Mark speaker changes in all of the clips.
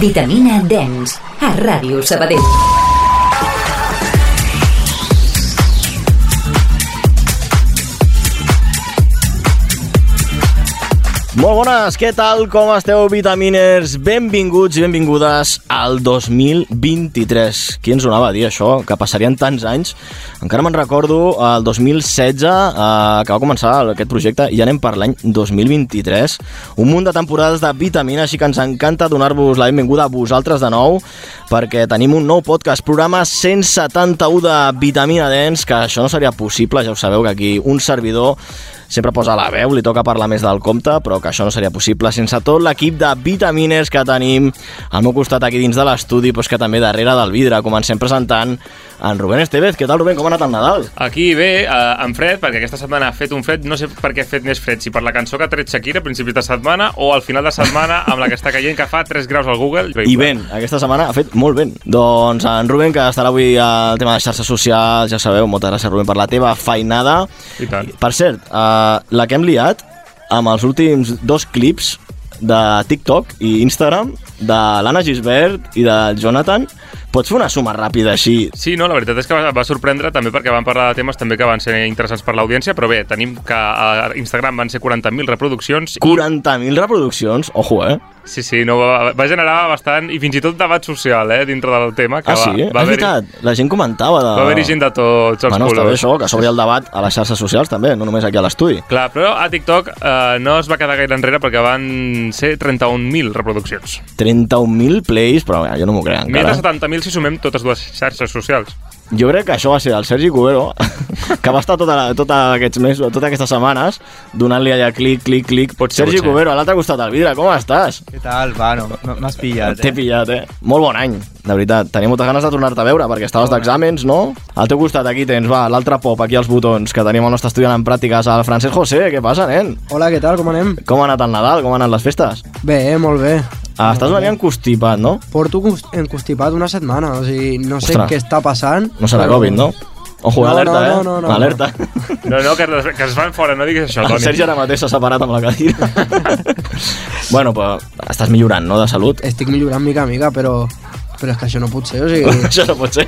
Speaker 1: Vitamina Dance, a Ràdio Sabadell.
Speaker 2: Molt bones, què tal? Com esteu, vitaminers? Benvinguts i benvingudes al 2023. Qui ens donava a dir això? Que passarien tants anys. Encara me'n recordo, el 2016, eh, que va començar aquest projecte, i ja anem per l'any 2023. Un munt de temporades de vitamina, així que ens encanta donar-vos la benvinguda a vosaltres de nou, perquè tenim un nou podcast, programa 171 de Vitamina Dens, que això no seria possible, ja ho sabeu, que aquí un servidor sempre posa la veu, li toca parlar més del compte, però que això no seria possible sense tot l'equip de vitamines que tenim al meu costat aquí dins de l'estudi, però és que també darrere del vidre. Comencem presentant en Rubén Estevez. Què tal, Rubén? Com ha anat el Nadal?
Speaker 3: Aquí bé, eh, en fred, perquè aquesta setmana ha fet un fred, no sé per què ha fet més fred, si per la cançó que ha tret Shakira a principis de setmana o al final de setmana amb la que està caient que fa 3 graus al Google.
Speaker 2: I vent, aquesta setmana ha fet molt vent. Doncs en Rubén, que estarà avui al tema de xarxes socials, ja sabeu, moltes gràcies, Rubén, per la teva feinada.
Speaker 3: I tant.
Speaker 2: Per cert, eh, la que hem liat amb els últims dos clips de TikTok i Instagram de l'Anna Gisbert i de Jonathan. Pots fer una suma ràpida així?
Speaker 3: Sí, no, la veritat és que va, va sorprendre també perquè van parlar de temes també que van ser interessants per l'audiència, però bé, tenim que a Instagram van ser 40.000 reproduccions.
Speaker 2: 40.000 reproduccions? Ojo, eh?
Speaker 3: Sí, sí, no, va, va generar bastant, i fins i tot debat social, eh, dintre del tema. Que
Speaker 2: Ah, sí?
Speaker 3: Va, va
Speaker 2: és veritat, la gent comentava de...
Speaker 3: Va haver-hi gent de tots els
Speaker 2: Bueno, està bé
Speaker 3: colors.
Speaker 2: això, que s'obri el debat a les xarxes socials també, no només aquí a l'estudi.
Speaker 3: Clar, però a TikTok eh, no es va quedar gaire enrere perquè van ser 31.000 reproduccions.
Speaker 2: 31.000 plays, però mira, jo no m'ho crec
Speaker 3: Més de
Speaker 2: encara.
Speaker 3: 70.000 si sumem totes dues xarxes socials.
Speaker 2: Jo crec que això va ser el Sergi Cubero, que va estar tota, la, tota aquests mesos, totes aquestes setmanes, donant-li allà clic, clic, clic.
Speaker 3: Pot ser,
Speaker 2: Sergi
Speaker 3: pot ser.
Speaker 2: Cubero, a l'altre costat del vidre, com estàs?
Speaker 4: ¿Qué tal? Va, no, no- m'has pillat.
Speaker 2: T'he
Speaker 4: eh?
Speaker 2: pillat, eh? Molt bon any, de veritat. Tenia moltes ganes de tornar-te a veure, perquè estaves d'exàmens, no? Al teu costat, aquí tens, va, l'altre pop, aquí els botons, que tenim el nostre estudiant en pràctiques, el Francesc José. Què passa, nen?
Speaker 5: Hola, què tal? Com anem?
Speaker 2: Com ha anat el Nadal? Com han anat les festes?
Speaker 5: Bé, eh? molt bé.
Speaker 2: Ah, estàs venint constipat, no?
Speaker 5: Porto cons- encostipat una setmana, o sigui, no sé
Speaker 2: Ostres.
Speaker 5: què està passant.
Speaker 2: No serà
Speaker 5: però-
Speaker 2: Covid, no? Ojo,
Speaker 5: No,
Speaker 2: alerta,
Speaker 5: no,
Speaker 2: eh?
Speaker 5: no, no, no.
Speaker 2: alerta.
Speaker 3: No, no, que, que es fan fora, no diguis això,
Speaker 2: El
Speaker 3: Toni.
Speaker 2: Sergi ara mateix s'ha separat amb la cadira. bueno, però estàs millorant, no?, de salut.
Speaker 5: Estic millorant mica a mica, però, però és que això no pot ser, o sigui...
Speaker 2: Això no pot ser.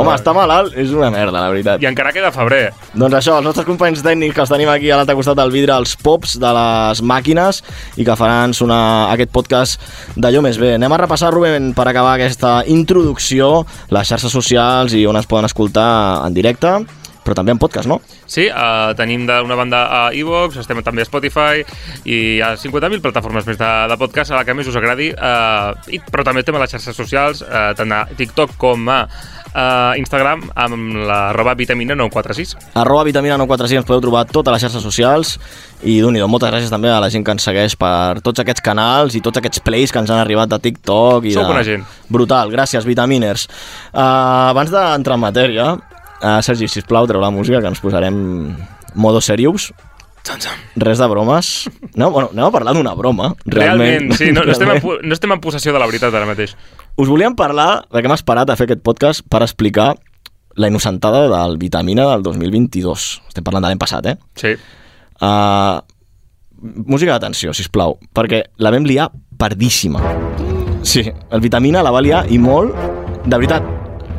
Speaker 2: Home, estar malalt és una merda, la veritat.
Speaker 3: I encara queda febrer.
Speaker 2: Doncs això, els nostres companys tècnics que els tenim aquí a l'altre costat del vidre, els pops de les màquines i que faran sonar aquest podcast d'allò més bé. Anem a repassar, Rubén, per acabar aquesta introducció, les xarxes socials i on es poden escoltar en directe, però també en podcast, no?
Speaker 3: Sí, eh, tenim d'una banda a Evox, estem també a Spotify i a 50.000 plataformes més de, de podcast a la que més us agradi, eh, i, però també estem a les xarxes socials, eh, tant a TikTok com a eh, Instagram, amb la roba vitamina 946.
Speaker 2: arroba vitamina 946 ens podeu trobar totes les xarxes socials i d'un i moltes gràcies també a la gent que ens segueix per tots aquests canals i tots aquests plays que ens han arribat de TikTok i
Speaker 3: Sou
Speaker 2: de...
Speaker 3: bona gent.
Speaker 2: Brutal, gràcies vitaminers. Uh, abans d'entrar en matèria, uh, Sergi, sisplau, treu la música que ens posarem modo serious. Res de bromes. No, bueno, anem a parlar d'una broma. Realment,
Speaker 3: Realment, sí, no, no, estem en,
Speaker 2: Realment.
Speaker 3: po- no estem en possessió de la veritat ara mateix.
Speaker 2: Us volíem parlar, perquè m'he esperat a fer aquest podcast, per explicar la innocentada del Vitamina del 2022. Estem parlant de l'any passat, eh?
Speaker 3: Sí.
Speaker 2: Uh, música d'atenció, si plau, perquè la vam liar pardíssima. Sí, el Vitamina la va liar i molt, de veritat,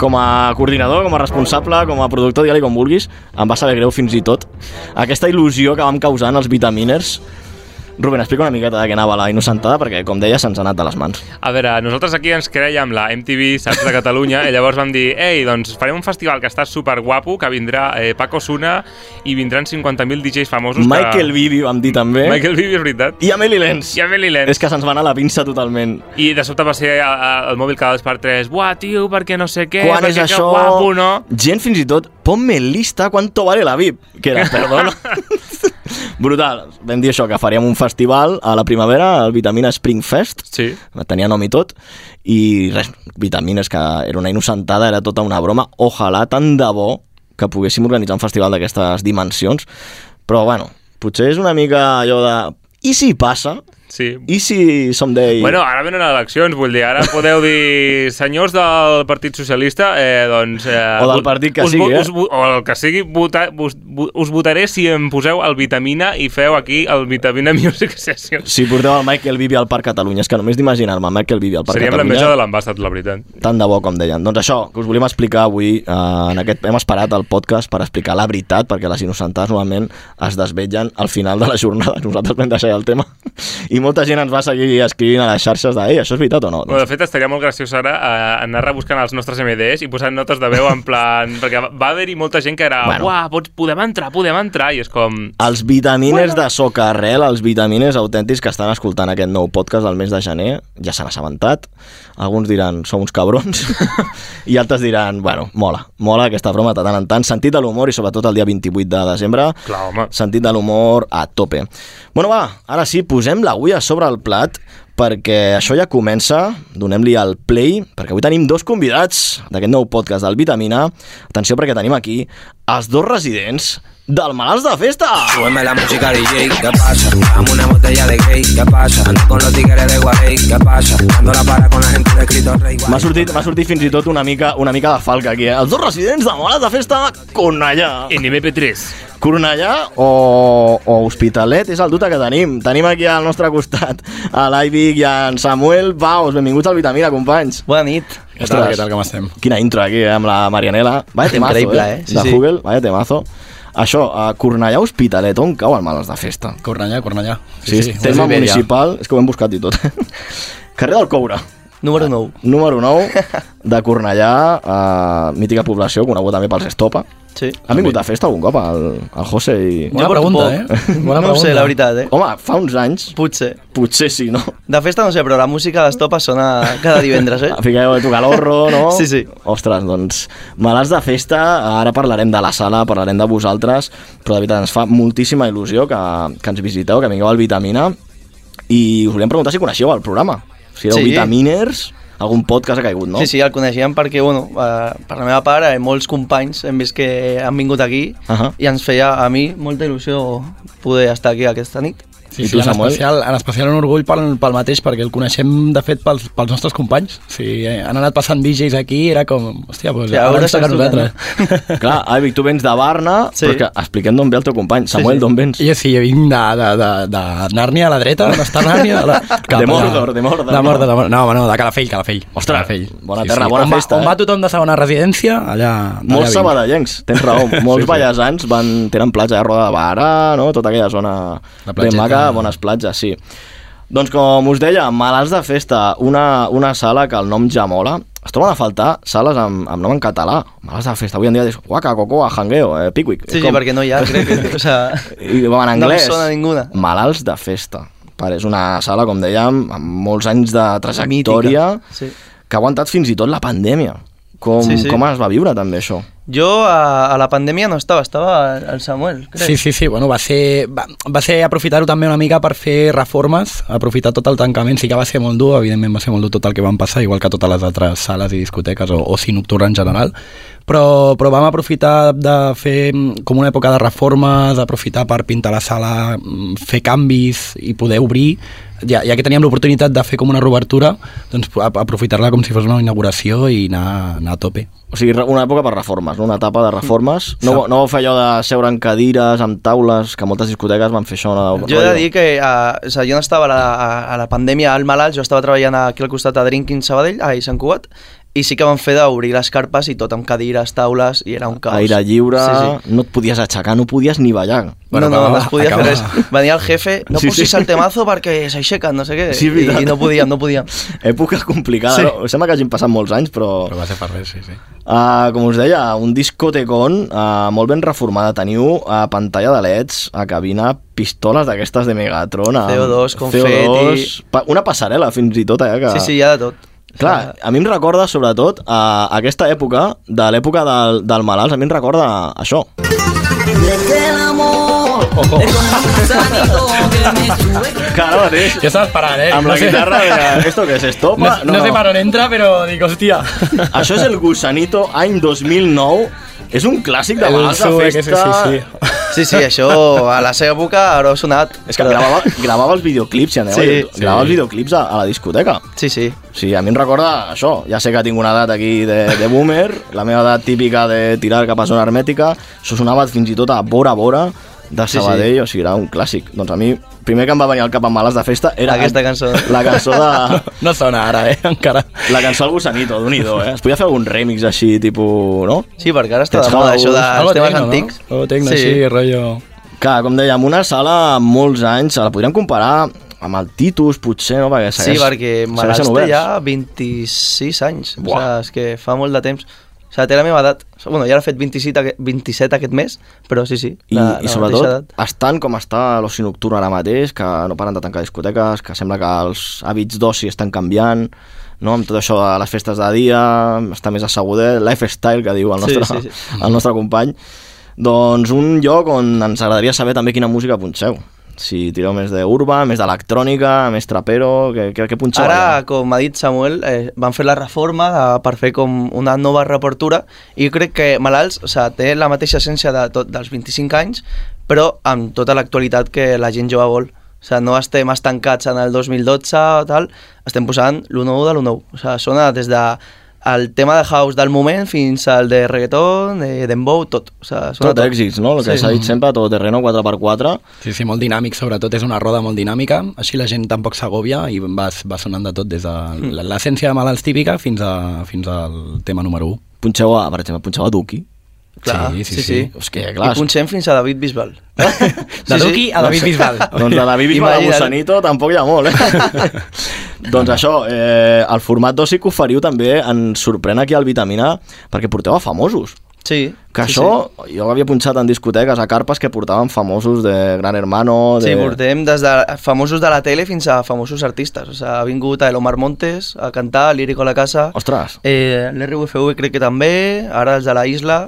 Speaker 2: com a coordinador, com a responsable, com a productor, digue-li com vulguis, em va saber greu fins i tot. Aquesta il·lusió que vam causar en els Vitaminers... Ruben, explica una miqueta de què anava la innocentada, perquè, com deia, se'ns ha anat de les mans.
Speaker 3: A veure, nosaltres aquí ens creiem la MTV, saps, de Catalunya, i llavors vam dir, ei, doncs farem un festival que està superguapo, que vindrà eh, Paco Suna i vindran 50.000 DJs famosos.
Speaker 2: Michael
Speaker 3: que...
Speaker 2: Bibi, vam dir també,
Speaker 3: Michael Vivi, és veritat.
Speaker 2: i Amelie Lenz.
Speaker 3: I Amelie Lenz.
Speaker 2: És que se'ns va anar la pinça totalment.
Speaker 3: I de sobte va ser a- a- el mòbil cada dos per tres. Buah, tio, perquè no sé què,
Speaker 2: quan és
Speaker 3: perquè
Speaker 2: això...
Speaker 3: que guapo, no?
Speaker 2: Gent fins i tot, ponme en lista cuánto vale la VIP. Que era, perdona. Brutal. Vam dir això, que faríem un festival a la primavera, el Vitamina Spring Fest.
Speaker 3: Sí.
Speaker 2: Tenia nom i tot. I res, Vitamines, que era una innocentada, era tota una broma. Ojalà, tant de bo, que poguéssim organitzar un festival d'aquestes dimensions. Però, bueno, potser és una mica allò de... I si passa?
Speaker 3: Sí.
Speaker 2: I si someday...
Speaker 3: Bueno, ara venen eleccions, vull dir, ara podeu dir senyors del Partit Socialista, eh, doncs... Eh,
Speaker 2: O del
Speaker 3: vot-
Speaker 2: partit que
Speaker 3: us, vo-
Speaker 2: sigui, eh?
Speaker 3: us, vo- o el que sigui, vota, us, vo- us votaré si em poseu el Vitamina i feu aquí el Vitamina Music Session.
Speaker 2: Si porteu el Michael Vivi al Parc Catalunya, és que només d'imaginar-me el Michael Vivi al Parc
Speaker 3: Seríem
Speaker 2: Catalunya...
Speaker 3: l'enveja de l'ambassat, la veritat.
Speaker 2: Tant de bo, com deien. Doncs això, que us volíem explicar avui, eh, en aquest, hem esperat el podcast per explicar la veritat, perquè les innocentades normalment es desvetllen al final de la jornada. Nosaltres vam deixar ja el tema i molta gent ens va seguir escrivint a les xarxes de «Ei, això és veritat o no?». Doncs
Speaker 3: Bueno, de fet, estaria molt graciós ara eh, anar rebuscant els nostres MDs i posant notes de veu en plan... perquè va haver-hi molta gent que era... Bueno.
Speaker 2: Bueno.
Speaker 3: Uah, pots, podem entrar, podem entrar, i és com...
Speaker 2: Els vitamines de soca arrel, els vitamines autèntics que estan escoltant aquest nou podcast del mes de gener, ja s'han assabentat. Alguns diran, som uns cabrons, i altres diran, bueno, mola, mola aquesta broma de tant en tant. Sentit de l'humor i sobretot el dia 28 de desembre,
Speaker 3: Clar, home.
Speaker 2: sentit de l'humor a tope. Bueno, va, ara sí, posem l'agulla sobre el plat, perquè això ja comença, donem-li el play, perquè avui tenim dos convidats d'aquest nou podcast del Vitamina. Atenció, perquè tenim aquí els dos residents del Malalts de Festa!
Speaker 6: Súbeme la música DJ, ¿qué pasa? Dame una botella de gay, ¿qué pasa? Ando con los tigres de Guarey, ¿qué pasa? Dando la para con la gente de Cristo Rey.
Speaker 2: M'ha sortit, m'ha sortit fins i tot una mica, una mica de falca aquí, eh? Els dos residents de Malalts de Festa, Cornellà.
Speaker 3: En MP3.
Speaker 2: Cornellà o, o Hospitalet és el dubte que tenim. Tenim aquí al nostre costat a l'Aivic i en Samuel Baus. Benvinguts al Vitamina, companys.
Speaker 4: Bona nit.
Speaker 7: Què tal, què tal, com estem?
Speaker 2: Quina intro aquí, eh, amb la Marianela. Vaya temazo,
Speaker 4: Increïble,
Speaker 2: eh?
Speaker 4: eh? Sí,
Speaker 2: de
Speaker 4: sí.
Speaker 2: Hugel, vaya temazo. Això, a Cornellà Hospitalet, on cau el Males de Festa?
Speaker 7: Cornellà, Cornellà.
Speaker 2: Sí, sí, sí terme municipal, és que ho hem buscat i tot. Carrer del Coure,
Speaker 8: Número 9.
Speaker 2: número 9 de Cornellà, eh, mítica població, coneguda també pels Estopa.
Speaker 8: Sí.
Speaker 2: Han vingut a festa algun cop el, el José i...
Speaker 7: Bona Ah, pregunta, eh? Bona
Speaker 8: no ho sé,
Speaker 7: pregunta.
Speaker 8: la veritat, eh?
Speaker 2: Home, fa uns anys,
Speaker 8: Potser.
Speaker 2: potser sí, no?
Speaker 8: De festa no sé, però la música d'estopa sona cada divendres, eh?
Speaker 2: Fiqueu tu calorro, no?
Speaker 8: Sí, sí.
Speaker 2: Ostres, doncs, malats de festa, ara parlarem de la sala, parlarem de vosaltres, però de veritat ens fa moltíssima il·lusió que, que ens visiteu, que vingueu al Vitamina, i us volíem preguntar si coneixeu el programa. Si éreu
Speaker 8: Sí.
Speaker 2: Vitaminers, algun podcast ha caigut, no?
Speaker 8: Sí, sí, el coneixíem perquè, bueno, eh, per la meva part, eh, molts companys hem vist que han vingut aquí
Speaker 2: Ahà.
Speaker 8: i ens feia a mi molta il·lusió poder estar aquí aquesta nit.
Speaker 7: Sí,
Speaker 2: I
Speaker 7: sí,
Speaker 2: tu,
Speaker 7: en
Speaker 2: Samuel?
Speaker 7: especial, en especial un orgull pel, pel mateix, perquè el coneixem, de fet, pels, pels nostres companys. Sí, eh, han anat passant DJs aquí, era com... Hòstia, doncs,
Speaker 8: Sí, a
Speaker 7: ara
Speaker 8: veure
Speaker 7: ens
Speaker 8: si
Speaker 7: toca a
Speaker 8: ens
Speaker 7: nosaltres.
Speaker 2: Clar, Avi, tu vens de Barna,
Speaker 8: Sí.
Speaker 2: però és que expliquem d'on ve el teu company. Samuel,
Speaker 8: sí.
Speaker 2: d'on vens?
Speaker 7: Jo sí, jo vinc de, de, de, de Nàrnia a la dreta, on està Nàrnia? A la...
Speaker 2: De Mordor, de Mordor,
Speaker 7: De Mordor,
Speaker 2: no?
Speaker 7: de Mordor. No, home, no, de Calafell, Calafell.
Speaker 2: Ostres,
Speaker 7: Calafell.
Speaker 2: bona terra, bona
Speaker 7: on va,
Speaker 2: festa,
Speaker 7: On
Speaker 2: eh?
Speaker 7: va tothom de segona residència, allà... d'allà
Speaker 2: Molts
Speaker 7: vinc.
Speaker 2: sabadellencs, tens raó. Molts
Speaker 7: Sí,
Speaker 2: sí,
Speaker 7: sí.
Speaker 2: ballesans van, tenen platja de Roda de Barà, no? tota aquella zona ben
Speaker 7: La platgeta.
Speaker 2: maca, bones platges, sí. Doncs com us deia, Malats de Festa, una, una sala que el nom ja mola. Es troben a faltar sales amb, amb nom en català. Malats de Festa, avui en dia dius, guaca, cocoa, jangueo, eh, pickwick.
Speaker 8: Sí,
Speaker 2: És
Speaker 8: sí, perquè no hi ha, crec que... O sea,
Speaker 2: I ho en
Speaker 8: No em
Speaker 2: anglès.
Speaker 8: sona ninguna.
Speaker 2: Malalts de Festa. Pare, és una sala, com dèiem, amb molts anys de trajectòria,
Speaker 8: mítica, sí.
Speaker 2: que ha aguantat fins i tot la pandèmia. Com,
Speaker 8: Sí, sí.
Speaker 2: com es va viure també això?
Speaker 8: Jo a, a la pandèmia no estava, estava el Samuel, crec.
Speaker 7: Sí, sí, sí, bueno, va ser, va, va ser aprofitar-ho també una mica per fer reformes, aprofitar tot el tancament, sí que va ser molt dur, evidentment va ser molt dur tot el que van passar, igual que totes les altres sales i discoteques o, o si nocturna en general, però, però vam aprofitar de fer mm, com una època de reformes, d'aprofitar per pintar la sala, mm, fer canvis i poder obrir, ja, ja que teníem l'oportunitat de fer com una reobertura, doncs a- aprofitar-la com si fos una inauguració i anar, anar a tope.
Speaker 2: O sigui, re- una època per reformes, no? una etapa de reformes.
Speaker 8: Mm.
Speaker 2: No, vau- no vau fer allò de seure en cadires, amb taules, que moltes discoteques van fer això. No?
Speaker 8: Jo he de dir que a, o sigui, jo no estava a la, a, a la pandèmia al malalt, jo estava treballant aquí al costat a Drinking Sabadell, a Sant Cugat, i sí que van fer d'obrir les carpes i tot amb cadires, taules, i era un caos.
Speaker 2: Aire lliure,
Speaker 8: Sí, sí.
Speaker 2: no et podies aixecar, no podies ni ballar.
Speaker 8: Bueno,
Speaker 7: Bueno,
Speaker 8: no, no,
Speaker 7: acaba-
Speaker 8: no es podia
Speaker 7: acaba.
Speaker 8: fer res. Venia el jefe, no
Speaker 2: Sí,
Speaker 8: sí, posis
Speaker 2: sí.
Speaker 8: sí. el temazo perquè s'aixequen, no sé què,
Speaker 2: Sí,
Speaker 8: i,
Speaker 2: és veritat.
Speaker 8: i no podíem, no podíem.
Speaker 2: Època complicada,
Speaker 8: Sí.
Speaker 2: no? Sembla que hagin passat molts anys, però...
Speaker 7: Però va ser per res, sí, sí.
Speaker 2: Uh, com us deia, un discotecon uh, molt ben reformada. Teniu uh, pantalla de leds, a cabina, pistoles d'aquestes de Megatron. Amb
Speaker 8: CO2, confeti.
Speaker 2: pa- Una passarel·la, fins i tot, eh? Que...
Speaker 8: Sí, sí, hi ha de tot.
Speaker 2: Clar, a mi em recorda, sobretot, a aquesta època, de l'època del, del malalts, a mi em recorda això. Que ara mateix,
Speaker 7: Jo estava esperant, eh?
Speaker 2: amb la
Speaker 7: sé-
Speaker 2: guitarra, de, esto que es estopa?
Speaker 7: No, no, sé per on entra, però dic, hòstia...
Speaker 2: Això és el Gusanito, any 2009. És un clàssic de
Speaker 7: El
Speaker 2: malalts de
Speaker 7: sube, que
Speaker 2: festa.
Speaker 7: sí, sí, sí.
Speaker 8: Sí, sí, això a la seva època ara ha sonat.
Speaker 2: És que gravava, gravava els videoclips i anava,
Speaker 8: Sí.
Speaker 2: sí, gravava els videoclips a, a la discoteca.
Speaker 8: Sí, sí.
Speaker 2: Sí, a mi em recorda això. Ja sé que tinc una edat aquí de, de boomer, la meva edat típica de tirar cap a zona hermètica. Això sonava fins i tot a Bora Bora de
Speaker 8: Sí, sí.
Speaker 2: Sabadell, sí, sí. o sigui, era un clàssic. Doncs a mi, primer que em va venir al cap amb males de festa era...
Speaker 8: Aquesta cançó.
Speaker 2: La cançó de...
Speaker 7: Ah, No sona ara, eh? Encara.
Speaker 2: La cançó al gusanito, d'un idó, eh? Es podia fer algun remix així, tipus... No?
Speaker 8: Sí, perquè ara està de
Speaker 2: Tens
Speaker 8: moda
Speaker 2: house.
Speaker 8: això
Speaker 7: Ah, Algo
Speaker 8: dels temes
Speaker 7: tecno,
Speaker 8: antics.
Speaker 7: No? Algo tecno, sí. així, rotllo...
Speaker 2: Clar, com dèiem, una sala amb molts anys, la podríem comparar amb el Titus, potser, no? Perquè
Speaker 8: Sí,
Speaker 2: segueix,
Speaker 8: perquè Malats
Speaker 2: segueixen
Speaker 8: té
Speaker 2: oberts.
Speaker 8: ja 26 anys.
Speaker 2: Buah.
Speaker 8: O sigui, és que fa molt de temps. O sigui, té la meva edat. Bueno, ja l'ha fet 27, aquest- 27 aquest mes, però sí, sí,
Speaker 2: I,
Speaker 8: la,
Speaker 2: i
Speaker 8: la
Speaker 2: sobretot,
Speaker 8: mateixa edat.
Speaker 2: estan com està l'oci nocturn ara mateix, que no paren de tancar discoteques, que sembla que els hàbits d'oci estan canviant, no? amb tot això de les festes de dia, està més assegudet, lifestyle que diu el
Speaker 8: Sí,
Speaker 2: nostre,
Speaker 8: sí,
Speaker 2: El nostre company. Doncs un lloc on ens agradaria saber també quina música punxeu. Si tireu més d'urba, més d'electrònica, més trapero, què, què, què punxeu?
Speaker 8: Ara,
Speaker 2: allà?
Speaker 8: com ha dit Samuel, eh, van fer la reforma eh, per fer com una nova repertura i jo crec que Malalts o sigui, té la mateixa essència de tot, dels 25 anys, però amb tota l'actualitat que la gent jove vol. O sigui, no estem estancats en el 2012 o tal, estem posant lo nou de lo nou. O sigui, sona des de el tema de house del moment fins al de reggaeton, de dembow, tot. O sigui, sona
Speaker 2: Tot èxits, no? El que s'ha dit sempre, tot terreno 4x4.
Speaker 7: Sí, sí, molt dinàmic, sobretot és una roda molt dinàmica, així la gent tampoc s'agòbia i va, va sonant de tot, des de l'essència de malalts típica fins, a, fins al tema número 1.
Speaker 2: Punxeu a, per exemple, punxeu a Duki.
Speaker 8: Clar,
Speaker 7: sí, sí, sí.
Speaker 2: Hòstia, clar,
Speaker 8: I punxem fins a David Bisbal.
Speaker 7: De Duki a David Bisbal.
Speaker 2: Doncs de David Bisbal a
Speaker 8: Imagina't.
Speaker 2: Gusanito tampoc hi ha molt, eh? doncs això, eh, el format d'oci que oferiu també ens sorprèn aquí al Vitamina perquè porteu a famosos.
Speaker 8: Sí.
Speaker 2: Que
Speaker 8: sí,
Speaker 2: això, jo havia punxat en discoteques a carpes que portaven famosos de Gran Hermano... De...
Speaker 8: Sí, portem des de famosos de la tele fins a famosos artistes. O sigui, ha vingut a El Omar Montes a cantar, Lírico a la casa,
Speaker 2: Ostres,
Speaker 8: eh, l'RUFV crec que també, ara els de la Isla...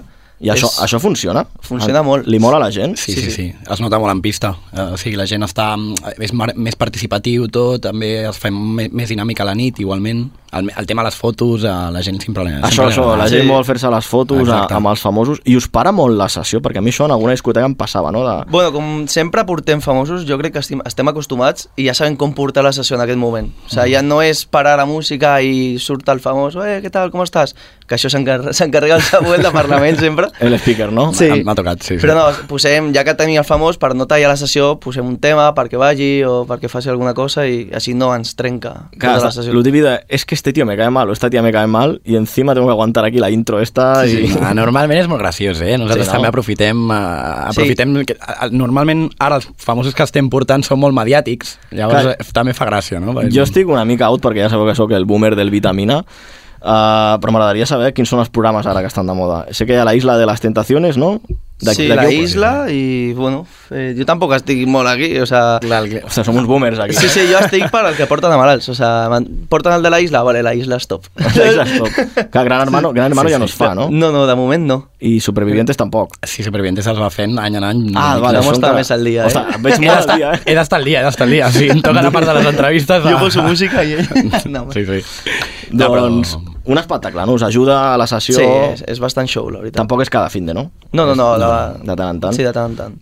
Speaker 2: i això,
Speaker 8: És-
Speaker 2: això funciona?
Speaker 8: Funciona molt.
Speaker 2: Li mola a la gent?
Speaker 7: Sí, sí, sí, sí. Es nota molt en pista. Eh, O sigui, la gent està mm, és mar- més participatiu tot, també es fa me- més dinàmica a la nit, igualment. El, el tema de les fotos, a la gent sempre... li-
Speaker 2: Això,
Speaker 7: sempre li
Speaker 2: això,
Speaker 7: agrada.
Speaker 2: la gent vol fer-se les fotos a,
Speaker 7: Exacte.
Speaker 2: amb els famosos i us para molt la sessió, perquè a mi això en alguna discoteca em passava, no? De...
Speaker 8: Bueno, com sempre portem famosos, jo crec que estim, estem acostumats i ja sabem com portar la sessió en aquest moment. O sigui, ja
Speaker 2: Mm.
Speaker 8: no és parar la música i surt el famós, eh, què tal, com estàs? Que això s'encar- s'encarrega el Samuel de Parlament sempre.
Speaker 2: El speaker, no?
Speaker 8: Sí.
Speaker 7: Em- M'ha tocat, sí, sí.
Speaker 8: Però no, posem, ja que tenim el famós, per no tallar la sessió, posem un tema perquè vagi o perquè faci alguna cosa i així no ens trenca tota
Speaker 2: Claro,
Speaker 8: la
Speaker 2: está-
Speaker 8: sessió.
Speaker 2: lo típico de, es que este tío me cae mal o esta tía me cae mal y encima tengo que aguantar aquí la intro esta
Speaker 7: Sí,
Speaker 2: y...
Speaker 7: sí. Ah, Normalment és molt graciós, eh? Nosaltres
Speaker 2: Sí, no?
Speaker 7: sí, no? també aprofitem... Eh, aprofitem sí. que, a, a- normalment ara els famosos que estem portant són molt mediàtics, llavors
Speaker 2: Clar.
Speaker 7: Clar. també fa gràcia, no?
Speaker 8: pues
Speaker 7: Perquè-
Speaker 2: Jo estic una mica out perquè ja sabeu que sóc el boomer del Vitamina, uh, però m'agradaria saber quins són els programes ara que estan de moda. Sé que hi ha la Isla de les Tentaciones, no? D'aquí-
Speaker 8: sí,
Speaker 2: d'aquí
Speaker 8: la
Speaker 2: ho-
Speaker 8: isla i, bueno, eh, jo tampoc estic molt aquí, o sea...
Speaker 7: Clar, el que-
Speaker 2: Hòstia, som uns boomers aquí. eh?
Speaker 8: Sí, sí, jo estic per al que porten de malalts, o sea, man- porten el de la isla, vale, la isla stop.
Speaker 2: La Isla Stop. Que Gran Hermano, gran hermano ja no es fa, no?
Speaker 8: No, no, de moment no.
Speaker 2: I Supervivientes tampoc.
Speaker 7: Sí, Supervivientes es va fent any en any.
Speaker 8: Ah,
Speaker 7: Una
Speaker 8: vale,
Speaker 7: mica.
Speaker 8: això encara-
Speaker 2: Ostres,
Speaker 8: Ostres,
Speaker 2: et
Speaker 7: He
Speaker 2: veig molt al
Speaker 7: d'estar
Speaker 2: dia, eh?
Speaker 7: he d'estar al dia, he d'estar al dia. Sí, em toca la part de les entrevistes. ah.
Speaker 8: Jo poso música i ell... No,
Speaker 7: Sí,
Speaker 8: sí,
Speaker 7: sí. No, però-
Speaker 2: Doncs, un espectacle, no? Us ajuda a la sessió...
Speaker 8: sí és, és bastant show, la veritat.
Speaker 2: Tampoc és cada fin de, no?
Speaker 8: No, no, no. La...
Speaker 2: De tant en tant.
Speaker 8: Sí, de tant en tant.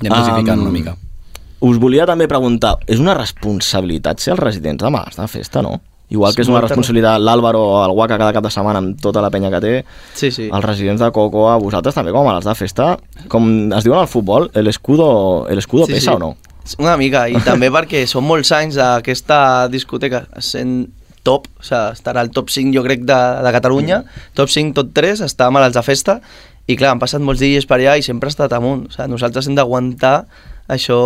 Speaker 7: Anem dosificant
Speaker 2: Am,
Speaker 7: una mica.
Speaker 2: Us volia també preguntar, és una responsabilitat ser els residents de Mas de festa, no? Igual que és una
Speaker 8: Molta
Speaker 2: responsabilitat l'Àlvaro o el Guaca cada cap de setmana amb tota la penya que té,
Speaker 8: Sí, sí.
Speaker 2: els residents de Cocoa, vosaltres també com a les de festa, com es diuen al futbol, el escudo, el escudo pesa o no?
Speaker 8: Una mica, i també perquè són molts anys d'aquesta discoteca sent top, o sigui, estarà al top 5 jo crec de, de Catalunya, top 5, top 3, està a Malalts de Festa, i clar, han passat molts dies per allà i sempre ha estat amunt, o sigui, nosaltres hem d'aguantar això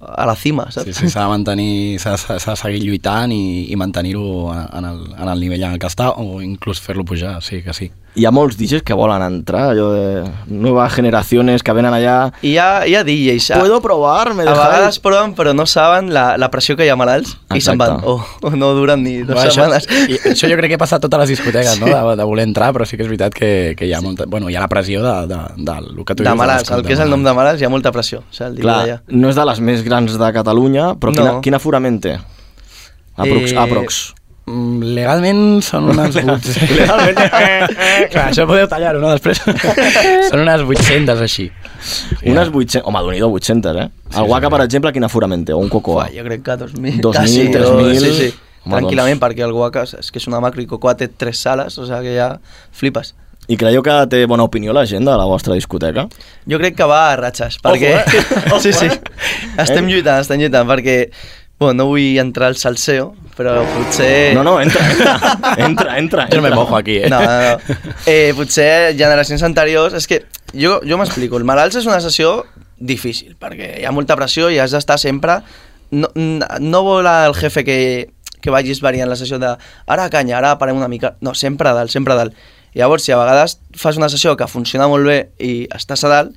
Speaker 8: a la cima,
Speaker 7: Sí,
Speaker 8: saps?
Speaker 7: sí, s'ha de mantenir, s'ha s'ha- s'ha de seguir lluitant i, i mantenir-ho en, en, el, en el nivell en el que està o inclús fer-lo pujar, sí que sí.
Speaker 2: Hi ha molts DJs que volen entrar, allò de noves generacions que venen allà...
Speaker 8: I hi ha, hi ha DJs, a,
Speaker 2: Puedo probar, me
Speaker 8: a vegades
Speaker 2: dejáis...
Speaker 8: proven però no saben la, la pressió que hi ha a malalts i se'n van,
Speaker 2: Exacte.
Speaker 8: o, o no duren ni dues
Speaker 7: Va, això,
Speaker 8: setmanes.
Speaker 7: i, això jo crec que passa a totes les discoteques, sí. no? de, de voler entrar, però sí que és veritat que, que hi, ha molta, bueno, hi ha la pressió de, de, de, lo que tu
Speaker 8: De
Speaker 7: dius.
Speaker 8: malalts, el que és el nom de malalts, hi ha molta pressió, o sigui, el dia d'allà.
Speaker 2: Clar, no és de les més grans de Catalunya, però quina,
Speaker 8: No.
Speaker 2: quin aforament té? Aprox,
Speaker 8: Eh,
Speaker 2: aprox.
Speaker 7: Mm, Legalment són unes... Legalment... Clar, això podeu tallar-ho, no? Després. són unes 800 així.
Speaker 2: Unes 800... Home, d'un 800, eh? El Waka, per exemple, quin aforament té? O un Cocoa?
Speaker 8: Uah, jo crec que 2.000.
Speaker 2: 2.000,
Speaker 8: quasi,
Speaker 2: 3.000.
Speaker 8: Sí, sí.
Speaker 2: Home,
Speaker 8: Tranquil·lament,
Speaker 2: doncs.
Speaker 8: perquè el Guaca és és que és una macro i Cocoa té tres sales, o sigui que ja flipes.
Speaker 2: I creieu que té bona opinió la gent de la vostra discoteca?
Speaker 8: Jo crec que va a ratxes, perquè...
Speaker 2: eh? Ojo,
Speaker 8: sí, sí.
Speaker 2: eh?
Speaker 8: Estem lluitant, estem lluitant, perquè... Bueno, no vull entrar al salseo, però potser...
Speaker 2: No, no, entra, entra, entra, entra.
Speaker 7: Yo no Eh. me
Speaker 2: entra.
Speaker 7: mojo aquí, eh?
Speaker 8: No, no, no. Eh, potser generacions anteriors... És que jo, jo m'explico, el malalts és una sessió difícil, perquè hi ha molta pressió i has d'estar sempre... No, no vol el jefe que, que vagis variant la sessió de ara canya, ara parem una mica... No, sempre a dalt, sempre a dalt. Llavors, si a vegades fas una sessió que funciona molt bé i estàs a dalt,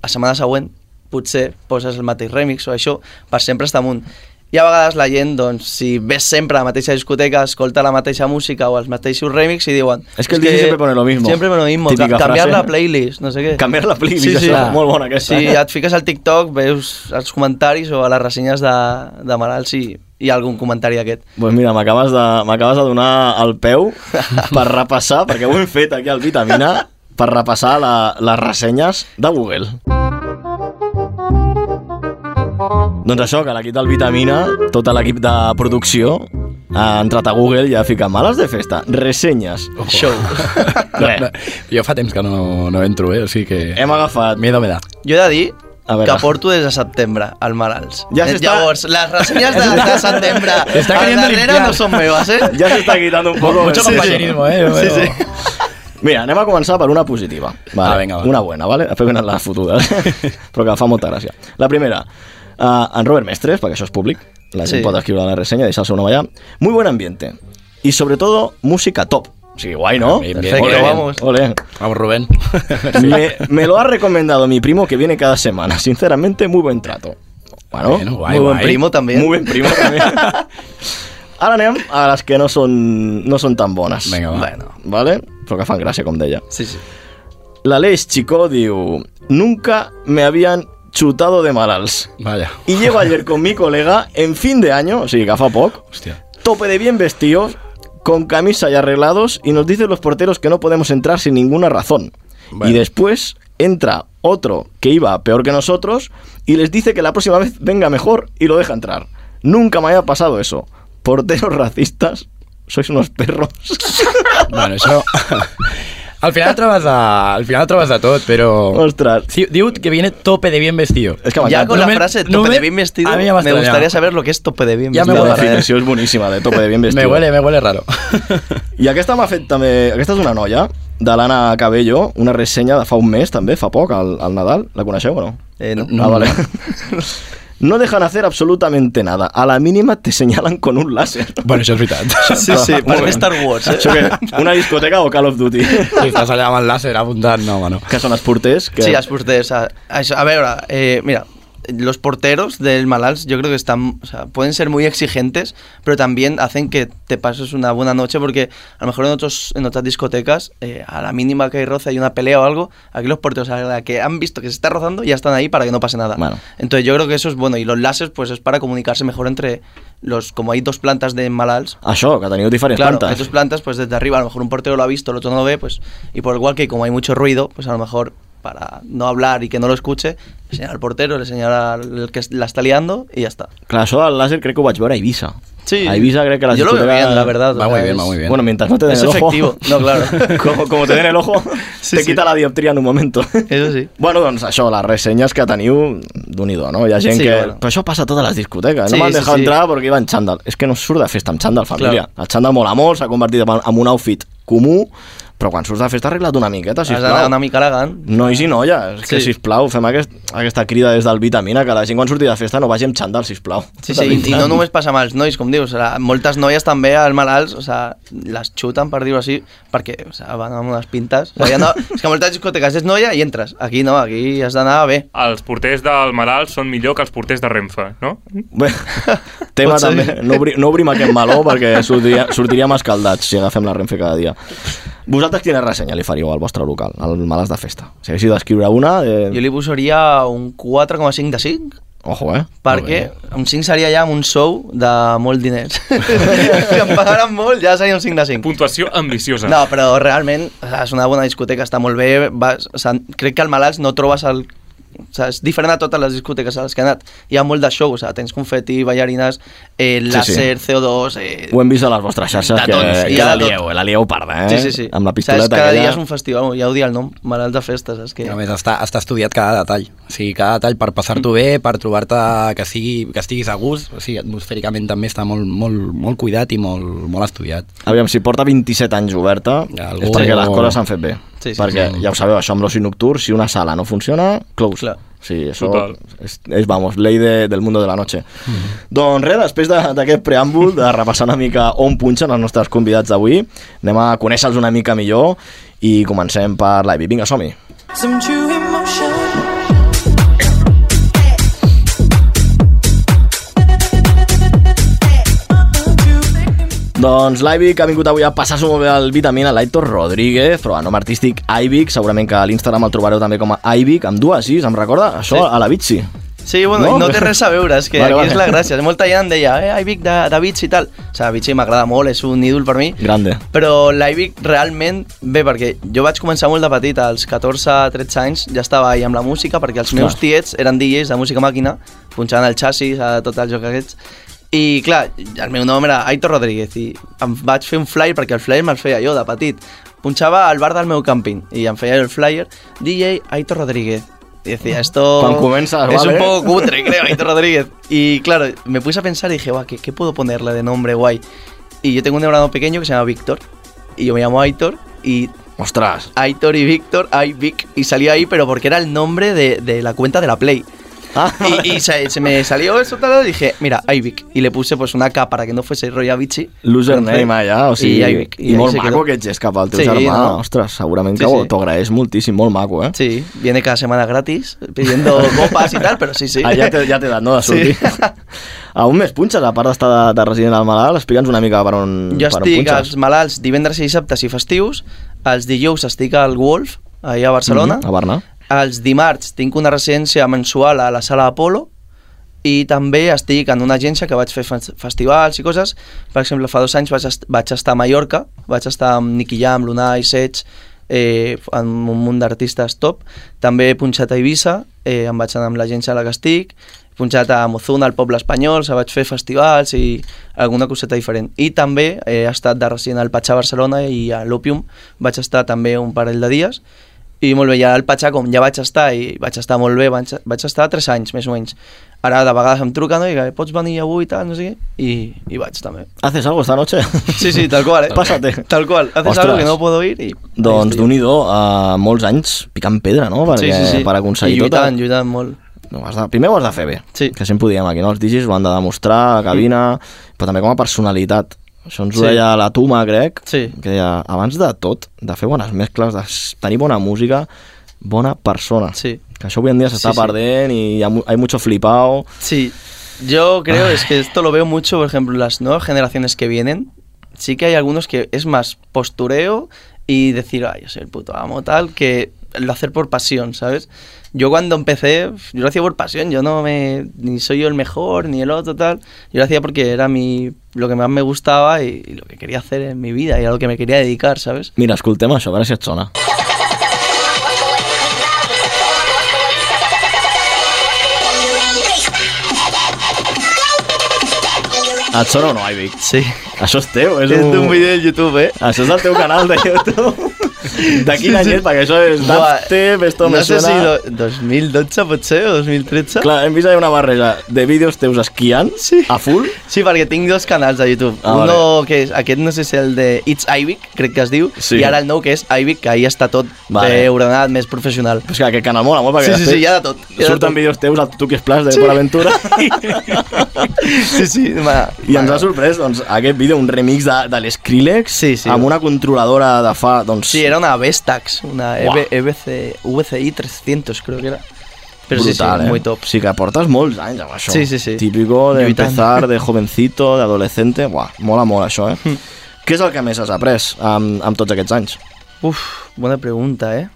Speaker 8: a setmana següent potser poses el mateix remix o això, per sempre estar amunt. I a vegades la gent, doncs, si ves sempre a la mateixa discoteca, escolta la mateixa música o els mateixos remix i diuen...
Speaker 2: Es que el DJ siempre pone lo mismo".
Speaker 8: Siempre pone lo mismo.
Speaker 2: Típica
Speaker 8: ca- Canviar
Speaker 2: frase.
Speaker 8: la playlist, no sé què.
Speaker 2: Canviar la playlist, això, molt bona aquesta,
Speaker 8: Sí,
Speaker 2: eh?
Speaker 8: et fiques al TikTok, veus els comentaris o a les ressenyes de, de malalts i hi ha algun comentari d'aquest.
Speaker 2: Doncs mira, m'acabes de, m'acabes de donar el peu per repassar, perquè ho hem fet aquí al Vitamina, per repassar la, les ressenyes de Google. Doncs això, que l'equip del Vitamina, tot l'equip de producció, ha entrat a Google i ha ficat males de festa, ressenyes, show.
Speaker 7: No,
Speaker 2: Res,
Speaker 7: jo fa temps que no, no entro, eh? O sigui que...
Speaker 2: hem agafat...
Speaker 7: Miedo me da.
Speaker 8: Jo he de dir
Speaker 2: A veure.
Speaker 8: que porto des de setembre al malalts.
Speaker 2: Ja s'està-
Speaker 8: Llavors, les ressenyes de, de setembre
Speaker 7: S'està
Speaker 8: al
Speaker 7: queriendo
Speaker 8: darrere
Speaker 7: limpiar.
Speaker 8: no són meves, eh?
Speaker 2: Ja s'està quitant un poc...
Speaker 7: Mucho compañerismo, eh?
Speaker 2: Sí, sí. Mira, anem a començar per una positiva. Vale,
Speaker 7: Ah, venga, va.
Speaker 2: Una buena, ¿vale? Després venen les fotudes, però que fa molta gràcia. La primera, uh, en Robert Mestres, perquè això és públic, la
Speaker 8: Sí.
Speaker 2: gent pot escriure la reseña, deixar el seu nom allà. Muy buen ambiente. Y sobre todo, música top. Sí, guay, ¿no?
Speaker 7: Ah, Bien, bien,
Speaker 8: Perfecto,
Speaker 7: bien.
Speaker 8: vamos.
Speaker 2: Ole.
Speaker 7: Vamos, Rubén.
Speaker 2: Me, me lo ha recomendado mi primo que viene cada semana. Sinceramente, muy buen trato. Bueno,
Speaker 7: Bueno, guay,
Speaker 8: Muy buen
Speaker 7: guay.
Speaker 8: primo també.
Speaker 2: Muy buen primo también. Ara anem a les que no són, no són tan bones.
Speaker 7: Vinga, va.
Speaker 2: Bueno. Vale? Però que fan gràcia, com deia.
Speaker 8: Sí, sí.
Speaker 2: L'Aleix Chicó diu... Nunca me habían chutado de malalts.
Speaker 7: Vaya.
Speaker 2: Y llevo ayer con mi colega en fin de año, o sigui que fa poc,
Speaker 7: Hostia.
Speaker 2: tope de bien vestidos, con camisa y arreglados, y nos dicen los porteros que no podemos entrar sin ninguna razón.
Speaker 7: Bueno.
Speaker 2: Y después entra otro que iba peor que nosotros y les dice que la próxima vez venga mejor y lo deja entrar. Nunca me haya pasado eso. Porteros racistas, sois unos perros.
Speaker 7: Bueno, això... al final trobes de, al final trobes de tot, però...
Speaker 2: Ostras.
Speaker 7: Sí, diu que viene tope de bien vestido.
Speaker 2: Es que
Speaker 8: Ya
Speaker 2: m'encanta.
Speaker 8: con la
Speaker 7: No me-
Speaker 8: frase tope
Speaker 7: no me-
Speaker 8: de bien vestido,
Speaker 7: a mí me
Speaker 8: me,
Speaker 7: va a extrañar.
Speaker 8: gustaría saber lo que es tope de bien
Speaker 7: Ya me
Speaker 8: vestido.
Speaker 2: La
Speaker 7: huele.
Speaker 2: definició és boníssima, de tope de bien
Speaker 7: Me
Speaker 2: vestido.
Speaker 7: huele, me huele raro.
Speaker 2: I aquesta m'ha fet també... Aquesta és una noia, de l'Anna Cabello, una ressenya de fa un mes, també, fa poc, al, al Nadal. La coneixeu o no?
Speaker 8: Eh, no.
Speaker 2: ah, vale. No dejan hacer absolutamente nada. A la mínima te señalan con un láser.
Speaker 7: bueno, això és veritat.
Speaker 8: Sí, sí, per mi Star Wars, eh?
Speaker 2: Això què? Una discoteca o Call of Duty?
Speaker 7: Si estàs allà amb el làser apuntant, no, home, no.
Speaker 2: Que són els porters. Que...
Speaker 8: Sí, els porters. A, això- a veure, eh, mira, los porteros del malalts yo creo que están, o sea, pueden ser muy exigentes, pero también hacen que te pases una buena noche porque a lo mejor en, otros, en otras discotecas, eh, a la mínima que hay roce, hay una pelea o algo, aquí los porteros a la que han visto que se está rozando ya están ahí para que no pase nada.
Speaker 2: Bueno.
Speaker 8: Entonces yo creo que eso es bueno y los láseres pues es para comunicarse mejor entre los, como hay dos plantas de malalts,
Speaker 2: Això, que teniu diferents
Speaker 8: Claro,
Speaker 2: plantes.
Speaker 8: en tus plantas, pues desde arriba, a lo mejor un portero lo ha visto, el otro no lo ve, pues, y por igual que como hay mucho ruido, pues a lo mejor para no hablar y que no lo escuche, le señala al portero, le señala al que la está liando y ya está.
Speaker 2: Clar, això del làser crec que ho vaig veure a Ibiza. A Ibiza crec que les
Speaker 8: Yo lo veo
Speaker 2: discoteques-
Speaker 8: bien, la verdad.
Speaker 7: Va
Speaker 8: o
Speaker 7: muy
Speaker 8: sea,
Speaker 7: bien, va
Speaker 8: es-
Speaker 7: muy bien.
Speaker 2: Bueno, mientras no te den
Speaker 8: Es
Speaker 2: el ojo.
Speaker 8: efectivo. No, claro.
Speaker 2: Como, como te den el ojo,
Speaker 8: Sí,
Speaker 2: te
Speaker 8: sí.
Speaker 2: quita la dioptría en un momento.
Speaker 8: Eso sí.
Speaker 2: Bueno, doncs això, les ressenyes que teniu, d'un i do, no? Hi ha gent
Speaker 8: Sí,
Speaker 2: que...
Speaker 8: bueno.
Speaker 2: Però això passa a totes les discoteques.
Speaker 8: Sí,
Speaker 2: no m'han
Speaker 8: sí,
Speaker 2: deixat
Speaker 8: sí.
Speaker 2: entrar perquè iba en xandall. És que no surt de festa amb xandall, família.
Speaker 8: Clar.
Speaker 2: El xandall mola molt, s'ha convertit en en un outfit comú, però quan surts de festa arregla't una miqueta,
Speaker 8: Has d'anar
Speaker 2: sisplau.
Speaker 8: una mica elegant.
Speaker 2: Nois i noies, és que
Speaker 8: Sí.
Speaker 2: sisplau, fem aquest, aquesta crida des del Vitamina, que la gent quan surti de festa no vagi amb xandall, sisplau.
Speaker 8: Sí,
Speaker 2: De
Speaker 8: sí, i, i
Speaker 2: veritat.
Speaker 8: no només passa amb els nois, com dius, o sea, moltes noies també al malalts, o sea, les xuten, per dir-ho així, perquè o sea, van amb unes pintes. O sea, ja no, és que a moltes discoteques és noia i entres. Aquí no, aquí has d'anar bé.
Speaker 3: Els porters del Malalt són millor que els porters de Renfe, no?
Speaker 2: Bé, tema
Speaker 8: Potser.
Speaker 2: també, no, obri, no obrim aquest meló perquè sortiria, sortiríem escaldats si agafem la Renfe cada dia. Vosaltres quina ressenya li faríeu al vostre local, al Malàs de Festa? Si haguéssiu d'escriure una...
Speaker 8: Jo
Speaker 2: Eh...
Speaker 8: li posaria un 4,5 de 5
Speaker 2: Ojo, eh?
Speaker 8: perquè un 5 seria ja amb un sou de molt diners. si em pagaran molt, ja seria un 5 de 5.
Speaker 3: Puntuació ambiciosa.
Speaker 8: No, però realment o sea, és una bona discoteca, està molt bé. Vas, o sea, crec que al Malalts no trobes el saps? diferent a totes les discoteques a les que he anat. Hi ha molt de show, o sigui, tens confeti, ballarines, eh, làser, CO2, eh,
Speaker 2: Ho hem vist a les vostres xarxes,
Speaker 8: De
Speaker 2: que,
Speaker 8: tot,
Speaker 2: que
Speaker 8: hi ha
Speaker 2: la
Speaker 8: de tot.
Speaker 2: lieu, la lieu parda, eh?
Speaker 8: Sí, sí, sí.
Speaker 2: Amb la
Speaker 8: Saps,
Speaker 2: pistoleta
Speaker 8: cada
Speaker 2: aquella...
Speaker 8: dia és un festival, ja ho dia el nom, malalts de festes, saps que...
Speaker 7: I a més està, està estudiat cada detall, o sigui, cada detall per passar-t'ho bé, per trobar-te que, sigui, que estiguis a gust, o sigui, atmosfèricament també està molt, molt, molt cuidat i molt, molt estudiat.
Speaker 2: Aviam, si porta 27 anys oberta,
Speaker 7: Algú-
Speaker 2: és perquè les coses s'han fet bé.
Speaker 8: Sí, sí,
Speaker 2: perquè
Speaker 7: sí.
Speaker 2: ja ho sabeu, això amb l'oci nocturn, si una sala no funciona, close.
Speaker 8: Clar.
Speaker 2: Sí, això
Speaker 3: Total.
Speaker 2: és, és, vamos, ley de, del mundo de la noche.
Speaker 8: Mhm.
Speaker 2: Doncs res, després de- d'aquest preàmbul, de repassar una mica on punxen els nostres convidats d'avui, anem a conèixer-los una mica millor i comencem per l'Ivy. Vinga, som-hi. Doncs l'Ivy, que ha vingut avui a passar-s'ho molt bé al Vitamina, l'Aitor Rodríguez, però a nom artístic Ivic, segurament que a l'Instagram el trobareu també com a Ivic, amb dues sis, em recorda això
Speaker 8: Sí.
Speaker 2: a la Bitsi.
Speaker 8: Sí, bueno, no?
Speaker 2: No?
Speaker 8: no té res a veure, és que
Speaker 2: Vale,
Speaker 8: vale, aquí
Speaker 2: vale.
Speaker 8: és la gràcia. Molta gent em deia, eh, Ivic de, de Bitch i tal. O sigui, Bitch m'agrada molt, és un ídol per mi.
Speaker 2: Grande.
Speaker 8: Però l'Ivic realment, bé, perquè jo vaig començar molt de petit, als 14-13 anys, ja estava ahí amb la música, perquè els meus
Speaker 2: Clar.
Speaker 8: tiets eren DJs de música màquina, punxaven el xassis a tot el joc aquests, i clar, el meu nom era Aitor Rodríguez i em vaig fer un flyer perquè el flyer me'l feia jo de petit. Punxava al bar del meu càmping i em feia el flyer DJ Aitor Rodríguez. Y decía, esto
Speaker 2: Quan comences,
Speaker 8: es
Speaker 2: vale.
Speaker 8: un poco cutre, creo, Aitor Rodríguez. Y claro, me puse a pensar y dije, guau, ¿qué, qué puedo ponerle de nombre guay? Y yo tengo un hermano pequeño que se llama Víctor. Y yo me llamo Aitor. Y
Speaker 2: Ostres,
Speaker 8: Aitor y Víctor, ay, Vic. Y salió ahí, pero porque era el nombre de, de la cuenta de la Play.
Speaker 2: Ah.
Speaker 8: y y se, se me salió eso tal, y dije, mira, Ivic. Y le puse pues una K para que no fuese Roy Avicii.
Speaker 2: Username allà, eh, o sigui,
Speaker 8: I Ivic.
Speaker 2: i, molt
Speaker 8: ahí se quedó.
Speaker 2: maco que ets cap al teu
Speaker 8: Sí,
Speaker 2: germà,
Speaker 8: no.
Speaker 2: ostres, segurament
Speaker 8: Sí,
Speaker 2: que ho
Speaker 8: sí.
Speaker 2: t'ho agraeix moltíssim, molt maco, eh?
Speaker 8: Sí, viene cada semana gratis, pidiendo copas y tal, pero sí, sí.
Speaker 2: Ah, ja té, ja té edat, no, de sortir. Sí. on més punxes, a part d'estar de, de resident al malalt? Explica'ns una mica per on,
Speaker 8: Jo
Speaker 2: per on
Speaker 8: estic als
Speaker 2: punxes.
Speaker 8: malalts divendres i dissabtes i festius, els dijous estic al Wolf, allà a Barcelona,
Speaker 2: Mhm, a Barna.
Speaker 8: els dimarts tinc una residència mensual a la sala Apolo, i també estic en una agència que vaig fer fes- festivals i coses. Per exemple, fa dos anys vaig, est vaig estar a Mallorca, vaig estar amb Nicky Jam, Lunai, Sets, eh, amb un munt d'artistes top. També he punxat a Eivissa, eh, em vaig anar amb l'agència a la que estic, he punxat a Mozuna, al Poble Espanyol, se vaig fer festivals i alguna coseta diferent. I també he estat de resident al Patxà a Barcelona i a l'Òpium vaig estar també un parell de dies i molt bé, ja al Patxà, com ja vaig estar, i vaig estar molt bé, vaig, vaig estar 3 anys, més o menys. Ara de vegades em truquen no? i que pots venir avui i tal, no sé què, i, i vaig també.
Speaker 2: Haces algo esta noche?
Speaker 8: Sí, sí, tal qual, eh?
Speaker 2: Pásate.
Speaker 8: Tal qual. Haces
Speaker 2: Ostres.
Speaker 8: algo que no puedo ir i...
Speaker 2: Doncs
Speaker 8: d'un
Speaker 2: d'un i do, uh, molts anys picant pedra, no? Perquè, Per aconseguir
Speaker 8: I
Speaker 2: tot. eh?
Speaker 8: lluitant, lluitant molt.
Speaker 2: No, ho has de, primer ho has de fer bé,
Speaker 8: Sí.
Speaker 2: que sempre ho diem aquí, no? els digis ho han de demostrar, a cabina, però també com a personalitat. Això ens ho
Speaker 8: Sí.
Speaker 2: deia la Tuma, crec,
Speaker 8: Sí.
Speaker 2: que deia, abans de tot, de fer bones mescles, de s- tenir bona música, bona persona.
Speaker 8: Sí.
Speaker 2: Que això avui en dia s'està
Speaker 8: Sí, sí.
Speaker 2: perdent i hi ha, mu- hay mucho flipao.
Speaker 8: Sí, yo creo es que esto lo veo mucho, por ejemplo, las nuevas generaciones que vienen, sí que hay algunos que es más postureo y decir, ay, yo soy el puto amo, tal, que lo hacer por pasión, ¿sabes? Yo cuando empecé, yo lo hacía por pasión, yo no me, ni soy yo el mejor, ni el otro, tal, yo lo hacía porque era mi, lo que más me gustaba y, y lo que quería hacer en mi vida y a lo que me quería dedicar, ¿sabes?
Speaker 2: Mira, escoltem això, a veure si et sona. Et sona o no, Ivic?
Speaker 8: Sí.
Speaker 2: Això és teu, és,
Speaker 8: Es
Speaker 2: un...
Speaker 8: un vídeo de YouTube, ¿eh?
Speaker 2: Això és el teu canal de YouTube. De quin
Speaker 8: Sí,
Speaker 2: any
Speaker 8: sí.
Speaker 2: és? Perquè això és
Speaker 8: Buah,
Speaker 2: dubstep, esto me
Speaker 8: no sé
Speaker 2: suena...
Speaker 8: si do- 2012 potser pues o 2013.
Speaker 2: Clar, hem vist ahí una barreja de vídeos teus esquiant
Speaker 8: Sí.
Speaker 2: a full.
Speaker 8: Sí, perquè tinc dos canals de YouTube.
Speaker 2: Ah,
Speaker 8: Ah, Uno que és, aquest no sé si el de It's Ivic, crec que es diu,
Speaker 2: Sí.
Speaker 8: sí. i ara el nou que és Ivic, que ahir està tot
Speaker 2: Vale.
Speaker 8: vale. ordenat, més professional.
Speaker 2: És que aquest canal mola molt perquè
Speaker 8: Sí, sí, sí, hi ha de tot. Hi ha de
Speaker 2: surten
Speaker 8: tot.
Speaker 2: vídeos teus a Tuki Splash de sí. Por Aventura
Speaker 8: Sí, sí, ma,
Speaker 2: i ens ha sorprès doncs, aquest vídeo, un remix de, de l'Skrillex
Speaker 8: Sí, sí.
Speaker 2: amb una controladora de fa... Doncs,
Speaker 8: Sí, era una Vestax, una E
Speaker 2: Uah.
Speaker 8: EV, EVC, VCI 300, creo que era. Pero
Speaker 2: brutal,
Speaker 8: sí, sí,
Speaker 2: eh?
Speaker 8: muy top.
Speaker 2: Sí, que portes molts anys amb això.
Speaker 8: Sí, sí, sí.
Speaker 2: Típico de
Speaker 8: Lluitant.
Speaker 2: empezar de jovencito, de adolescente. Buah, mola molt això, eh? Què és el que més has après amb, amb tots aquests anys?
Speaker 8: Uf, buena pregunta, ¿eh?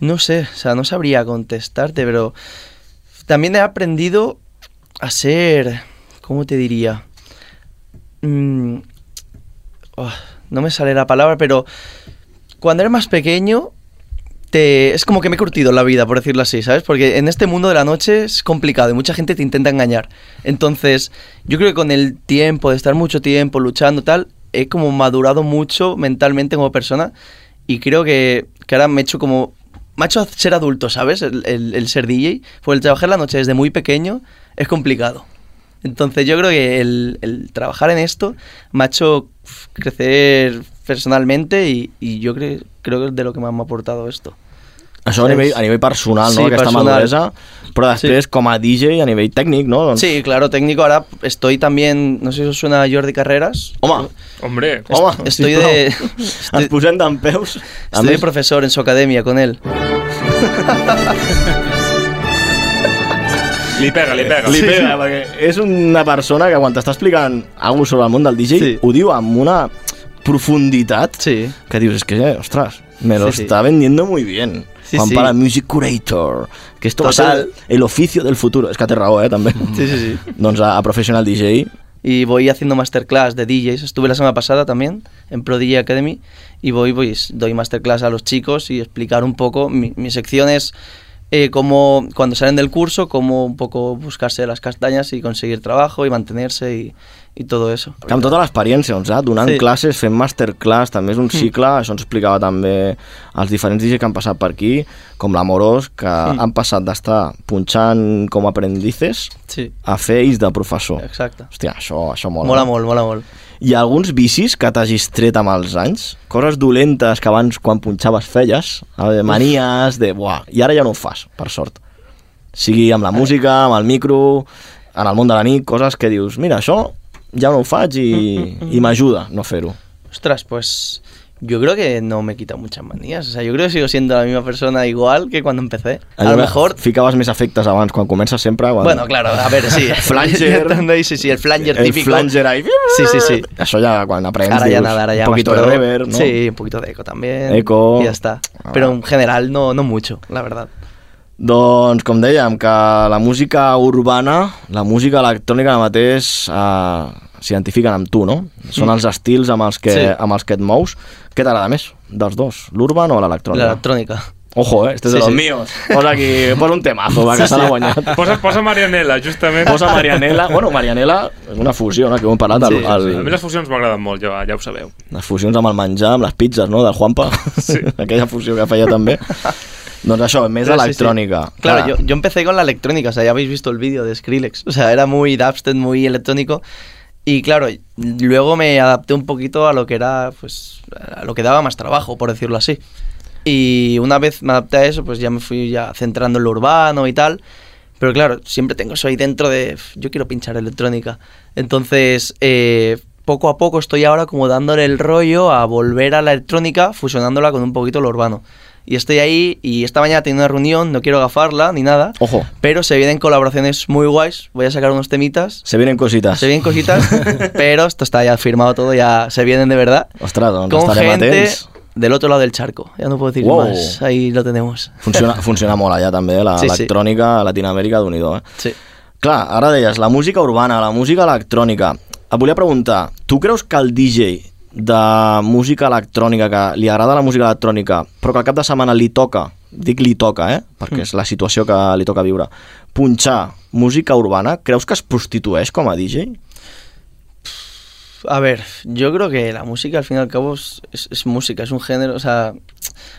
Speaker 8: No sé, o sea, no sabría contestarte, pero también he aprendido a ser, ¿cómo te diría? Mm, oh, no me sale la palabra, pero cuando era más pequeño te- es como que me he curtido la vida, por decirlo así, ¿sabes? Porque en este mundo de la noche es complicado y mucha gente te intenta engañar. Entonces, yo creo que con el tiempo, de estar mucho tiempo luchando tal, he como madurado mucho mentalmente como persona y creo que, que ahora me he hecho como... Me ha hecho ser adulto, ¿sabes? El, el- el ser DJ. Porque el trabajar la noche desde muy pequeño es complicado. Entonces yo creo que el, el trabajar en esto me ha hecho pf, crecer personalmente y, y yo creo, creo que es de lo que más me ha aportado esto.
Speaker 2: Això a nivell, a nivell personal, no?
Speaker 8: Sí,
Speaker 2: Aquesta
Speaker 8: personal.
Speaker 2: maduresa. Però després, com a DJ, a nivell tècnic, no? Doncs,
Speaker 8: Sí, claro, técnico. Ahora estoy también, no sé si os suena Jordi Carreras.
Speaker 2: Home,
Speaker 3: Hombre,
Speaker 2: home,
Speaker 8: Estoy
Speaker 2: sisplau,
Speaker 8: de,
Speaker 2: Ens
Speaker 8: estoy,
Speaker 2: posem d'en peus. A
Speaker 8: estoy de
Speaker 2: més,
Speaker 8: profesor en su academia con él.
Speaker 3: li pega, li pega.
Speaker 2: li pega, perquè és una persona que quan t'està explicant alguna cosa sobre el món del DJ,
Speaker 8: Sí.
Speaker 2: ho diu amb una profunditat
Speaker 8: Sí.
Speaker 2: que dius, és que, eh, ostres, me lo
Speaker 8: Sí, sí.
Speaker 2: está vendiendo muy bien.
Speaker 8: Sí,
Speaker 2: Juan
Speaker 8: sí.
Speaker 2: para Music Curator, que esto va a
Speaker 8: Total.
Speaker 2: ser el oficio del futuro. És que té raó, eh, també.
Speaker 8: Sí, sí, sí.
Speaker 2: Doncs a, a Professional DJ,
Speaker 8: Y voy haciendo masterclass de DJs. Estuve la semana pasada también en Pro DJ Academy y voy, pues, doy masterclass a los chicos y explicar un poco. Mi, mi sección es eh, cómo, cuando salen del curso, cómo un poco buscarse las castañas y conseguir trabajo y mantenerse y, y todo eso.
Speaker 2: Que amb tota l'experiència, doncs, eh? donant sí.
Speaker 8: Sí.
Speaker 2: classes, fent masterclass, també és un cicle, mm. això ens explicava també els diferents DJ que han passat per aquí, com l'Amorós, que mm. han passat d'estar punxant com aprendices
Speaker 8: Sí,
Speaker 2: a fer ells de professor.
Speaker 8: exacte.
Speaker 2: Hòstia, això, això mola.
Speaker 8: Mola molt, mola molt.
Speaker 2: Hi ha alguns vicis que t'hagis tret amb els anys? Coses dolentes que abans quan punxaves feies? Eh, Manies de... Buah, I ara ja no ho fas, per sort. Sigui amb la música, amb el micro, en el món de la nit, coses que dius, mira, això ja no ho faig i, i m'ajuda no fer-ho.
Speaker 8: Ostras, pues yo creo que no me he quitado muchas manías. O sea, yo creo que sigo siendo la misma persona igual que cuando empecé. A lo
Speaker 2: Allò que
Speaker 8: mejor
Speaker 2: Ficaves més efectes abans, quan comences sempre... Quan...
Speaker 8: Bueno, claro, a ver, sí.
Speaker 2: Flanger.
Speaker 8: Intentando ahí, sí, sí, el flanger
Speaker 2: El
Speaker 8: típico.
Speaker 2: flanger ahí.
Speaker 8: Sí, sí, sí.
Speaker 2: Això ja quan aprens
Speaker 8: Ahora ya
Speaker 2: dius,
Speaker 8: nada, ahora ya
Speaker 2: un poquito
Speaker 8: más
Speaker 2: de
Speaker 8: pro.
Speaker 2: reverb, no?
Speaker 8: Sí, un poquito de eco también.
Speaker 2: Eco.
Speaker 8: Y ya está.
Speaker 2: Ah.
Speaker 8: Pero en general no, no mucho, la verdad.
Speaker 2: Doncs, com dèiem, que la música urbana, la música electrònica ara mateix eh, s'identifiquen amb tu, no? Són els estils amb els que, sí.
Speaker 8: Mm. Sí.
Speaker 2: amb els que et mous. Què t'agrada més dels dos, l'urban o
Speaker 8: La
Speaker 2: l'electrònica?
Speaker 8: electrónica.
Speaker 2: Ojo, eh? Este és
Speaker 8: Sí,
Speaker 2: sí, de los
Speaker 8: sí.
Speaker 2: míos. Posa aquí, posa un temazo, va, que se l'ha guanyat.
Speaker 3: Posa, posa Marianela, justament.
Speaker 2: Posa Marianela. Bueno, Marianela és una fusió, no?, que hem parlat. El,
Speaker 8: Sí,
Speaker 2: el,
Speaker 3: A mi les fusions m'agraden molt, ja, ja ho sabeu.
Speaker 2: les fusions amb el menjar, amb les pizzas, no?, del Juanpa.
Speaker 3: Sí.
Speaker 2: Aquella fusió que feia també. doncs això, més
Speaker 8: Pero sí,
Speaker 2: electrònica.
Speaker 8: sí. Claro, yo, yo empecé con la electrónica, o sea, ya habéis visto el vídeo de Skrillex, o sea, era muy dubstep, muy electrónico. Y claro, luego me adapté un poquito a lo que era, pues, a lo que daba más trabajo, por decirlo así. Y una vez me adapté a eso, pues ya me fui ya centrando en lo urbano y tal. Pero claro, siempre tengo eso ahí dentro de, "F, yo quiero pinchar electrónica. Entonces, eh, poco a poco estoy ahora como dándole el rollo a volver a la electrónica, fusionándola con un poquito lo urbano. Y estoy ahí y esta mañana tengo una reunión, no quiero gafarla ni nada.
Speaker 2: Ojo.
Speaker 8: Pero se vienen colaboraciones muy guays, voy a sacar unos temitas.
Speaker 2: Se vienen cositas.
Speaker 8: Se vienen cositas, pero esto está ya firmado todo, ya se vienen de verdad.
Speaker 2: Ostres, doncs
Speaker 8: con
Speaker 2: estarem
Speaker 8: gente
Speaker 2: atents.
Speaker 8: del otro lado del charco. Ya no puedo decir
Speaker 2: Wow.
Speaker 8: más. Ahí lo tenemos.
Speaker 2: Funciona, funciona molt allà també, la sí,
Speaker 8: Sí, sí.
Speaker 2: electrònica a Latinoamèrica, d'un eh?
Speaker 8: Sí.
Speaker 2: Clar, ara deies, la música urbana, la música electrònica. Et volia preguntar, tu creus que el DJ de música electrònica, que li agrada la música electrònica, però que al cap de setmana li toca, dic li toca, eh? perquè és la situació que li toca viure, punxar música urbana, creus que es prostitueix com a DJ?
Speaker 8: A ver, yo creo que la música al fin y al cabo es, es- es música, es un género, o sea,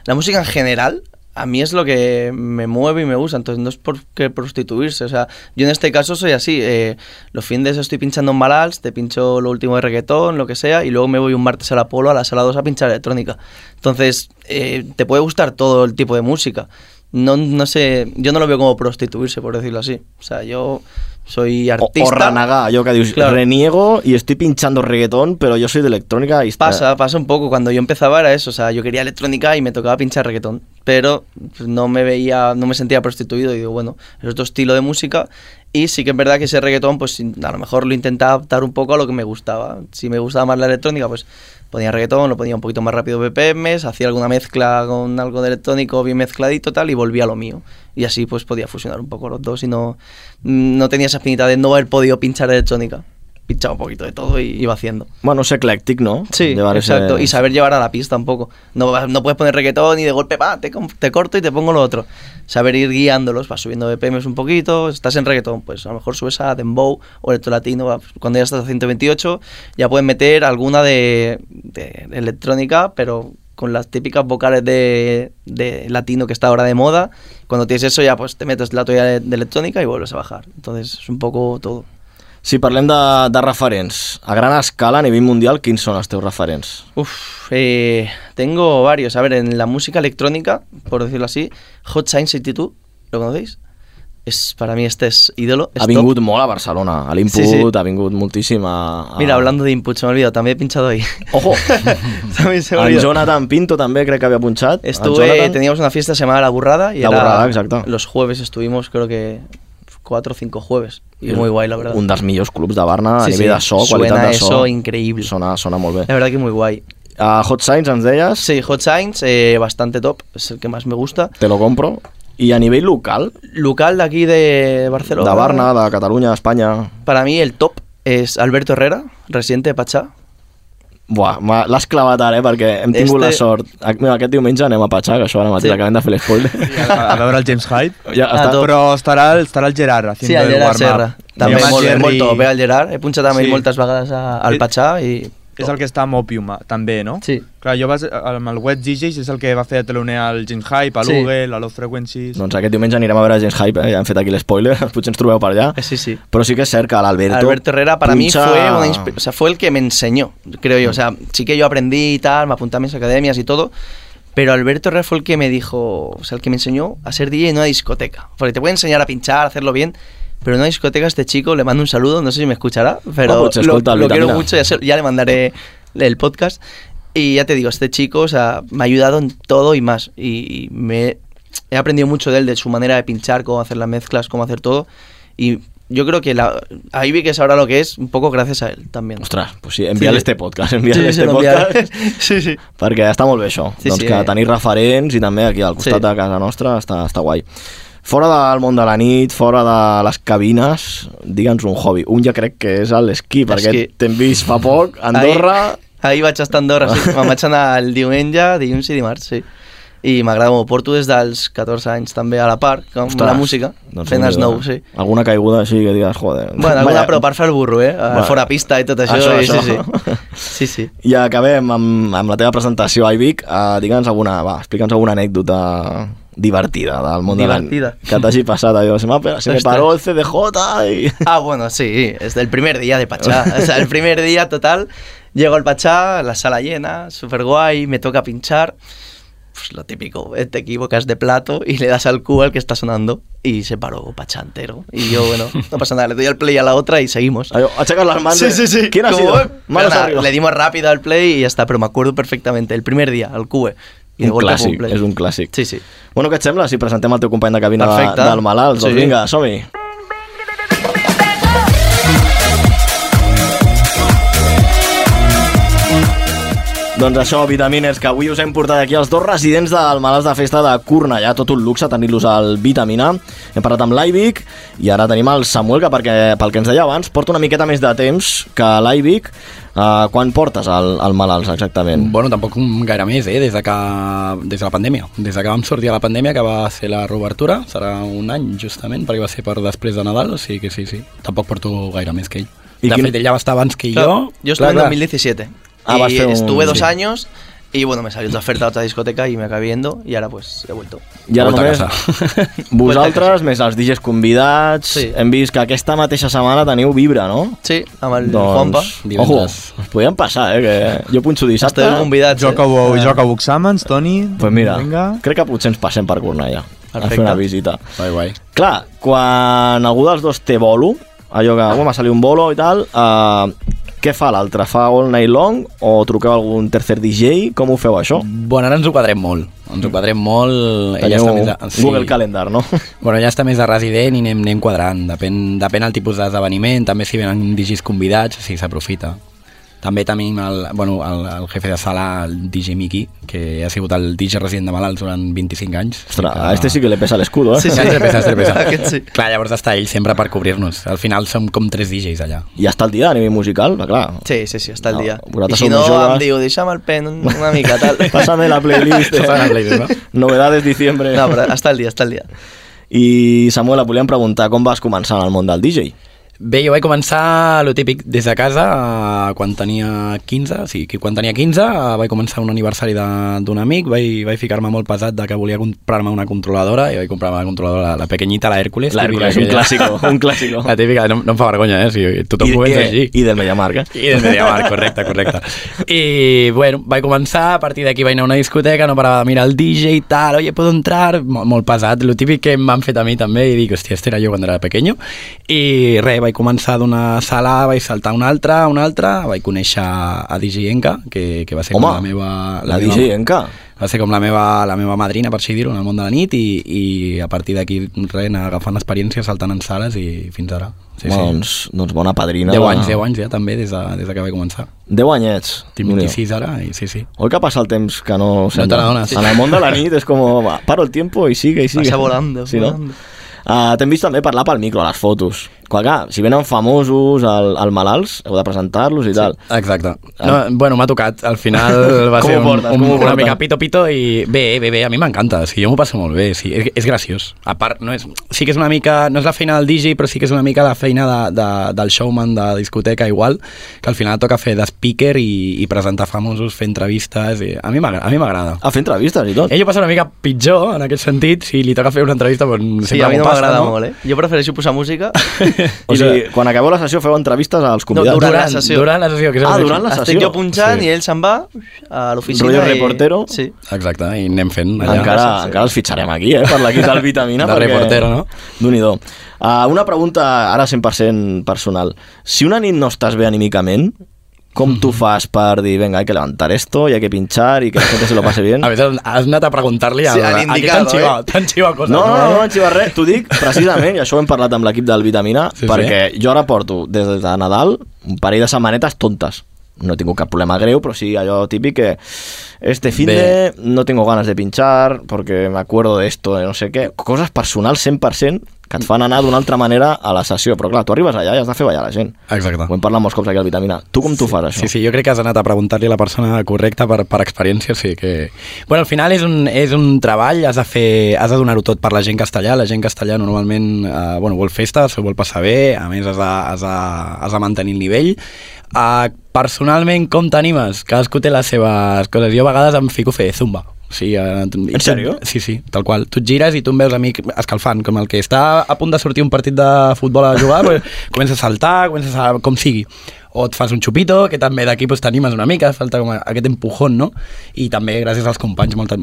Speaker 8: la música en general a mí es lo que me mueve y me gusta, entonces no es por que prostituirse, o sea, yo en este caso soy así, eh, los fines estoy pinchando en Malals, te pincho lo último de reggaetón, lo que sea, y luego me voy un martes al Apolo, a la sala 2 a pinchar electrónica. Entonces, eh, te puede gustar todo el tipo de música. No, no sé, yo no lo veo como prostituirse, por decirlo así. O sea, yo soy
Speaker 2: O,
Speaker 8: artista.
Speaker 2: o renegar, allò que dius,
Speaker 8: Claro.
Speaker 2: reniego i estoy pinchando reggaetón, però jo soy d'electrònica i... està-
Speaker 8: Pasa, pasa un poco. Cuando yo empezaba era eso, o sea, yo quería electrónica y me tocaba pinchar reggaetón, pero pues, no me veía, no me sentía prostituido y digo, bueno, es otro estilo de música y sí que es verdad que ese reggaetón, pues a lo mejor lo intentaba adaptar un poco a lo que me gustaba. Si me gustaba más la electrónica, pues ponía reggaetón, lo ponía un poquito más rápido BPMs, hacía alguna mezcla con algo de electrónico bien mezcladito tal y volvía a lo mío. Y así mm, pues podía fusionar un poco los dos y no, no tenía esa espinita de no haber podido pinchar electrónica. pinchado un poquito de todo y iba haciendo.
Speaker 2: Bueno, es ecléctico, ¿no? eh,
Speaker 8: Sí,
Speaker 2: Llevar ese-
Speaker 8: exacto. Y saber llevar a la pista tampoco. No, vas- no puedes poner reggaetón y de golpe, va, te, com- te corto y te pongo lo otro. Saber ir guiándolos, vas subiendo BPMs un poquito, estás en reggaetón, pues a lo mejor subes a Dembow o Electro Latino, va, pues, cuando ya estás a 128 ya puedes meter alguna de, de electrónica, pero con las típicas vocales de, de latino que está ahora de moda. Cuando tienes eso ya pues te metes la tuya de, de electrónica y vuelves a bajar. Entonces es un poco todo.
Speaker 2: Si parlem de, de referents, a gran escala, a nivell mundial, quins són els teus referents?
Speaker 8: Uf, eh, tengo varios. A ver, en la música electrónica, por decirlo así, Hot Science Institute, ¿lo conocéis? Es, para mí este es ídolo. es
Speaker 2: Ha
Speaker 8: top.
Speaker 2: vingut molt a Barcelona, a l'Input,
Speaker 8: Sí, sí.
Speaker 2: ha vingut moltíssim a... a...
Speaker 8: Mira, hablando de input, se me ha olvidado, también he pinchado ahí.
Speaker 2: Ah. Ojo!
Speaker 8: también se me ha
Speaker 2: En
Speaker 8: olvidado.
Speaker 2: Jonathan Pinto també crec que havia punxat. En
Speaker 8: Estuve,
Speaker 2: Jonathan.
Speaker 8: teníamos una fiesta llamada La Burrada y
Speaker 2: La
Speaker 8: era-
Speaker 2: Burrada, exacto.
Speaker 8: los jueves estuvimos, creo que cuatro o cinco jueves. Y muy guay, la verdad.
Speaker 2: Un dels millors clubs de Barna
Speaker 8: Sí,
Speaker 2: a nivell
Speaker 8: sí.
Speaker 2: de so,
Speaker 8: Suena
Speaker 2: qualitat de so.
Speaker 8: eso increíble.
Speaker 2: Sona, sona molt
Speaker 8: La
Speaker 2: bé.
Speaker 8: verdad que muy guay.
Speaker 2: A Hot Science ens deies,
Speaker 8: Sí, Hot Science, eh, bastante top, es el que más me gusta.
Speaker 2: te lo compro. I a nivell local,
Speaker 8: Local de aquí de Barcelona.
Speaker 2: de Barna, de Catalunya, d'Espanya...
Speaker 8: Para mí el top es Alberto Herrera, residente de Pachá.
Speaker 2: Buah, m'ha- l'has clavat ara, eh, perquè hem tingut
Speaker 8: Ah. Este-
Speaker 2: la sort. A- Mira, aquest diumenge anem a Patxar, que això ara mateix
Speaker 8: Sí.
Speaker 2: acabem de fer l'espoiler.
Speaker 4: A, a veure el James Hyde.
Speaker 2: Ja
Speaker 8: Ah,
Speaker 2: està,
Speaker 8: tot.
Speaker 4: Però estarà el, estarà el Gerard haciendo
Speaker 8: Sí, al
Speaker 4: el
Speaker 8: Gerard
Speaker 4: warm-up.
Speaker 8: Serra. També
Speaker 4: També
Speaker 8: molt,
Speaker 4: Jerry...
Speaker 8: molt top, eh, al Gerard. He punxat amb ell
Speaker 4: Sí.
Speaker 8: moltes vegades a, al
Speaker 4: Eh,
Speaker 8: Pachà i...
Speaker 4: És el que està amb Opium, eh, també, no?
Speaker 8: Sí.
Speaker 4: Clar, jo vas, amb el Web DJs és el que va fer de teloner al James Hype, a
Speaker 8: Sí.
Speaker 4: l'Uge, a Low Frequencies...
Speaker 2: Doncs aquest diumenge anirem a veure Gens Hype, eh? ja hem fet aquí l'espoiler, potser ens trobeu per allà.
Speaker 8: Eh, Sí, sí.
Speaker 2: Però sí que és cert que l'Alberto...
Speaker 8: Alberto Herrera para mí
Speaker 2: punxa-
Speaker 8: fue, una inspi- o sea, fue el que me enseñó, creo yo. O sea, sí que yo aprendí y tal, me apunté a mis academias y todo, pero Alberto Herrera fue el que me dijo, o sea, el que me enseñó a ser DJ en una discoteca. Porque te puede enseñar a pinchar, a hacerlo bien, pero en una discoteca este chico le mando un saludo, no sé si me escuchará,
Speaker 2: Ah,
Speaker 8: pero
Speaker 2: pues,
Speaker 8: lo,
Speaker 2: escolta,
Speaker 8: lo
Speaker 2: Alberto,
Speaker 8: quiero
Speaker 2: mira.
Speaker 8: mucho, ya, se- ya le mandaré el podcast. Y ya te digo, este chico, o sea, me ha ayudado en todo y más. Y, y me he aprendido mucho de él, de su manera de pinchar, cómo hacer las mezclas, cómo hacer todo. Y yo creo que la, ahí vi que es ahora lo que es, un poco gracias a él también.
Speaker 2: Ostres, pues sí, enviar
Speaker 8: Sí, sí.
Speaker 2: este podcast, enviar
Speaker 8: Sí, sí,
Speaker 2: este
Speaker 8: lo
Speaker 2: podcast,
Speaker 8: enviaré. sí, sí.
Speaker 2: perquè està molt bé això.
Speaker 8: Sí,
Speaker 2: doncs
Speaker 8: sí,
Speaker 2: que
Speaker 8: eh.
Speaker 2: tenir referents i també aquí al costat
Speaker 8: Sí.
Speaker 2: de casa nostra està, està guai. Fora del món de la nit, fora de les cabines, digue'ns un hobby. Un ja crec que és l'esquí, perquè
Speaker 8: L'esquí.
Speaker 2: t'hem vist fa poc, a Andorra...
Speaker 8: Ahir, ahir vaig estar a Andorra, sí. Me'n vaig anar el diumenge, dilluns i dimarts, sí. I m'agrada molt. Porto des dels 14 anys també a la part, amb
Speaker 2: Ostres,
Speaker 8: la música,
Speaker 2: doncs
Speaker 8: fent
Speaker 2: déu-n'hi-do,
Speaker 8: snow,
Speaker 2: eh?
Speaker 8: sí.
Speaker 2: Alguna caiguda així que digues, joder...
Speaker 8: Bueno, alguna,
Speaker 2: vaya-
Speaker 8: però per fer el burro, eh?
Speaker 2: Bueno.
Speaker 8: Bueno, fora pista i tot això.
Speaker 2: Això,
Speaker 8: i,
Speaker 2: això.
Speaker 8: Sí, sí. sí, sí.
Speaker 2: I acabem amb, amb la teva presentació, Aivic. Uh, Digue'ns alguna, va, explica'ns alguna anècdota divertida del món
Speaker 8: Divertida.
Speaker 2: de la... Que t'hagi passat allò. Se, m'ha- se me
Speaker 8: Ostres.
Speaker 2: paró el CDJ i...
Speaker 8: Ah, bueno, sí, es del primer día de Pachá. O sea, el primer día total. Llego al Pachá, la sala llena, súper guay, me toca pinchar. Pues lo típico, eh, te equivocas de plato y le das al cubo al que está sonando y se paró Pachá entero. Y yo, bueno, no pasa nada, le doy al play a la otra y seguimos.
Speaker 2: Allò, aixeques oh, les mans.
Speaker 8: Sí, sí, sí.
Speaker 2: Quina ha
Speaker 8: Como,
Speaker 2: sido?
Speaker 8: eh,
Speaker 2: Manos
Speaker 8: nada,
Speaker 2: arriba.
Speaker 8: Le dimos rápido al play y ya está, pero me acuerdo perfectamente. El primer día, al cube. Y de
Speaker 2: Un
Speaker 8: golpe, pum,
Speaker 2: clàssic,
Speaker 8: play.
Speaker 2: és un clàssic.
Speaker 8: Sí, sí.
Speaker 2: Bueno, què et sembla si presentem el teu company de cabina de,
Speaker 8: Perfecte.
Speaker 2: del Malalt? Doncs
Speaker 8: Sí.
Speaker 2: vinga, som-hi. Doncs això, Vitamines, que avui us hem portat aquí els dos residents del Malàs de Festa de Cornellà. Tot un luxe tenir-los al Vitamina. Hem parlat amb l'Aivic i ara tenim el Samuel, que perquè, pel que ens deia abans, porta una miqueta més de temps que l'Aivic. Uh, quan portes al, al Malàs, exactament?
Speaker 7: Bueno, tampoc un- gaire més, eh? Des de, que, des de la pandèmia. Des de que vam sortir a la pandèmia, que va ser la reobertura, serà un any, justament, perquè va ser per després de Nadal, o sigui que sí, sí. Tampoc porto gaire més que ell.
Speaker 2: I
Speaker 7: de
Speaker 2: quin-
Speaker 7: fet, ell ja va estar abans que
Speaker 8: Claro,
Speaker 7: jo.
Speaker 8: yo estuve en
Speaker 7: Clar, clar.
Speaker 8: 2017.
Speaker 2: Ah, vas
Speaker 8: y
Speaker 2: a hacer un-
Speaker 8: estuve dos
Speaker 2: sí.
Speaker 8: años y bueno, me salió otra oferta a otra discoteca y me acabé yendo y ahora pues he vuelto.
Speaker 2: I ara
Speaker 7: Vuelta a
Speaker 2: només
Speaker 7: casa.
Speaker 2: vosaltres, més els DJs convidats, sí.
Speaker 8: Sí.
Speaker 2: hem vist que aquesta mateixa setmana teniu Vibra, no?
Speaker 8: Sí, amb el Juanpa.
Speaker 2: Doncs, ojo,
Speaker 7: Divendres.
Speaker 2: us podien passar, eh? Que jo punxo dissabte.
Speaker 8: Esteu convidats.
Speaker 4: Jo
Speaker 8: eh?
Speaker 4: que ho,
Speaker 8: Ah,
Speaker 4: jo que ho exàmens, Toni.
Speaker 2: Pues mira,
Speaker 4: Vinga.
Speaker 2: crec que potser ens passem per Cornellà a fer
Speaker 8: Perfecte.
Speaker 2: una visita.
Speaker 7: Guai, guai.
Speaker 2: Clar, quan algú dels dos té bolo, allò que "Home, m'ha salit un bolo i tal, eh, què fa l'altre? Fa all night long o truqueu a algun tercer DJ? Com ho feu, això?
Speaker 7: Bueno, ara ens ho quadrem molt. Ens ho quadrem molt. Ell
Speaker 2: Teniu
Speaker 7: està més a-
Speaker 2: Google Calendar, no?
Speaker 7: Bueno, ja està més de resident i anem, anem quadrant. Depèn, depèn el tipus d'esdeveniment, també si venen digis convidats, si s'aprofita. També tenim el, bueno, el, el jefe de sala, el DJ Miki, que ha sigut el DJ resident de Malalts durant 25 anys.
Speaker 2: Ostres,
Speaker 7: Sí
Speaker 2: a este sí que le pesa l'escudo, eh?
Speaker 8: Sí, sí.
Speaker 7: Tres peces, tres peces.
Speaker 8: Aquest sí.
Speaker 7: Clar, llavors està ell sempre per cobrir-nos. Al final som com tres DJs allà.
Speaker 2: I està al dia a nivell musical, pues va, clar.
Speaker 8: Sí, sí, sí, està al
Speaker 2: No,
Speaker 8: dia.
Speaker 2: vosaltres
Speaker 8: I si
Speaker 2: sou
Speaker 8: no,
Speaker 2: molt joves.
Speaker 8: em diu, deixa'm el pen un- una mica, tal.
Speaker 2: Pásame la playlist.
Speaker 7: Pásame la playlist, ¿no?
Speaker 2: Novedades diciembre.
Speaker 8: No, però està al dia, està al dia.
Speaker 2: I Samuel, et volíem preguntar com vas començar en el món del DJ?
Speaker 7: Bé, jo vaig començar lo típic des de casa eh, quan tenia 15, sí, que quan tenia 15 eh, vaig començar un aniversari de- d'un amic, vaig, vaig ficar-me molt pesat de que volia comprar-me una controladora i vaig comprar-me la controladora, la pequeñita, la Hércules.
Speaker 2: La
Speaker 7: típica
Speaker 2: Hércules, un
Speaker 7: aquella.
Speaker 2: clàssico, un clàssico.
Speaker 7: La típica, no, no em fa vergonya, eh? Si tothom
Speaker 2: I, i,
Speaker 7: comença així.
Speaker 2: I del Mediamarc, eh?
Speaker 7: I des de Mediamar, correcte, correcte. I, bueno, vaig començar, a partir d'aquí vaig anar a una discoteca, no parava de mirar el DJ i tal, oye, puedo entrar? Molt, molt pesat, lo típic que em van fet a mi també, i dic, hòstia, este era jo quan era pequeño. I res, vaig començar d'una sala, vaig saltar a una altra, a una altra, vaig conèixer a DJ Enca, que, que va ser
Speaker 2: Home,
Speaker 7: com la meva...
Speaker 2: Ah, La
Speaker 7: meva-
Speaker 2: DJ Enca.
Speaker 7: va ser com la meva, la meva madrina, per així dir-ho, en el món de la nit i, i a partir d'aquí res, anar agafant experiència, saltant en sales i fins ara.
Speaker 2: Sí, sí. Doncs, doncs bona padrina.
Speaker 7: 10
Speaker 2: de-
Speaker 7: anys, 10 anys ja també des de, des de que vaig començar.
Speaker 2: 10 anyets.
Speaker 7: Tinc 26 ara i sí, sí.
Speaker 2: Oi que passa el temps que no... ho sembla?
Speaker 7: t'adones.
Speaker 2: En el món de la nit és com... Va, paro el tiempo i sigue, i sigue.
Speaker 8: Passa volando,
Speaker 2: Sí, no?
Speaker 8: volando.
Speaker 2: Uh, T'hem vist també parlar pel micro, a les fotos. Clar, clar, si venen famosos al, al malalts, heu de presentar-los i tal. Ah.
Speaker 7: Exacte. No, bueno, m'ha tocat. Al final va
Speaker 2: Com
Speaker 7: ser
Speaker 2: ho
Speaker 7: un,
Speaker 2: portes?
Speaker 7: un,
Speaker 2: Com ho
Speaker 7: una
Speaker 2: portes?
Speaker 7: mica pito-pito i bé, bé, bé, a mi m'encanta. O sigui, jo m'ho passo molt bé. Sí, és, és graciós. A part, no és, sí que és una mica... No és la feina del DJ, però sí que és una mica la feina de, de, del showman de discoteca igual, que al final toca fer de speaker i, i presentar famosos, fer entrevistes. I a mi m'agra- a mi m'agrada.
Speaker 2: A fer entrevistes i tot.
Speaker 7: Ell ho passa una mica pitjor, en aquest sentit. Si li toca fer una entrevista, doncs,
Speaker 8: Sí,
Speaker 7: sempre
Speaker 8: a mi
Speaker 7: m'ho
Speaker 8: no
Speaker 7: passa,
Speaker 8: m'agrada
Speaker 7: no?
Speaker 8: molt, eh? Jo prefereixo posar música.
Speaker 2: O sigui, quan acabeu la sessió feu entrevistes als convidats.
Speaker 8: durant la
Speaker 7: Durant,
Speaker 8: sessió.
Speaker 7: durant la sessió. Que és el
Speaker 2: Ah,
Speaker 7: més-
Speaker 2: durant la
Speaker 8: Estic
Speaker 2: sessió.
Speaker 8: jo punxant
Speaker 7: Sí.
Speaker 8: i ell se'n va a l'oficina.
Speaker 2: Rollo
Speaker 8: i-
Speaker 2: reportero.
Speaker 8: Sí.
Speaker 7: Exacte, i anem fent allà.
Speaker 2: Encara, encara els fitxarem aquí, eh? Per l'equip del Vitamina.
Speaker 7: De reportero, no?
Speaker 2: D'un-hi-do. Uh, una pregunta ara 100% personal. Si una nit no estàs bé anímicament, com
Speaker 7: Mhm.
Speaker 2: tu fas per dir, venga, hay que levantar esto, y hay que pinchar, y que la gente se lo pase bien?
Speaker 7: A veces has anat a preguntar-li a,
Speaker 8: Sí,
Speaker 7: a,
Speaker 8: al
Speaker 7: a qui
Speaker 8: indicado,
Speaker 7: t'han xivat, t'han xivat coses.
Speaker 2: eh? No, no, no,
Speaker 7: eh?
Speaker 2: no, xiva res, t'ho dic precisament, i això ho hem parlat amb l'equip del Vitamina,
Speaker 7: Sí,
Speaker 2: sí,
Speaker 7: sí.
Speaker 2: perquè sí. jo ara porto des de Nadal un parell de setmanetes tontes. No he tingut cap problema greu, però sí allò típic que este fin de no tengo ganas de pinchar porque me acuerdo de esto, de no sé què. Coses personals 100% que et fan anar d'una altra manera a la sessió. Però clar, tu arribes allà i has de fer ballar la gent.
Speaker 7: Exacte.
Speaker 2: Ho hem parlat molts cops aquí al Vitamina. Tu com t'ho fas, això?
Speaker 7: Ah. Sí, sí, jo crec que has anat a preguntar-li a la persona correcta per, per experiència, sí que... Bueno, al final és un, és un treball, has de, fer, has de donar-ho tot per la gent castellà, la gent castellà normalment eh, bueno, vol festes, s'ho vol passar bé, a més has de, has de, has de mantenir el nivell. Eh, personalment, com t'animes? Cadascú té les seves coses. Jo a vegades em fico a fer zumba. Sí, en
Speaker 2: sèrio?
Speaker 7: Sí, sí, tal qual. Tu et gires i tu em veus a mi escalfant, com el que està a punt de sortir un partit de futbol a jugar, pues, comences a saltar, comences a... com sigui. O et fas un xupito, que també d'aquí pues, t'animes una mica, falta com aquest empujón, no? I també gràcies als companys. Molta...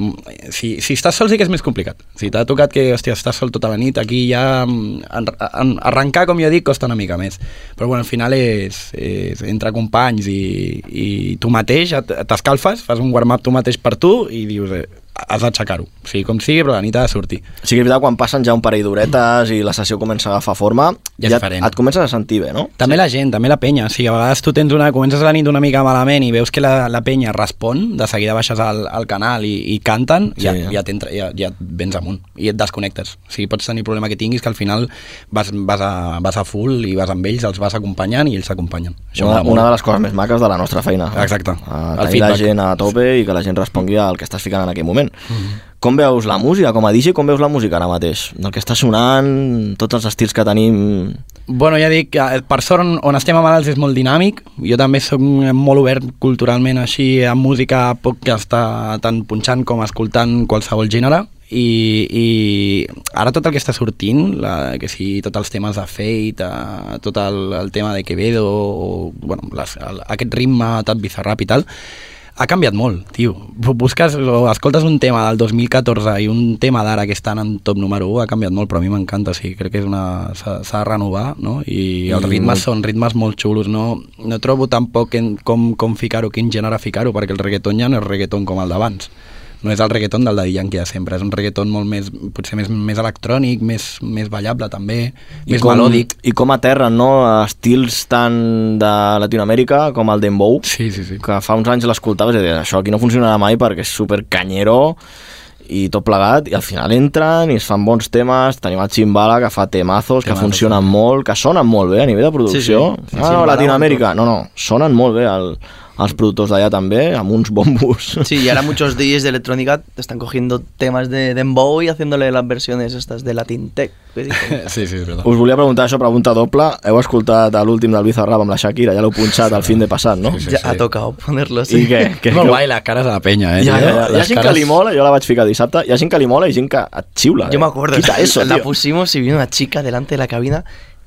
Speaker 7: Si, si estàs sol sí que és més complicat. Si t'ha tocat que, hòstia, estàs sol tota la nit, aquí ja mm, en, en, arrencar, com jo dic, costa una mica més. Però bueno, al final és, és entre companys i, i tu mateix et- t'escalfes, fas un warm-up tu mateix per tu i dius, eh, has d'aixecar-ho. O sigui, com sigui, però la nit ha de sortir.
Speaker 2: Sí que és veritat, quan passen ja un parell d'horetes i la sessió comença a agafar forma,
Speaker 7: Ja és
Speaker 2: ja
Speaker 7: diferent.
Speaker 2: et comences a sentir bé, no?
Speaker 7: També la gent, també la penya. O sigui, a vegades tu tens una, comences la nit una mica malament i veus que la, la penya respon, de seguida baixes al, al canal i, i canten,
Speaker 2: Sí,
Speaker 7: sí, ja,
Speaker 2: ja.
Speaker 7: ja. Ja, t'entra- ja, ja et vens amunt i et desconnectes. O sigui, pots tenir problema que tinguis que al final vas, vas, a, vas a full i vas amb ells, els vas acompanyant i ells s'acompanyen. Això
Speaker 2: una,
Speaker 7: m'agrada molt.
Speaker 2: una de les coses més maques de la nostra feina.
Speaker 7: Exacte.
Speaker 2: A
Speaker 7: El
Speaker 2: tenir la
Speaker 7: feedback.
Speaker 2: gent a tope i que la gent respongui al que estàs ficant en aquell moment.
Speaker 7: Mhm.
Speaker 2: Com veus la música? Com a DJ, com veus la música ara mateix? El que està sonant, tots els estils que tenim...
Speaker 7: Bueno, ja dic, eh, per sort on, on estem a Malalts és molt dinàmic, jo també sóc eh, molt obert culturalment així a música poc que està tant punxant com escoltant qualsevol gènere i, i ara tot el que està sortint, la, que sí, tots els temes de Fate, eh, tot el, el tema de Quevedo, o, bueno, les, el, aquest ritme tan bizarrap i tal, ha canviat molt, tio. Bu- Busques o escoltes un tema del 2014 i un tema d'ara que estan en top número 1, ha canviat molt, però a mi m'encanta, o sigui, crec que és una... s'ha s'ha de renovar, no? I els
Speaker 2: I
Speaker 7: ritmes
Speaker 2: molt.
Speaker 7: són ritmes molt xulos, no, no trobo tampoc en, com, com ficar-ho, quin gènere ficar-ho, perquè el reggaeton ja no és reggaeton com el d'abans. no és el reggaeton del Daddy Yankee de sempre, és un reggaeton molt més, potser més, més electrònic, més, més ballable també, més melòdic.
Speaker 2: I com aterren, no? Estils tant de Latinoamèrica com el Dembow,
Speaker 7: Sí, sí, sí.
Speaker 2: que fa uns anys l'escoltaves i deies, això aquí no funcionarà mai perquè és super canyero i tot plegat, i al final entren i es fan bons temes, tenim a Chimbala que fa temazos, que
Speaker 7: Temazos,
Speaker 2: funcionen molt, que sonen molt bé a nivell de producció.
Speaker 8: Sí, sí.
Speaker 2: Ah, no,
Speaker 8: Chimbala,
Speaker 2: Latinoamèrica, no, no, sonen molt bé el, els productors d'allà també, amb uns bombos.
Speaker 8: Sí, y ahora muchos DJs de electrónica están cogiendo temas de Dembow y haciéndole las versiones estas de Latin Tech. que dicen.
Speaker 7: Sí, sí, és veritat.
Speaker 2: Us volia preguntar això, pregunta doble. Heu escoltat l'últim del Bizarrap amb la Shakira, ja l'heu punxat al fin de passat, no?
Speaker 7: Sí,
Speaker 8: Ya ha tocado ponerlo así.
Speaker 2: I què? què
Speaker 7: és molt
Speaker 2: què-
Speaker 7: guai les cares de la penya, eh?
Speaker 2: Hi ha, hi ha,
Speaker 7: tio?
Speaker 2: hi ha
Speaker 7: Les
Speaker 2: gent que
Speaker 7: cares-
Speaker 2: li mola, jo la vaig ficar dissabte, hi ha gent que li mola i gent que et xiula.
Speaker 8: Yo
Speaker 2: eh?
Speaker 8: me acuerdo,
Speaker 2: Quita eso,
Speaker 8: la
Speaker 2: tío.
Speaker 8: pusimos y vino una chica delante de la cabina,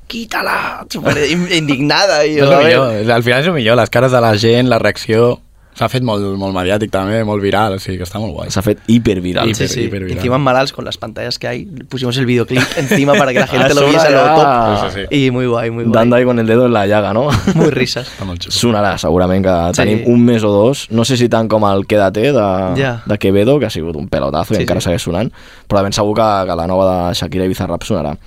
Speaker 8: quítala, súper in- indignada. Y
Speaker 7: És
Speaker 8: yo,
Speaker 7: el
Speaker 8: a ver,
Speaker 7: millor, és- al final és el millor, les cares de la gent, la reacció... S'ha fet molt, molt mediàtic també, molt viral, o sigui que està molt guai.
Speaker 2: S'ha fet hiperviral.
Speaker 7: Hiper-
Speaker 8: Sí, sí.
Speaker 7: hiperviral.
Speaker 8: Encima en Malals, con las pantallas que hay, pusimos el videoclip encima para que la
Speaker 2: A
Speaker 8: gente lo
Speaker 2: sobre
Speaker 8: viese a lo
Speaker 2: ya.
Speaker 8: top.
Speaker 7: Sí, sí,
Speaker 8: Y muy guay, muy guay.
Speaker 2: Dando ahí con el dedo en la llaga, no?
Speaker 8: Muy risas.
Speaker 7: Està molt xulo.
Speaker 2: Sonarà, segurament, que
Speaker 8: Sí.
Speaker 2: tenim un mes o dos. No sé si tant com el Quédate de,
Speaker 8: Ja.
Speaker 2: de Quevedo, que ha sigut un pelotazo
Speaker 8: Sí,
Speaker 2: i encara
Speaker 8: sí.
Speaker 2: segueix sonant, però de ben segur que, que la nova de Shakira i Bizarrap sonarà.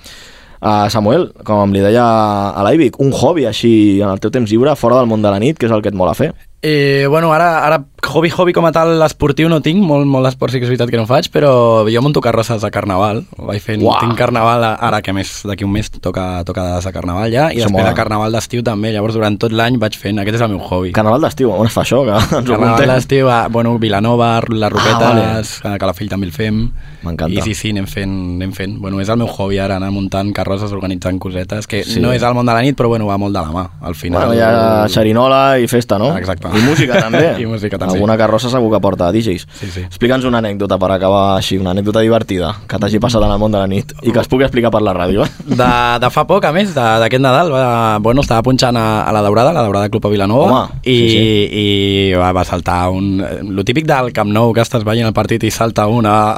Speaker 2: Uh, Samuel, com li deia a l'Aivic, un hobby així en el teu temps lliure, fora del món de la nit, que és el que et mola fer.
Speaker 7: Eh, bueno, ara, ara hobby, hobby com a tal esportiu no tinc, molt, molt esport sí que és veritat que no faig, però jo monto carrosses a carnaval, Ho vaig fent,
Speaker 2: Uah.
Speaker 7: tinc carnaval a- ara que a més d'aquí un mes toca, toca dades a carnaval ja, i
Speaker 2: Això
Speaker 7: després
Speaker 2: mola.
Speaker 7: a carnaval d'estiu també, llavors durant tot l'any vaig fent, aquest és el meu hobby.
Speaker 2: Carnaval d'estiu, on es fa això? Que ens ho
Speaker 7: Carnaval
Speaker 2: contem.
Speaker 7: d'estiu, a, bueno, Vilanova, les Roquetes,
Speaker 2: vale.
Speaker 7: ah, vale. Calafell també el fem.
Speaker 2: M'encanta.
Speaker 7: I sí, sí, anem fent, anem fent. Bueno, és el meu hobby ara, anar muntant carrosses, organitzant cosetes, que
Speaker 2: Sí.
Speaker 7: sí. no és el món de la nit, però bueno, va molt de la mà, al final.
Speaker 2: Bueno, hi ha xerinola i festa, no?
Speaker 7: Exacte.
Speaker 2: I música, també.
Speaker 7: I música, també.
Speaker 2: Alguna carrossa segur que porta DJs.
Speaker 7: Sí, sí.
Speaker 2: Explica'ns una anècdota per acabar així, una anècdota divertida que t'hagi passat en el món de la nit i que es pugui explicar per la ràdio. eh?
Speaker 7: De, de fa poc, a més, de- d'aquest Nadal, va, bueno, estava punxant a, a la Daurada, la Daurada Club a Vilanova,
Speaker 2: Home,
Speaker 7: i,
Speaker 2: sí,
Speaker 7: i va, va saltar un... Lo típic del Camp Nou, que estàs veient el partit i salta un a,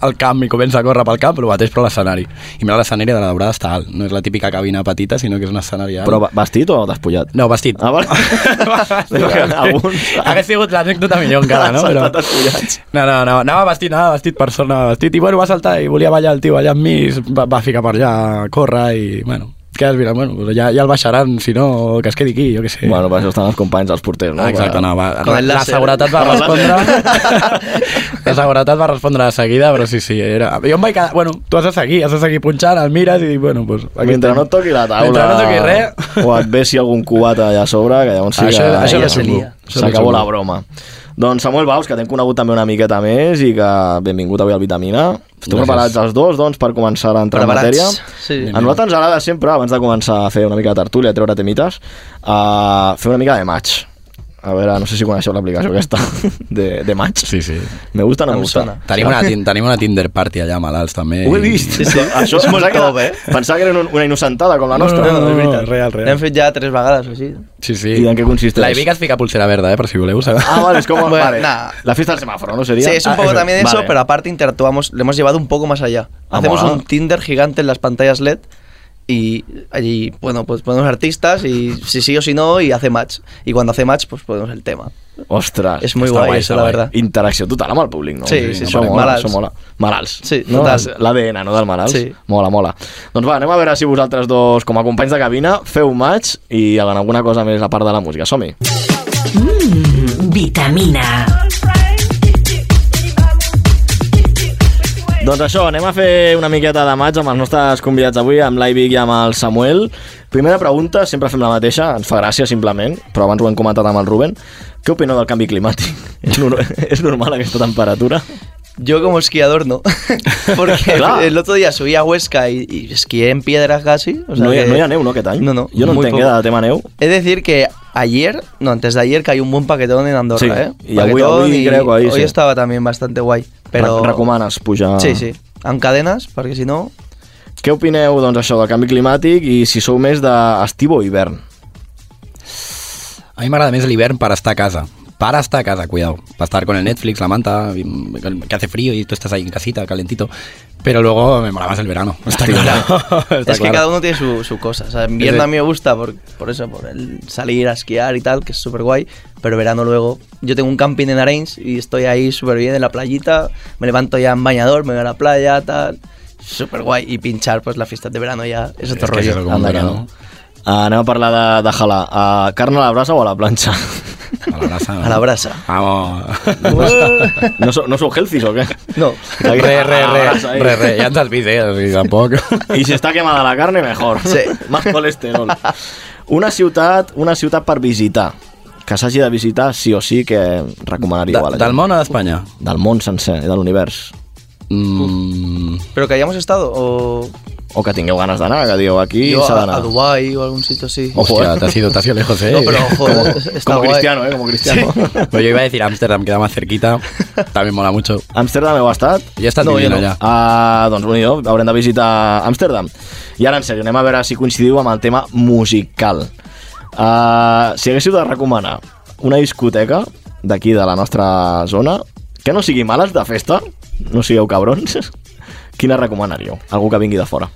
Speaker 7: al camp i comença a córrer pel camp, el mateix però a l'escenari. I mira, l'escenari de la Daurada està alt, no és la típica cabina petita, sinó que és un escenari alt.
Speaker 2: Però va- vestit o despullat?
Speaker 7: No, vestit.
Speaker 2: Ah, vale. Alguns...
Speaker 7: Hagués sigut l'anècdota millor encara, no?
Speaker 2: Han saltat escollats.
Speaker 7: No, no, no, anava vestit, anava vestit per sort, anava vestit. I bueno, va saltar i volia ballar el tio allà amb mi, i es va, va ficar per allà a córrer i, bueno, que has mirat, bueno, pues ja, ja el baixaran, si no, que es quedi aquí, jo què sé.
Speaker 2: Bueno, per això estan els companys, els porters, no?
Speaker 7: Ah, Exacte, no, va,
Speaker 8: Con el
Speaker 7: la
Speaker 8: láser.
Speaker 7: seguretat va respondre la seguretat va respondre de seguida però sí, sí, era, jo em vaig quedar, bueno, tu has de seguir has de seguir punxant, el mires i dic, bueno, pues, aquí
Speaker 2: Mentre
Speaker 7: estem.
Speaker 2: no et toqui la taula
Speaker 7: mentre no toqui res
Speaker 2: o et vesi algun cubat allà a sobre que llavors sí
Speaker 7: Això-
Speaker 2: que
Speaker 7: això
Speaker 2: ja
Speaker 7: és xungo. Això és
Speaker 2: s'acabó
Speaker 7: xungo.
Speaker 2: la broma doncs Samuel Baus que t'hem conegut també una miqueta més i que benvingut avui al Vitamina esteu
Speaker 7: Gràcies.
Speaker 2: preparats els dos doncs per començar a entrar
Speaker 8: Preparats,
Speaker 2: en matèria
Speaker 8: sí. Ah,
Speaker 2: a nosaltres ens agrada sempre abans de començar a fer una mica de tertúlia a treure temites a fer una mica de match a veure, no sé si coneixeu l'aplicació aquesta de, de match
Speaker 7: sí, sí
Speaker 2: me gusta o no
Speaker 8: Em
Speaker 2: me gusta
Speaker 8: sona.
Speaker 7: Tenim una, tin- tenim una Tinder party allà a Malalts també.
Speaker 2: ho he vist
Speaker 8: Sí, sí.
Speaker 2: Això
Speaker 8: És molt
Speaker 2: pensava que era-
Speaker 8: top, eh?
Speaker 2: pensava que era un- una innocentada com la nostra
Speaker 7: No, no, no,
Speaker 2: És veritat.
Speaker 7: no, real,
Speaker 8: N'hem
Speaker 7: real.
Speaker 8: fet ja tres vegades o així.
Speaker 7: Sí, sí.
Speaker 2: I en què consisteix?
Speaker 7: La Ibica es fica pulsera verda, eh, per si voleu. saber.
Speaker 2: Ah, vale, es como.
Speaker 8: Bueno,
Speaker 2: vale.
Speaker 8: nah.
Speaker 2: La fiesta del semáforo, ¿no sería?
Speaker 8: Sí, es un
Speaker 2: Ah,
Speaker 8: poco también eso,
Speaker 2: Vale.
Speaker 8: pero aparte interactuamos, lo hemos llevado un poco más allá.
Speaker 2: Ah,
Speaker 8: Hacemos
Speaker 2: mola.
Speaker 8: un Tinder gigante en las pantallas LED y allí, bueno, pues ponemos artistas y si sí o si no y hace match. Y cuando hace match, pues ponemos el tema.
Speaker 2: Ostras.
Speaker 8: Es muy
Speaker 7: Está
Speaker 8: guay,
Speaker 7: guay,
Speaker 8: eso,
Speaker 7: está
Speaker 8: la
Speaker 7: guay.
Speaker 8: verdad.
Speaker 2: Interacció total amb el públic, no?
Speaker 8: Sí, sí,
Speaker 2: això
Speaker 8: sí,
Speaker 2: mola,
Speaker 8: malalts.
Speaker 2: això mola. Malalts.
Speaker 8: Sí,
Speaker 2: no?
Speaker 8: total.
Speaker 2: És L'ADN, no, del malalts?
Speaker 8: Sí.
Speaker 2: Mola, mola. Doncs va, anem a veure si vosaltres dos, com a companys de cabina, feu match i en alguna cosa més a part de la música. Som-hi.
Speaker 1: Vitamina.
Speaker 2: Doncs això, anem a fer una miqueta de maig amb els nostres convidats d'avui, amb l'Aivic i amb el Samuel. Primera pregunta, sempre fem la mateixa, ens fa gràcia simplement, però abans ho hem comentat amb el Ruben. Què opineu del canvi climàtic? És, nor és normal aquesta temperatura?
Speaker 8: Yo como esquiador no, porque
Speaker 2: Claro.
Speaker 8: el otro día subí a Huesca y, y esquié en piedras casi. o sea
Speaker 2: no, hi ha,
Speaker 8: que-
Speaker 2: no hi ha neu, no, aquest any?
Speaker 8: No, no,
Speaker 2: Jo no
Speaker 8: muy
Speaker 2: entenc
Speaker 8: poco.
Speaker 2: eh, de tema neu.
Speaker 8: Es decir que ayer, no, antes de ayer, cayó un buen paquetón en Andorra,
Speaker 2: Sí,
Speaker 8: ¿eh?
Speaker 2: y a Wii- a
Speaker 8: Paquetón
Speaker 2: Wii creo que ahí,
Speaker 8: hoy
Speaker 2: sí.
Speaker 8: estaba también bastante guay,
Speaker 2: Però...
Speaker 8: pero...
Speaker 2: Recomanes pujar...
Speaker 8: Sí, sí, en cadenas, porque si no...
Speaker 2: Què opineu, doncs, això del canvi climàtic i si sou més d'estiu o hivern?
Speaker 7: A mi m'agrada més l'hivern per estar a casa. Para estar a casa, cuidado. Para estar con el Netflix, la manta, que hace frío y tú estás ahí en casita, calentito. Pero luego me mola más el verano. Está claro. Está
Speaker 8: es que
Speaker 7: claro.
Speaker 8: cada uno tiene su, su cosa. O sea, en
Speaker 7: Es de-
Speaker 8: Vietnam a mí me gusta por, por eso, por el salir a esquiar y tal, que es súper guay. Pero verano luego, yo tengo un camping en Arenys y estoy ahí súper bien en la playita. Me levanto ya en bañador, me voy a la playa, tal. Súper guay. Y pinchar, pues las fiestas de verano ya es otro
Speaker 7: Es que
Speaker 8: rollo.
Speaker 7: se lo comen
Speaker 8: Anda, que
Speaker 7: verano.
Speaker 2: Ah, anem a parlar de, de jalar. Ah, carn a la brasa o a la planxa?
Speaker 7: A la brasa.
Speaker 8: no.
Speaker 7: ¿no?
Speaker 8: A la brasa.
Speaker 7: Vamos.
Speaker 2: No, sou, no sou healthies o què?
Speaker 8: No.
Speaker 7: Re,
Speaker 2: A
Speaker 7: re,
Speaker 2: la
Speaker 7: re,
Speaker 2: brasa, eh?
Speaker 7: re, re. Ja ens has vist, eh? O sigui, tampoc.
Speaker 2: I si està quemada la carne, mejor.
Speaker 8: Sí.
Speaker 2: Más colesterol. Una ciutat, una ciutat per visitar. Que s'hagi de visitar sí o sí que recomanaríeu a
Speaker 7: De,
Speaker 2: la
Speaker 7: del
Speaker 2: gent.
Speaker 7: món o d'Espanya?
Speaker 2: Del món sencer, de l'univers.
Speaker 7: Mm,
Speaker 8: Pero que hayamos estado o
Speaker 2: O que tingueu ganes d'anar, que dieu aquí
Speaker 8: yo
Speaker 2: s'ha
Speaker 8: a,
Speaker 2: d'anar.
Speaker 8: a Dubái o algún sitio así.
Speaker 2: Ojo,
Speaker 7: hòstia,
Speaker 2: eh?
Speaker 7: t'has ido, t'has ido lejos, eh?
Speaker 8: No, pero ojo, está
Speaker 2: Como
Speaker 8: guay.
Speaker 2: cristiano, eh? Como cristiano. Sí.
Speaker 7: Pero yo iba a decir Ámsterdam, queda más cerquita. También mola mucho.
Speaker 2: Amsterdam heu estat?
Speaker 7: Ya estás
Speaker 8: No,
Speaker 7: viviendo
Speaker 8: yo no.
Speaker 7: allá.
Speaker 2: Ah, doncs bon idò, haurem de visitar Amsterdam. I ara, en sèrio, anem a veure si coincidiu amb el tema musical. Uh, si haguéssiu de recomanar una discoteca d'aquí, de la nostra zona, que no sigui males de festa, no sigueu cabrons, quina recomanaríeu? Algú que vingui de fora.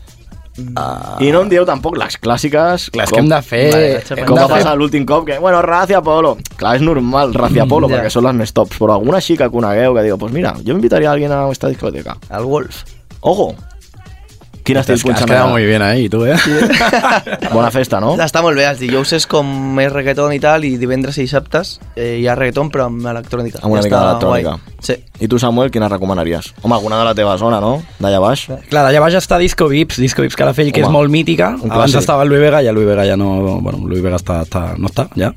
Speaker 2: Uh, I no em dieu tampoc les clàssiques
Speaker 7: Clar,
Speaker 2: com,
Speaker 7: és que hem de fer...
Speaker 8: Vale,
Speaker 7: hem
Speaker 8: xerrem.
Speaker 2: com
Speaker 7: de
Speaker 2: va
Speaker 7: fer-
Speaker 2: passar l'últim cop que, bueno, Racia Polo clar, és normal,
Speaker 7: Mm,
Speaker 2: Racia Polo,
Speaker 8: Ja.
Speaker 2: perquè són les més tops però alguna xica que conegueu que diu, pues mira, jo invitaria a alguien a esta discoteca
Speaker 8: Al Wolf.
Speaker 2: Ojo. Quin estil
Speaker 7: Has, has
Speaker 2: punxant
Speaker 7: quedado
Speaker 2: ara?
Speaker 7: muy bien ahí, tú, ¿eh?
Speaker 2: Bona festa, no?
Speaker 8: Està molt bé, els dijous és com més reggaeton i tal, i divendres i dissabtes eh, hi ha reggaeton però amb electrònica.
Speaker 2: Amb una
Speaker 8: I
Speaker 2: mica
Speaker 8: està
Speaker 2: d'electrònica.
Speaker 8: guai. Sí.
Speaker 2: I tu, Samuel, quina recomanaries? Home, alguna de la teva zona, no? D'allà baix?
Speaker 7: Clar, allà baix està Disco Vips, Disco Vips Calafell, que
Speaker 2: Home,
Speaker 7: és molt mítica.
Speaker 2: un
Speaker 7: Abans
Speaker 2: clàssic.
Speaker 7: estava el Louis Vega, ja el Louis Vega ja no... Bueno, el Louis Vega està, està, no està, ja.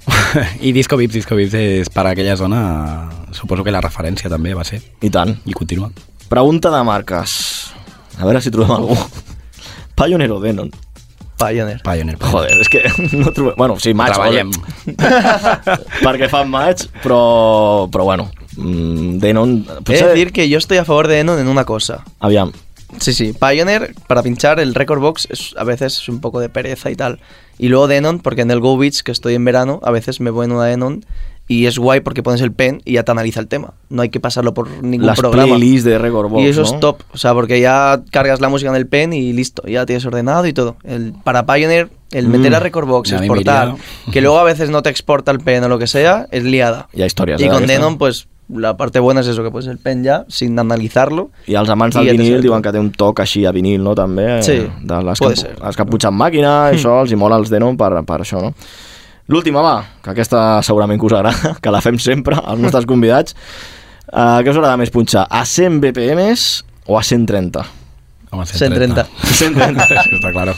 Speaker 7: I Disco Vips, Disco Vips és per aquella zona... Suposo que la referència també va ser.
Speaker 2: I tant.
Speaker 7: I continua.
Speaker 2: Pregunta de marques. A veure si trobem algú. Pioneer o Denon?
Speaker 8: Pioneer.
Speaker 7: Pioneer.
Speaker 2: Joder, és que no trobem... Bueno, sí, maig.
Speaker 7: Treballem.
Speaker 2: joder, Perquè fan maig, però... Però bueno, mm, Denon...
Speaker 8: He
Speaker 2: Potser...
Speaker 8: de decir que yo estoy a favor de Enon en una cosa.
Speaker 2: Aviam.
Speaker 8: Sí, sí, Pioneer para pinchar el Record Box es, a veces es un poco de pereza y tal. Y luego Denon, porque en el Go Beach que estoy en verano, a veces me voy en una Denon y es guay porque pones el pen y ya te analiza el tema. No hay que pasarlo por ningún
Speaker 2: Las
Speaker 8: programa.
Speaker 2: playlists de Record Box,
Speaker 8: Y eso
Speaker 2: ¿no?
Speaker 8: es top, o sea, porque ya cargas la música en el pen y listo, ya tienes ordenado y todo. El, para Pioneer, el meter
Speaker 2: Mm,
Speaker 8: a Record Box,
Speaker 7: a mí me
Speaker 8: exportar,
Speaker 7: iría, ¿no?
Speaker 8: que luego a veces no te exporta el pen o lo que sea, es liada.
Speaker 2: Hi ha històries.
Speaker 8: Y
Speaker 2: eh,
Speaker 8: con
Speaker 2: d'aquestes.
Speaker 8: Denon, pues la parte buena es eso, que pones el pen ya sin analizarlo.
Speaker 2: I els amants
Speaker 8: I
Speaker 2: del
Speaker 8: ja té
Speaker 2: vinil
Speaker 8: cert.
Speaker 2: diuen que té un toc així a vinil, no, també? eh,
Speaker 8: Sí,
Speaker 2: de les
Speaker 8: puede
Speaker 2: que,
Speaker 8: ser. Hmm.
Speaker 2: Els que putxen màquina, i això, els hi mola els Denon per, per això, no? L'última, va, que aquesta segurament que us agrada, que la fem sempre als nostres convidats. Uh, què us agrada més punxar? A 100 BPMs o a 130?
Speaker 7: Home,
Speaker 8: 130.
Speaker 2: 130.
Speaker 7: Això Està claro.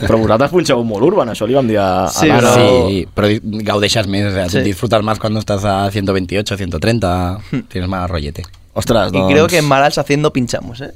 Speaker 2: Però vosaltres punxeu molt urban, això li vam dir a, a
Speaker 8: Sí,
Speaker 2: l'Anna.
Speaker 8: però-
Speaker 7: Sí, pero di- gaudeixas més, o sea,
Speaker 8: Sí. Hmm.
Speaker 7: disfrutas más cuando estás a 128, 130, tienes más rollete.
Speaker 2: Ostres,
Speaker 8: Y
Speaker 2: doncs...
Speaker 8: creo que en Malals haciendo pinchamos, ¿eh?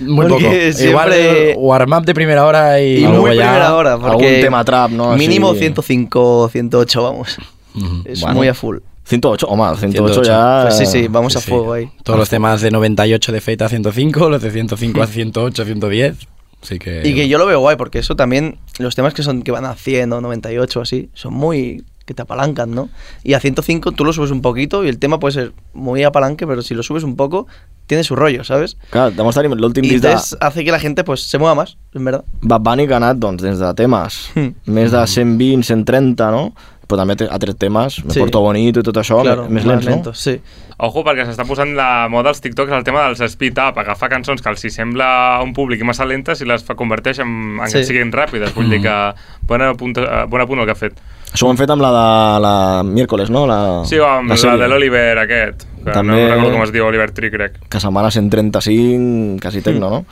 Speaker 7: Muy
Speaker 8: Porque
Speaker 7: poco.
Speaker 8: siempre-
Speaker 7: Igual warm-up de primera hora y,
Speaker 8: Y
Speaker 7: luego
Speaker 8: muy
Speaker 7: ya...
Speaker 8: primera hora,
Speaker 2: eh, algún
Speaker 8: porque
Speaker 2: tema trap, ¿no? Así-
Speaker 8: Mínimo 105, 108, vamos.
Speaker 7: Ujú.
Speaker 8: Es
Speaker 2: Bueno.
Speaker 8: muy a full.
Speaker 2: 108, home, 108,
Speaker 7: 108.
Speaker 2: ja...
Speaker 8: Pues sí, sí, vamos
Speaker 7: Sí,
Speaker 8: a
Speaker 7: sí.
Speaker 8: fuego ahí.
Speaker 7: Todos los temas de 98 de Fate a 105, los de 105 a 108, 110. Así que.
Speaker 8: Hmm. Y que yo lo veo guay, porque eso también, los temas que son que van a 100 o 98 o así, son muy que te apalancan, ¿no? Y a 105 tú lo subes un poquito y el tema puede ser muy apalanque, pero si lo subes un poco, tiene su rollo, ¿sabes?
Speaker 2: Clar, demostra l'últim
Speaker 8: Y
Speaker 2: disc de,
Speaker 8: entonces hace que la gente pues se mueva más, en verdad.
Speaker 2: Bad Bunny que ha anat doncs, des de temes
Speaker 8: Mm.
Speaker 2: més de 120, 130, no? Però també té- ha tret temes, Me
Speaker 8: Sí.
Speaker 2: Porto Bonito i tot això,
Speaker 8: claro,
Speaker 2: més lents, no?
Speaker 8: sí.
Speaker 3: Ojo, perquè s'està posant la moda als TikToks el tema dels speed-up, agafar cançons que els hi sembla a un públic massa lentes i les fa- converteix en, en sí.
Speaker 8: Sí.
Speaker 3: que siguin ràpides. Vull dir que bona punta, eh, bona punt el que ha fet.
Speaker 2: Això ho hem fet amb la de la miércoles, no? La,
Speaker 3: Sí, o amb la,
Speaker 2: sèrie.
Speaker 3: de l'Oliver aquest, que També...
Speaker 2: Ah. També-
Speaker 3: no recordo com es diu, Oliver Tree, crec.
Speaker 2: Que setmana 135,
Speaker 8: Hmm.
Speaker 2: quasi tecno, no?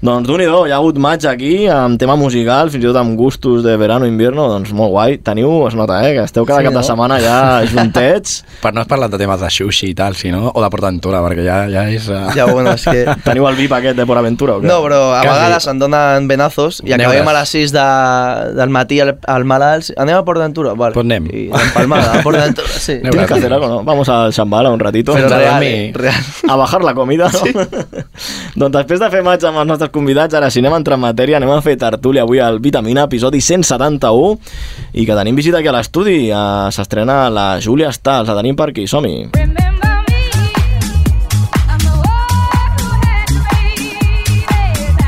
Speaker 2: Doncs d'un i do, hi ha hagut maig aquí, amb tema musical, fins i tot amb gustos de verano, invierno, doncs molt guai. Teniu, es nota, eh, que esteu cada
Speaker 8: Sí,
Speaker 2: cap de
Speaker 8: no?
Speaker 2: setmana ja juntets.
Speaker 7: Per no has parlat de temes de sushi i tal, sinó, o de PortAventura, perquè ja, ja és... Uh...
Speaker 8: Ya bueno, es que...
Speaker 2: Teniu el VIP aquest de Port Aventura o què?
Speaker 8: No, però a
Speaker 7: Quasi.
Speaker 8: vegades em donen venazos i
Speaker 7: Neules.
Speaker 8: acabem a les 6 de, del matí al, al Malals. Anem a Port d'Aventura? Vale.
Speaker 7: Pues anem.
Speaker 8: I empalmada, a Port d'Aventura, sí.
Speaker 7: Anem.
Speaker 2: Tienes que hacer algo, ¿no? Vamos al Shambhala un ratito.
Speaker 8: Però
Speaker 7: Entraré a
Speaker 8: real,
Speaker 7: mi.
Speaker 8: eh? real.
Speaker 2: a bajar la comida, no? Sí. doncs després de fer maig amb els nostres convidats, ara si anem a entrar en matèria, anem a fer tertúlia avui al Vitamina, episodi 171, i que tenim visita aquí a l'estudi. Eh, S'estrena la Júlia Stals, la tenim per aquí, som-hi.
Speaker 9: Remember me, I'm the one who had faith.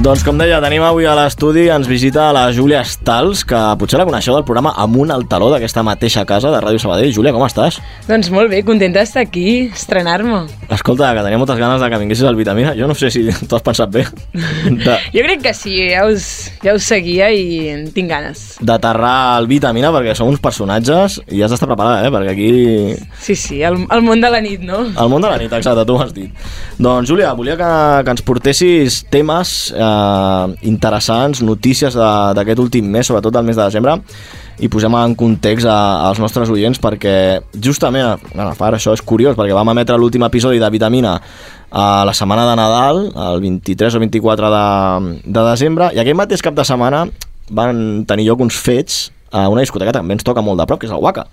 Speaker 2: Doncs com deia, tenim avui a l'estudi, ens visita la Júlia Stals, que potser la coneixeu del programa Amunt al Taló d'aquesta mateixa casa de Ràdio Sabadell. Júlia, com estàs?
Speaker 4: Doncs molt bé, contenta d'estar aquí, estrenar-me.
Speaker 2: Escolta, que tenia moltes ganes de que vinguessis al Vitamina. Jo no sé si t'ho has pensat bé. De,
Speaker 4: Jo crec que sí, ja us, ja us seguia i en tinc ganes.
Speaker 2: d'aterrar al Vitamina perquè som uns personatges i has d'estar preparada, eh? Perquè aquí...
Speaker 4: Sí, sí, el, el món de la nit, no?
Speaker 2: El món de la nit, exacte, tu ho has dit. Doncs, Júlia, volia que, que ens portessis temes eh, interessants, notícies de- d'aquest últim mes, sobretot del mes de desembre, i posem en context a, als nostres oients perquè justament, bueno, per això és curiós, perquè vam emetre l'últim episodi de Vitamina a la setmana de Nadal, el 23 o 24 de, de desembre, i aquell mateix cap de setmana van tenir lloc uns fets a una discoteca que també ens toca molt de prop, que és el Waka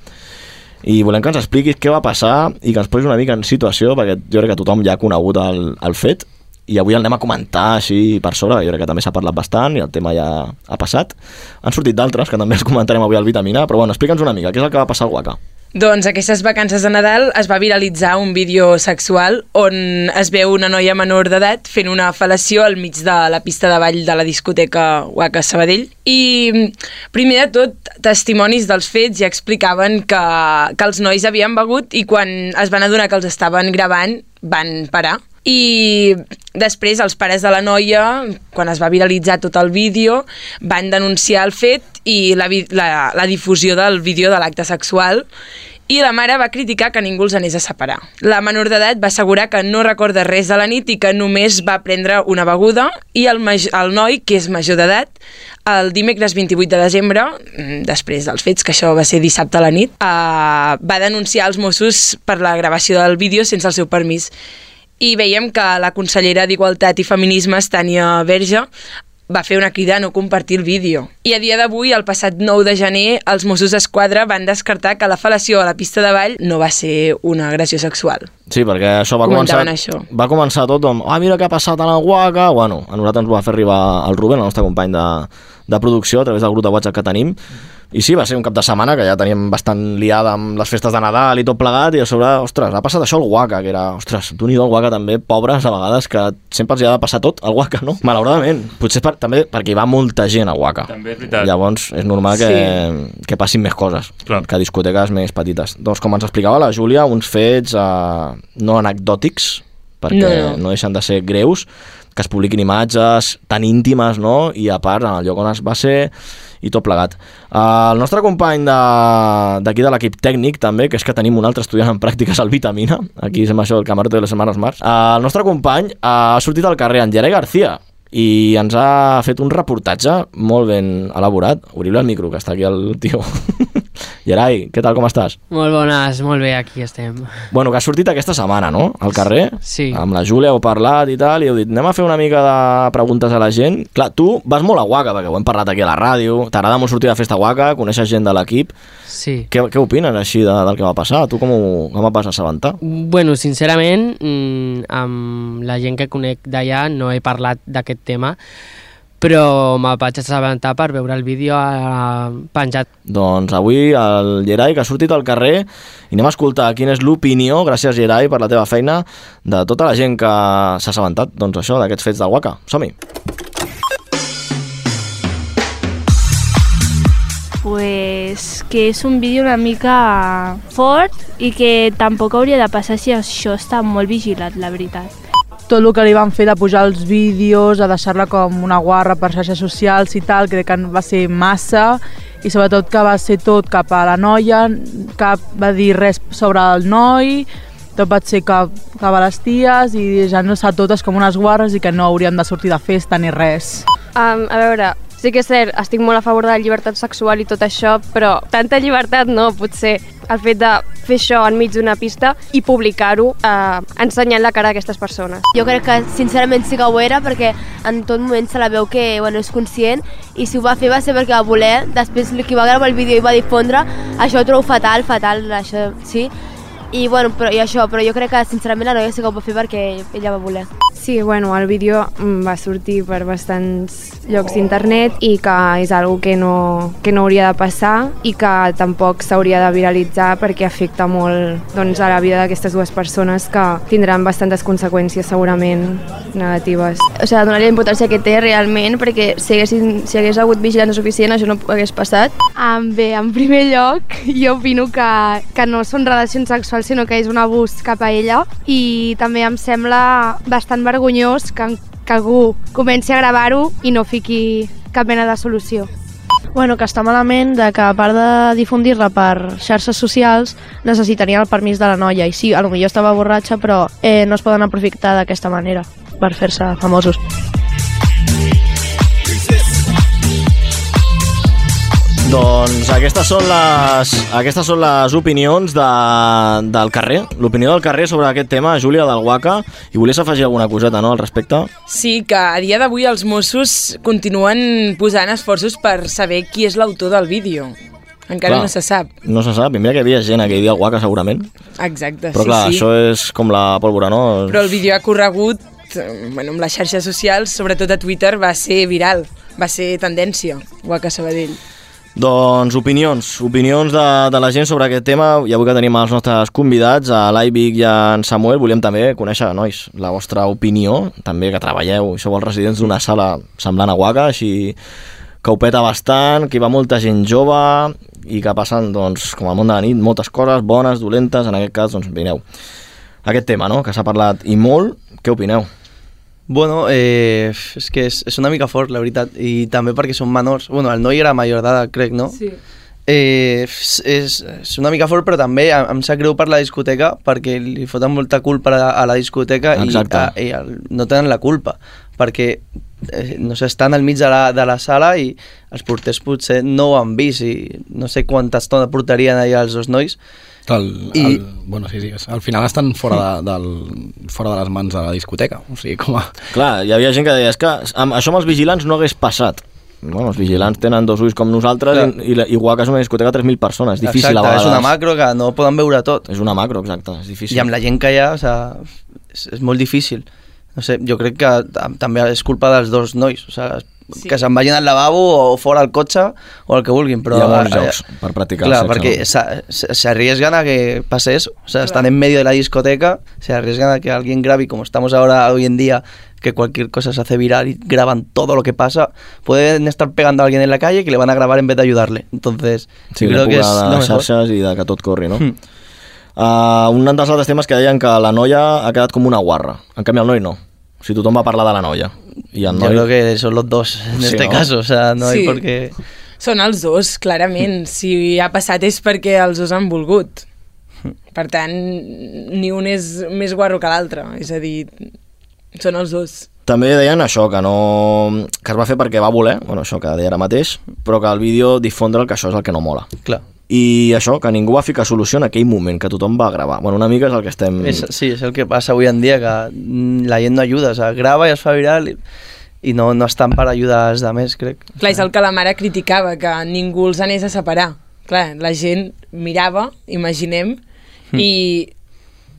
Speaker 2: i volem que ens expliquis què va passar i que ens posis una mica en situació, perquè jo crec que tothom ja ha conegut el, el fet, i avui el anem a comentar així per sobre, jo crec que també s'ha parlat bastant i el tema ja ha passat. Han sortit d'altres, que també els comentarem avui al Vitamina, però bueno, explica'ns una mica, què és el que va passar al Waka?
Speaker 4: Doncs aquestes vacances de Nadal es va viralitzar un vídeo sexual on es veu una noia menor d'edat fent una fel·lació al mig de la pista de ball de la discoteca Waka Sabadell. I primer de tot, testimonis dels fets ja explicaven que, que els nois havien begut i quan es van adonar que els estaven gravant van parar. I després els pares de la noia, quan es va viralitzar tot el vídeo, van denunciar el fet i la, vi- la, la difusió del vídeo de l'acte sexual i la mare va criticar que ningú els anés a separar. La menor d'edat va assegurar que no recorda res de la nit i que només va prendre una beguda i el, maj- el noi, que és major d'edat, el dimecres 28 de desembre, mm, després dels fets, que això va ser dissabte a la nit, eh, va denunciar els Mossos per la gravació del vídeo sense el seu permís i veiem que la consellera d'Igualtat i Feminismes, Tània Verge, va fer una crida a no compartir el vídeo. I a dia d'avui, el passat 9 de gener, els Mossos d'Esquadra van descartar que la fel·lació a la pista de ball no va ser una agressió sexual.
Speaker 2: Sí, perquè això va començar,
Speaker 4: Comentaven això.
Speaker 2: va començar tot amb ah, mira què ha passat a la guaca, bueno, a nosaltres ens ho va fer arribar el Ruben, el nostre company de, de producció, a través del grup de WhatsApp que tenim, i sí, va ser un cap de setmana que ja teníem bastant liada amb les festes de Nadal i tot plegat, i a sobre, ostres, ha passat això al guaca, que era, ostres, d'un i do al guaca també, pobres a vegades, que sempre els hi ha de passar tot al guaca, no? Malauradament, potser per, també perquè hi va molta gent al guaca.
Speaker 3: També és veritat.
Speaker 2: Llavors és normal que, sí. que passin més coses
Speaker 3: Clar.
Speaker 2: que a discoteques més petites. Doncs com ens explicava la Júlia, uns fets eh, no anecdòtics, perquè no,
Speaker 4: No, no.
Speaker 2: no. no deixen de ser greus, que es publiquin imatges tan íntimes, no? I a part, en el lloc on es va ser i tot plegat. Eh, el nostre company de- d'aquí de, de l'equip tècnic, també, que és que tenim un altre estudiant en pràctiques al Vitamina, aquí és amb això del camarote de les setmanes març, eh, el nostre company eh, ha sortit al carrer, en Gerard García, i ens ha fet un reportatge molt ben elaborat. Obrim el micro, que està aquí el tio. Gerai, què tal, com estàs?
Speaker 6: Molt bones, molt bé, aquí estem.
Speaker 2: Bueno, que has sortit aquesta setmana, no?, al carrer.
Speaker 6: Sí.
Speaker 2: Amb la Júlia heu parlat i tal, i heu dit, anem a fer una mica de preguntes a la gent. Clar, tu vas molt a Guaca, perquè ho hem parlat aquí a la ràdio, t'agrada molt sortir de festa a Guaca, coneixes gent de l'equip.
Speaker 6: Sí.
Speaker 2: Què, què opines així de, del que va passar? Tu com, ho, com et vas assabentar?
Speaker 6: Bueno, sincerament, mm, amb la gent que conec d'allà no he parlat d'aquest tema, però me vaig assabentar per veure el vídeo eh, penjat.
Speaker 2: Doncs avui el Gerai, que ha sortit al carrer, i anem a escoltar quina és l'opinió, gràcies Gerai per la teva feina, de tota la gent que s'ha assabentat doncs, això d'aquests fets del Waka. Som-hi!
Speaker 10: pues que és un vídeo una mica fort i que tampoc hauria de passar si això està molt vigilat, la veritat.
Speaker 9: tot el que li van fer de pujar els vídeos, de deixar-la com una guarra per xarxes socials i tal, crec que va ser massa i sobretot que va ser tot cap a la noia, cap va dir res sobre el noi, tot va ser cap, cap a les ties i ja no estar totes com unes guarres i que no hauríem de sortir de festa ni res.
Speaker 11: Um, a veure, sí que és cert, estic molt a favor de la llibertat sexual i tot això, però tanta llibertat no, potser. El fet de fer això enmig d'una pista i publicar-ho eh, ensenyant la cara d'aquestes persones.
Speaker 12: Jo crec que sincerament sí que ho era perquè en tot moment se la veu que bueno, és conscient i si ho va fer va ser perquè va voler, després qui va gravar el vídeo i va difondre, això ho trobo fatal, fatal, això sí. I, bueno, però, i això, però jo crec que sincerament la noia sí que ho va fer perquè ella va voler.
Speaker 13: Sí, bueno, el vídeo mm, va sortir per bastants llocs d'internet i que és algo que no, que no hauria de passar i que tampoc s'hauria de viralitzar perquè afecta molt doncs, a la vida d'aquestes dues persones que tindran bastantes conseqüències segurament negatives.
Speaker 14: O sigui, donar la importància que té realment, perquè si hagués, si hagués hagut vigilància suficient això no hagués passat.
Speaker 15: Um, bé, en primer lloc, jo opino que, que no són relacions sexuals, sinó que és un abús cap a ella i també em sembla bastant vergonyós que, que algú comenci a gravar-ho i no fiqui cap mena de solució.
Speaker 16: Bueno, que està malament de que a part de difundir-la per xarxes socials necessitarien el permís de la noia i sí, a lo millor estava borratxa però eh, no es poden aprofitar d'aquesta manera per fer-se famosos.
Speaker 2: Doncs aquestes són les, aquestes són les opinions de, del carrer, l'opinió del carrer sobre aquest tema, Júlia del Guaca, i volies afegir alguna coseta no, al respecte?
Speaker 9: Sí, que a dia d'avui els Mossos continuen posant esforços per saber qui és l'autor del vídeo. Encara
Speaker 2: Clar.
Speaker 9: no se sap.
Speaker 2: No se sap, i mira que hi havia gent aquell dia al Guaca segurament,
Speaker 9: Exacte,
Speaker 2: però
Speaker 9: sí,
Speaker 2: clar,
Speaker 9: sí.
Speaker 2: això és com la pólvora, no?
Speaker 9: Però el vídeo ha corregut, eh, bueno, amb les xarxes socials, sobretot a Twitter, va ser viral, va ser tendència, Guaca Sabadell.
Speaker 2: Doncs opinions, opinions de, de la gent sobre aquest tema, i avui que tenim els nostres convidats, a l'Aivic i a en Samuel, volíem també conèixer, nois, la vostra opinió, també que treballeu, i sou els residents d'una sala semblant a Guaca, així que ho peta bastant, que hi va molta gent jove i que passen, doncs, com al món de la nit, moltes coses bones, dolentes, en aquest cas, doncs, vineu. Aquest tema, no?, que s'ha parlat i molt, què opineu?
Speaker 8: Bueno, eh, és que és, és una mica fort, la veritat, i també perquè són menors. Bueno, el noi era major d'edat, crec, no?
Speaker 9: Sí.
Speaker 8: Eh, és, és- és una mica fort, però també em, em sap greu per la discoteca, perquè li foten molta culpa a, a la discoteca
Speaker 2: Exacte.
Speaker 8: i, a, i el, no tenen la culpa, perquè eh, no sé, estan al mig de la, de la sala i els porters potser no ho han vist i no sé quanta estona portarien allà els dos nois.
Speaker 7: El, I... el, bueno, sí, sí, és- al final estan fora de, del, fora de les mans de la discoteca. O sigui, com a...
Speaker 2: Clar, hi havia gent que deia, és que amb, això amb els vigilants no hagués passat. Bueno, els vigilants tenen dos ulls com nosaltres
Speaker 8: Clar.
Speaker 2: i, i, la- igual que és una discoteca de 3.000 persones, difícil
Speaker 8: exacte,
Speaker 2: a vegades.
Speaker 8: és una macro que no poden veure tot.
Speaker 2: És una macro, exacte, és difícil.
Speaker 8: I amb la gent que hi ha, o sigui, és, és molt difícil. No sé, jo crec que tam- també és culpa dels dos nois, o sigui, sí. que se'n vagin al lavabo o fora al cotxe o el que vulguin, però...
Speaker 2: Hi ha molts
Speaker 8: eh,
Speaker 2: jocs per practicar
Speaker 8: Clar,
Speaker 2: el sexe,
Speaker 8: perquè
Speaker 2: no?
Speaker 8: s'ha- s- s'arriesgan a que pase eso. O sea, están en medio de la discoteca, se arriesgan a que alguien grabe, y como estamos ahora hoy en día, que cualquier cosa se hace viral y graban todo lo que pasa, pueden estar pegando a alguien en la calle que le van a grabar en vez de ayudarle. Entonces,
Speaker 2: Sí,
Speaker 8: yo
Speaker 2: creo
Speaker 8: creo que es
Speaker 2: de
Speaker 8: lo
Speaker 2: les
Speaker 8: mejor.
Speaker 2: xarxes i de que tot corri, no?
Speaker 8: Hmm.
Speaker 2: Uh, un dels altres temes que deien que la noia ha quedat com una guarra. En canvi, el noi no. O sigui, tothom va parlar de la noia. I
Speaker 8: Yo
Speaker 2: el noi...
Speaker 8: creo que son los dos en
Speaker 2: Sí,
Speaker 8: este
Speaker 2: ¿no?
Speaker 8: caso, o sea, no
Speaker 9: Sí.
Speaker 8: hay por qué...
Speaker 9: Són els dos, clarament. Si ha passat és perquè els dos han volgut. Per tant, ni un és més guarro que l'altre. És a dir, són els dos.
Speaker 2: També deien això, que no... que es va fer perquè va voler, bueno, això que deia ara mateix, però que el vídeo difondre el que això és el que no mola.
Speaker 8: Clar.
Speaker 2: I això, que ningú va ficar solució en aquell moment, que tothom va gravar. Bueno, una mica és el que estem...
Speaker 8: És, sí, és el que passa avui en dia, que mm, la gent no ajuda, o sea, grava i es fa viral i, i no, no estan per ajudar els demés, crec.
Speaker 9: Clar, és el que la mare criticava, que ningú els anés a separar. ah, Clar, la gent mirava, imaginem,
Speaker 8: Mm.
Speaker 9: i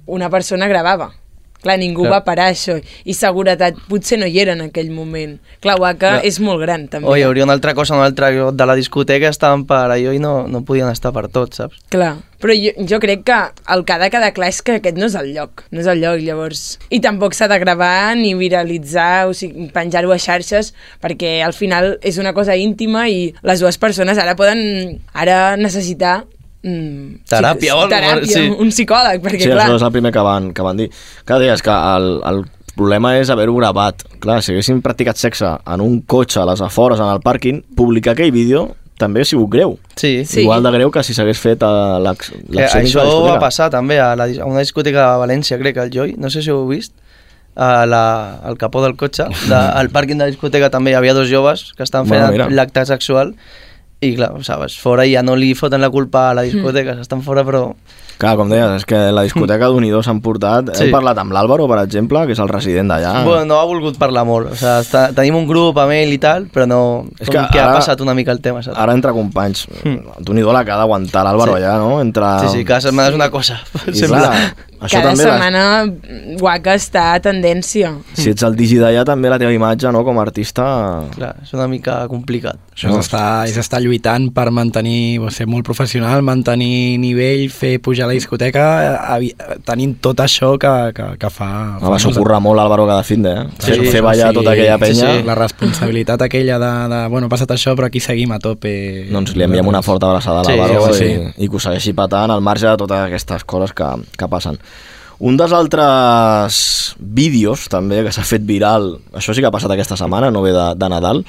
Speaker 9: una persona gravava. Clar, ningú
Speaker 8: Clar.
Speaker 9: va parar això. I seguretat potser no hi era en aquell moment. Clar, Waka
Speaker 8: Clar.
Speaker 9: és molt gran, també.
Speaker 8: O hi hauria una altra cosa en un altre lloc de la discoteca, estaven per allò i no, no podien estar per tot, saps?
Speaker 9: Clar, però jo, jo crec que el que ha de quedar clar és que aquest no és el lloc, no és el lloc, llavors. I tampoc s'ha de gravar ni viralitzar, o sigui, penjar-ho a xarxes, perquè al final és una cosa íntima i les dues persones ara poden ara necessitar mm,
Speaker 2: Teràpia o algo,
Speaker 9: teràpia
Speaker 2: sí.
Speaker 9: un psicòleg, perquè
Speaker 2: sí,
Speaker 9: clar...
Speaker 2: això és el primer que van, que van dir. Clar, deies que el, el problema és haver-ho gravat. Clar, si haguéssim practicat sexe en un cotxe, a les afores, en el pàrquing, publicar aquell vídeo també ha sigut greu.
Speaker 8: Sí. Sí.
Speaker 2: Igual de greu que si s'hagués fet a l'ac-
Speaker 8: Que
Speaker 2: l'acció dins de
Speaker 8: això
Speaker 2: la
Speaker 8: va
Speaker 2: discoteca.
Speaker 8: passar també a, la, dis- a una discoteca de València, crec, al Joy, no sé si ho heu vist, a la, al capó del cotxe, de, al pàrquing de la discoteca també hi havia dos joves que estan fent
Speaker 2: Bueno, mira.
Speaker 8: l'acte sexual i clar, o sabes, fora i ja no li foten la culpa a la discoteca, mm. estan fora però
Speaker 2: Clar, com deies, és que la discoteca d'un i dos s'han portat... Sí.
Speaker 8: Sí.
Speaker 2: Heu parlat amb l'Àlvaro, per exemple, que és el resident d'allà.
Speaker 8: Bueno, no ha volgut parlar molt. O sigui, està, tenim un grup a mail i tal, però no...
Speaker 2: És
Speaker 8: com
Speaker 2: que
Speaker 8: que, que ha
Speaker 2: ara-
Speaker 8: passat una mica el tema, saps?
Speaker 2: Ara entre companys, d'un i do la que ha d'aguantar l'Àlvaro
Speaker 8: Hmm. Sí.
Speaker 2: allà, no? Entre...
Speaker 8: Sí, sí, cada setmana és una cosa,
Speaker 2: I
Speaker 8: sembla.
Speaker 2: clar, Això
Speaker 9: Cada
Speaker 2: també la-
Speaker 9: setmana guaca està a tendència.
Speaker 2: Si ets el digi d'allà, també la teva imatge no, com a artista...
Speaker 8: Clar, és una mica complicat.
Speaker 7: Això és estar, és estar lluitant per mantenir, ser molt professional, mantenir nivell, fer pujar la discoteca, eh, avi- tenint tot això que, que, que fa...
Speaker 2: No, va sucurrar molt Álvaro Gadafinde, eh? Sí,
Speaker 7: Això,
Speaker 2: fer ballar tota aquella penya.
Speaker 7: La responsabilitat aquella de, de, bueno, ha passat això, però aquí seguim a tope.
Speaker 2: Doncs li enviem una forta abraçada a
Speaker 7: Sí,
Speaker 2: l'Àlvaro
Speaker 7: sí,
Speaker 2: i, i que ho segueixi patant al marge de totes aquestes coses que, que passen. Un dels altres vídeos també que s'ha fet viral, això sí que ha passat aquesta setmana, no ve de, de Nadal,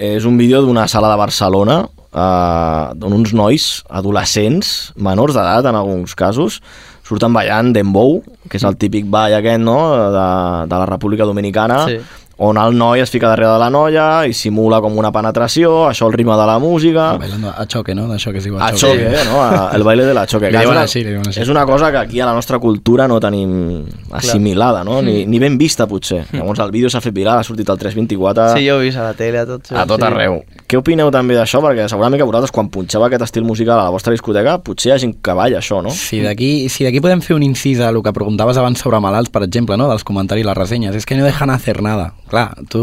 Speaker 2: és un vídeo d'una sala de Barcelona eh, on uns nois adolescents, menors d'edat en alguns casos, surten ballant dembow, que és el típic ball aquest no? de, de la República Dominicana,
Speaker 8: Sí.
Speaker 2: on el noi es fica darrere de la noia i simula com una penetració, això el ritme de la música...
Speaker 7: Bailando a choque, no? D'això que es diu
Speaker 2: A choque, eh? no? A- El baile de la choque.
Speaker 7: Li
Speaker 2: que és
Speaker 7: diuen
Speaker 2: una-
Speaker 7: així, li diuen així.
Speaker 2: És una cosa que aquí a la nostra cultura no tenim assimilada, no?
Speaker 8: Mm.
Speaker 2: Ni, ni ben vista, potser. Llavors el vídeo s'ha fet viral, ha sortit al 324...
Speaker 8: Sí, jo he vist a la tele, a tot.
Speaker 2: Ah. A tot
Speaker 8: sí.
Speaker 2: arreu. Què opineu també d'això? Perquè segurament que vosaltres, quan punxava aquest estil musical a la vostra discoteca, potser hi ha gent que balla això, no?
Speaker 7: Si d'aquí si d'aquí podem fer un incís a el que preguntaves abans sobre malalts, per exemple, no? dels comentaris i les ressenyes, és que no dejan hacer nada. Clar, tu...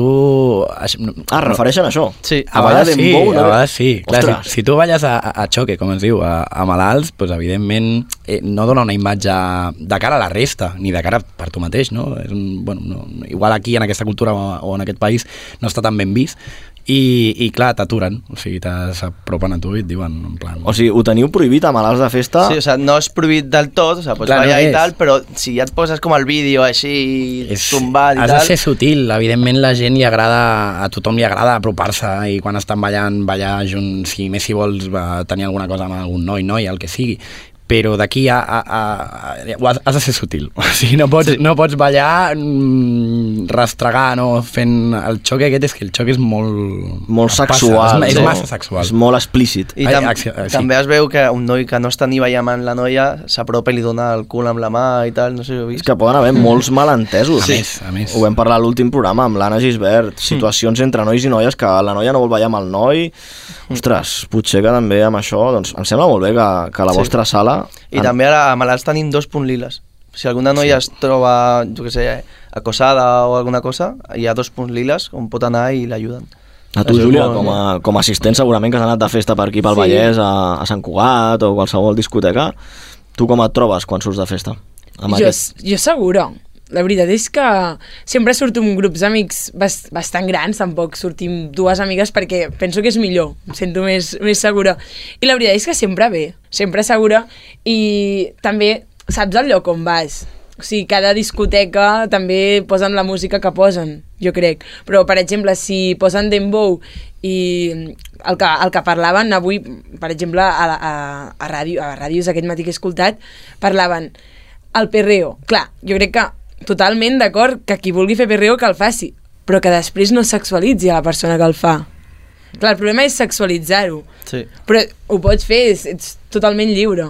Speaker 2: Ah, refereixen a això.
Speaker 7: Sí,
Speaker 2: A
Speaker 7: a,
Speaker 2: ballar
Speaker 7: vegades sí,
Speaker 2: dembow, no?
Speaker 7: a vegades sí. Clar,
Speaker 2: Ostres.
Speaker 7: si, si tu balles a, a a xoque, com es diu, a, a malalts, doncs, evidentment eh, no dona una imatge de cara a la resta, ni de cara per tu mateix, no? És un, bueno, no igual aquí, en aquesta cultura o, o en aquest país, no està tan ben vist, i, i clar, t'aturen, o sigui, te- s'apropen a tu i et diuen, en plan...
Speaker 2: O sigui, ho teniu prohibit a malalts de festa?
Speaker 8: Sí, o sea, no és prohibit del tot, o sea, pots
Speaker 7: Ah. Clar, no
Speaker 8: ballar i
Speaker 7: és.
Speaker 8: tal, però si ja et poses com el vídeo així, és, tombat i
Speaker 7: Has de
Speaker 8: tal...
Speaker 7: ser sutil, evidentment la gent li agrada, a tothom li agrada apropar-se i quan estan ballant, ballar junts, si més si vols va, tenir alguna cosa amb algun noi, noi, el que sigui, però d'aquí a, a, a, a, ho has, has de ser sutil, o sigui, no pots, sí. no pots ballar mm, rastregar, no, fent el xoc aquest, és que el xoc és molt...
Speaker 2: Molt
Speaker 7: passa,
Speaker 2: sexual.
Speaker 7: és,
Speaker 2: no?
Speaker 7: és massa sexual.
Speaker 2: És molt explícit.
Speaker 8: I tam també es veu que un noi que no està ni ballant amb la noia s'apropa i li dona el cul amb la mà i tal, no sé si ho heu
Speaker 2: És
Speaker 8: vist.
Speaker 2: que poden haver molts
Speaker 8: Mm.
Speaker 2: malentesos.
Speaker 8: A més, Mm.
Speaker 7: a més.
Speaker 2: Ho vam parlar a l'últim programa amb l'Anna Gisbert. Situacions entre nois i noies que la noia no vol ballar amb el noi.
Speaker 8: Mm.
Speaker 2: Ostres, potser que també amb això... Doncs em sembla molt bé que, que la
Speaker 8: Sí.
Speaker 2: vostra sala...
Speaker 8: I també ara a malalts tenim dos punts liles. Si alguna noia es troba, jo què sé, acosada o alguna cosa, hi ha dos punts liles on pot anar i l'ajuden.
Speaker 2: A tu,
Speaker 8: Això és
Speaker 2: Júlia,
Speaker 8: molt-
Speaker 2: com a, com a assistent, segurament que has anat de festa per aquí, pel
Speaker 8: Sí.
Speaker 2: Vallès, a, a Sant Cugat o qualsevol discoteca. Tu com et trobes quan surts de festa? Amb
Speaker 9: jo,
Speaker 2: aquest...
Speaker 9: jo seguro. La veritat és que sempre surto amb grups d'amics bas- bastant grans, tampoc sortim dues amigues perquè penso que és millor, em sento més, més segura. I la veritat és que sempre bé, sempre segura i també saps el lloc on vas. O sigui, cada discoteca també posen la música que posen, jo crec. Però, per exemple, si posen Dembow i el que, el que parlaven avui, per exemple, a, la- a, a, ràdio, a ràdios aquest matí que he escoltat, parlaven el perreo. Clar, jo crec que totalment d'acord que qui vulgui fer perreo que el faci, però que després no sexualitzi a la persona que el fa. Clar, el problema és sexualitzar-ho,
Speaker 8: Sí.
Speaker 9: però ho pots fer, és, ets totalment lliure.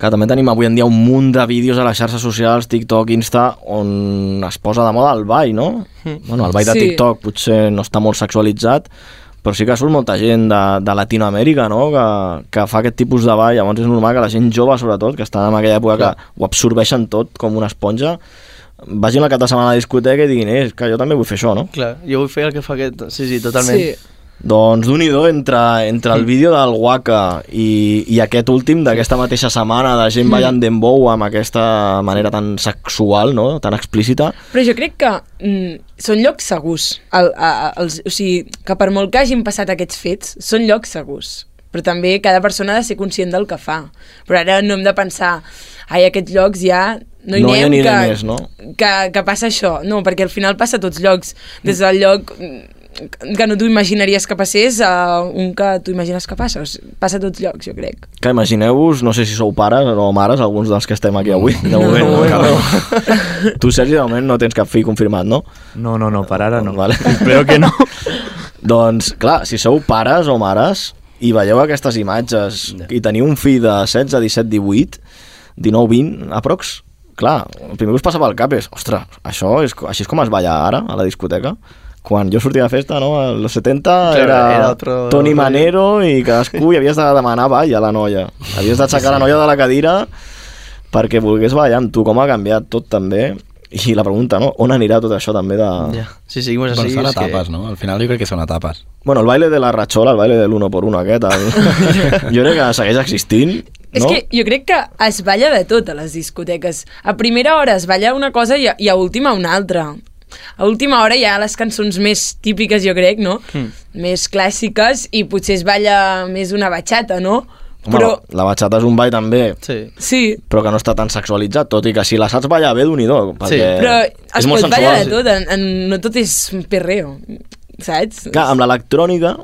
Speaker 2: Que també tenim avui en dia un munt de vídeos a les xarxes socials, TikTok, Insta, on es posa de moda el ball, no?
Speaker 9: Mm.
Speaker 2: Bueno, el ball de
Speaker 9: Sí.
Speaker 2: TikTok potser no està molt sexualitzat, però sí que surt molta gent de, de Latinoamèrica, no?, que, que fa aquest tipus de ball. Llavors és normal que la gent jove, sobretot, que està en aquella època que ho absorbeixen tot com una esponja, vagin el cap de setmana a la discoteca i diguin, eh, és que jo també vull fer això, no?
Speaker 8: Clar, jo vull fer el que fa aquest... Sí, sí, totalment.
Speaker 2: Sí. Doncs d'un i do, entre, entre
Speaker 9: Mm.
Speaker 2: el vídeo del Waka i, i aquest últim d'aquesta mateixa setmana de
Speaker 9: Mm.
Speaker 2: gent ballant dembow amb aquesta manera tan sexual, no? tan explícita,
Speaker 9: Però jo crec que mm, són llocs segurs. El, a, a, els, o sigui, que per molt que hagin passat aquests fets, són llocs segurs. Però també cada persona ha de ser conscient del que fa. Però ara no hem de pensar, ai, aquests llocs ja no hi
Speaker 2: no hi
Speaker 9: anem,
Speaker 2: aniré
Speaker 9: que,
Speaker 2: més, no?
Speaker 9: que, que passa això. No, perquè al final passa a tots llocs. Des del lloc mm, que no t'ho imaginaries que passés a un que tu imagines que passa. O sigui, Passa a tots llocs, jo crec.
Speaker 2: Que imagineu-vos, no sé si sou pares o mares, alguns dels que estem aquí avui. De moment, no, no, Tu, Sergi, de moment no tens cap fill confirmat, no? No, no, no, per ara no. Vale. Espero que no. doncs, clar, si sou pares o mares i veieu aquestes imatges i teniu un fill de 16, 17, 18, 19, 20, aprox, clar, el primer que us passa pel cap és, ostres, això és, co- així és com es balla ara, a la discoteca? Quan jo sortia de festa, no?, als 70
Speaker 8: Claro,
Speaker 2: era,
Speaker 8: era otro-
Speaker 2: Tony
Speaker 8: otro-
Speaker 2: Manero i cadascú i havies de demanar ball a la noia. Havies d'aixecar la noia de la cadira perquè volgués ballar amb tu, com ha canviat tot també, i la pregunta, no? On anirà tot això també de...
Speaker 8: Ja. Si seguimos
Speaker 7: Però
Speaker 8: así...
Speaker 7: són
Speaker 8: es que-
Speaker 7: etapes, Doncs no? Al final jo crec que són etapes.
Speaker 2: Bueno, el baile de la ratxola, el baile de l'uno por uno aquest, el... jo crec que segueix existint,
Speaker 9: És
Speaker 2: no?
Speaker 9: que jo crec que es balla de tot a les discoteques. A primera hora es balla una cosa i a, i a última una altra. A última hora hi ha les cançons més típiques, jo crec, no?
Speaker 2: Mm.
Speaker 9: Més clàssiques i potser es balla més una batxata, no?
Speaker 2: Home,
Speaker 9: Però
Speaker 2: la, la bachata és un ball també,
Speaker 8: sí.
Speaker 9: sí,
Speaker 2: però que no està tan sexualitzat, tot i que si la saps ballar bé, d'un i do, perquè
Speaker 9: però es
Speaker 2: és molt
Speaker 9: pot ballar de
Speaker 2: sensual.
Speaker 9: tot, en, en, no tot és perreo, saps?
Speaker 2: Clar, amb l'electrònica,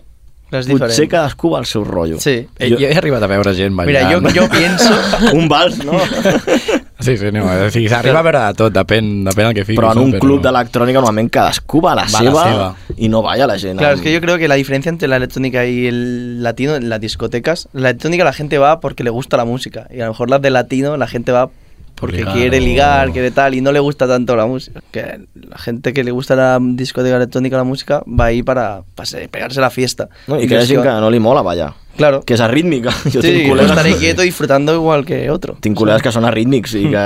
Speaker 2: potser
Speaker 8: diferent.
Speaker 2: cadascú va al seu rotllo.
Speaker 8: Sí.
Speaker 7: Jo, eh, jo he arribat a veure gent
Speaker 8: Mira,
Speaker 7: ballant.
Speaker 8: yo, yo pienso...
Speaker 2: Un vals, ¿no?
Speaker 7: Sí, sí, no, o sigui, s'arriba a veure de tot, depèn, depèn el que fiquis.
Speaker 2: Però en
Speaker 7: no?
Speaker 2: un club d'electrònica normalment cadascú va a la,
Speaker 7: Va a la
Speaker 2: seva,
Speaker 7: seva.
Speaker 2: i no balla la gent.
Speaker 8: Claro,
Speaker 2: amb-
Speaker 8: es que yo creo que la diferencia entre la electrónica y el latino en las discotecas, la electrónica la gente va porque le gusta la música y a lo mejor las de latino la gente va porque
Speaker 7: ligar
Speaker 8: quiere
Speaker 7: o-
Speaker 8: ligar, quiere tal y no le gusta tanto la música. Que la gente que le gusta la discoteca electrónica, la música, va ahí para, para se- pegarse la fiesta.
Speaker 2: No, I que hi ha gent que no li mola ballar.
Speaker 8: Claro.
Speaker 2: Que és arrítmica. Jo
Speaker 8: Sí,
Speaker 2: tinc
Speaker 8: yo
Speaker 2: col·legues,
Speaker 8: estaré quieto disfrutando igual que otro.
Speaker 2: tinc col·legues que són arrítmics i que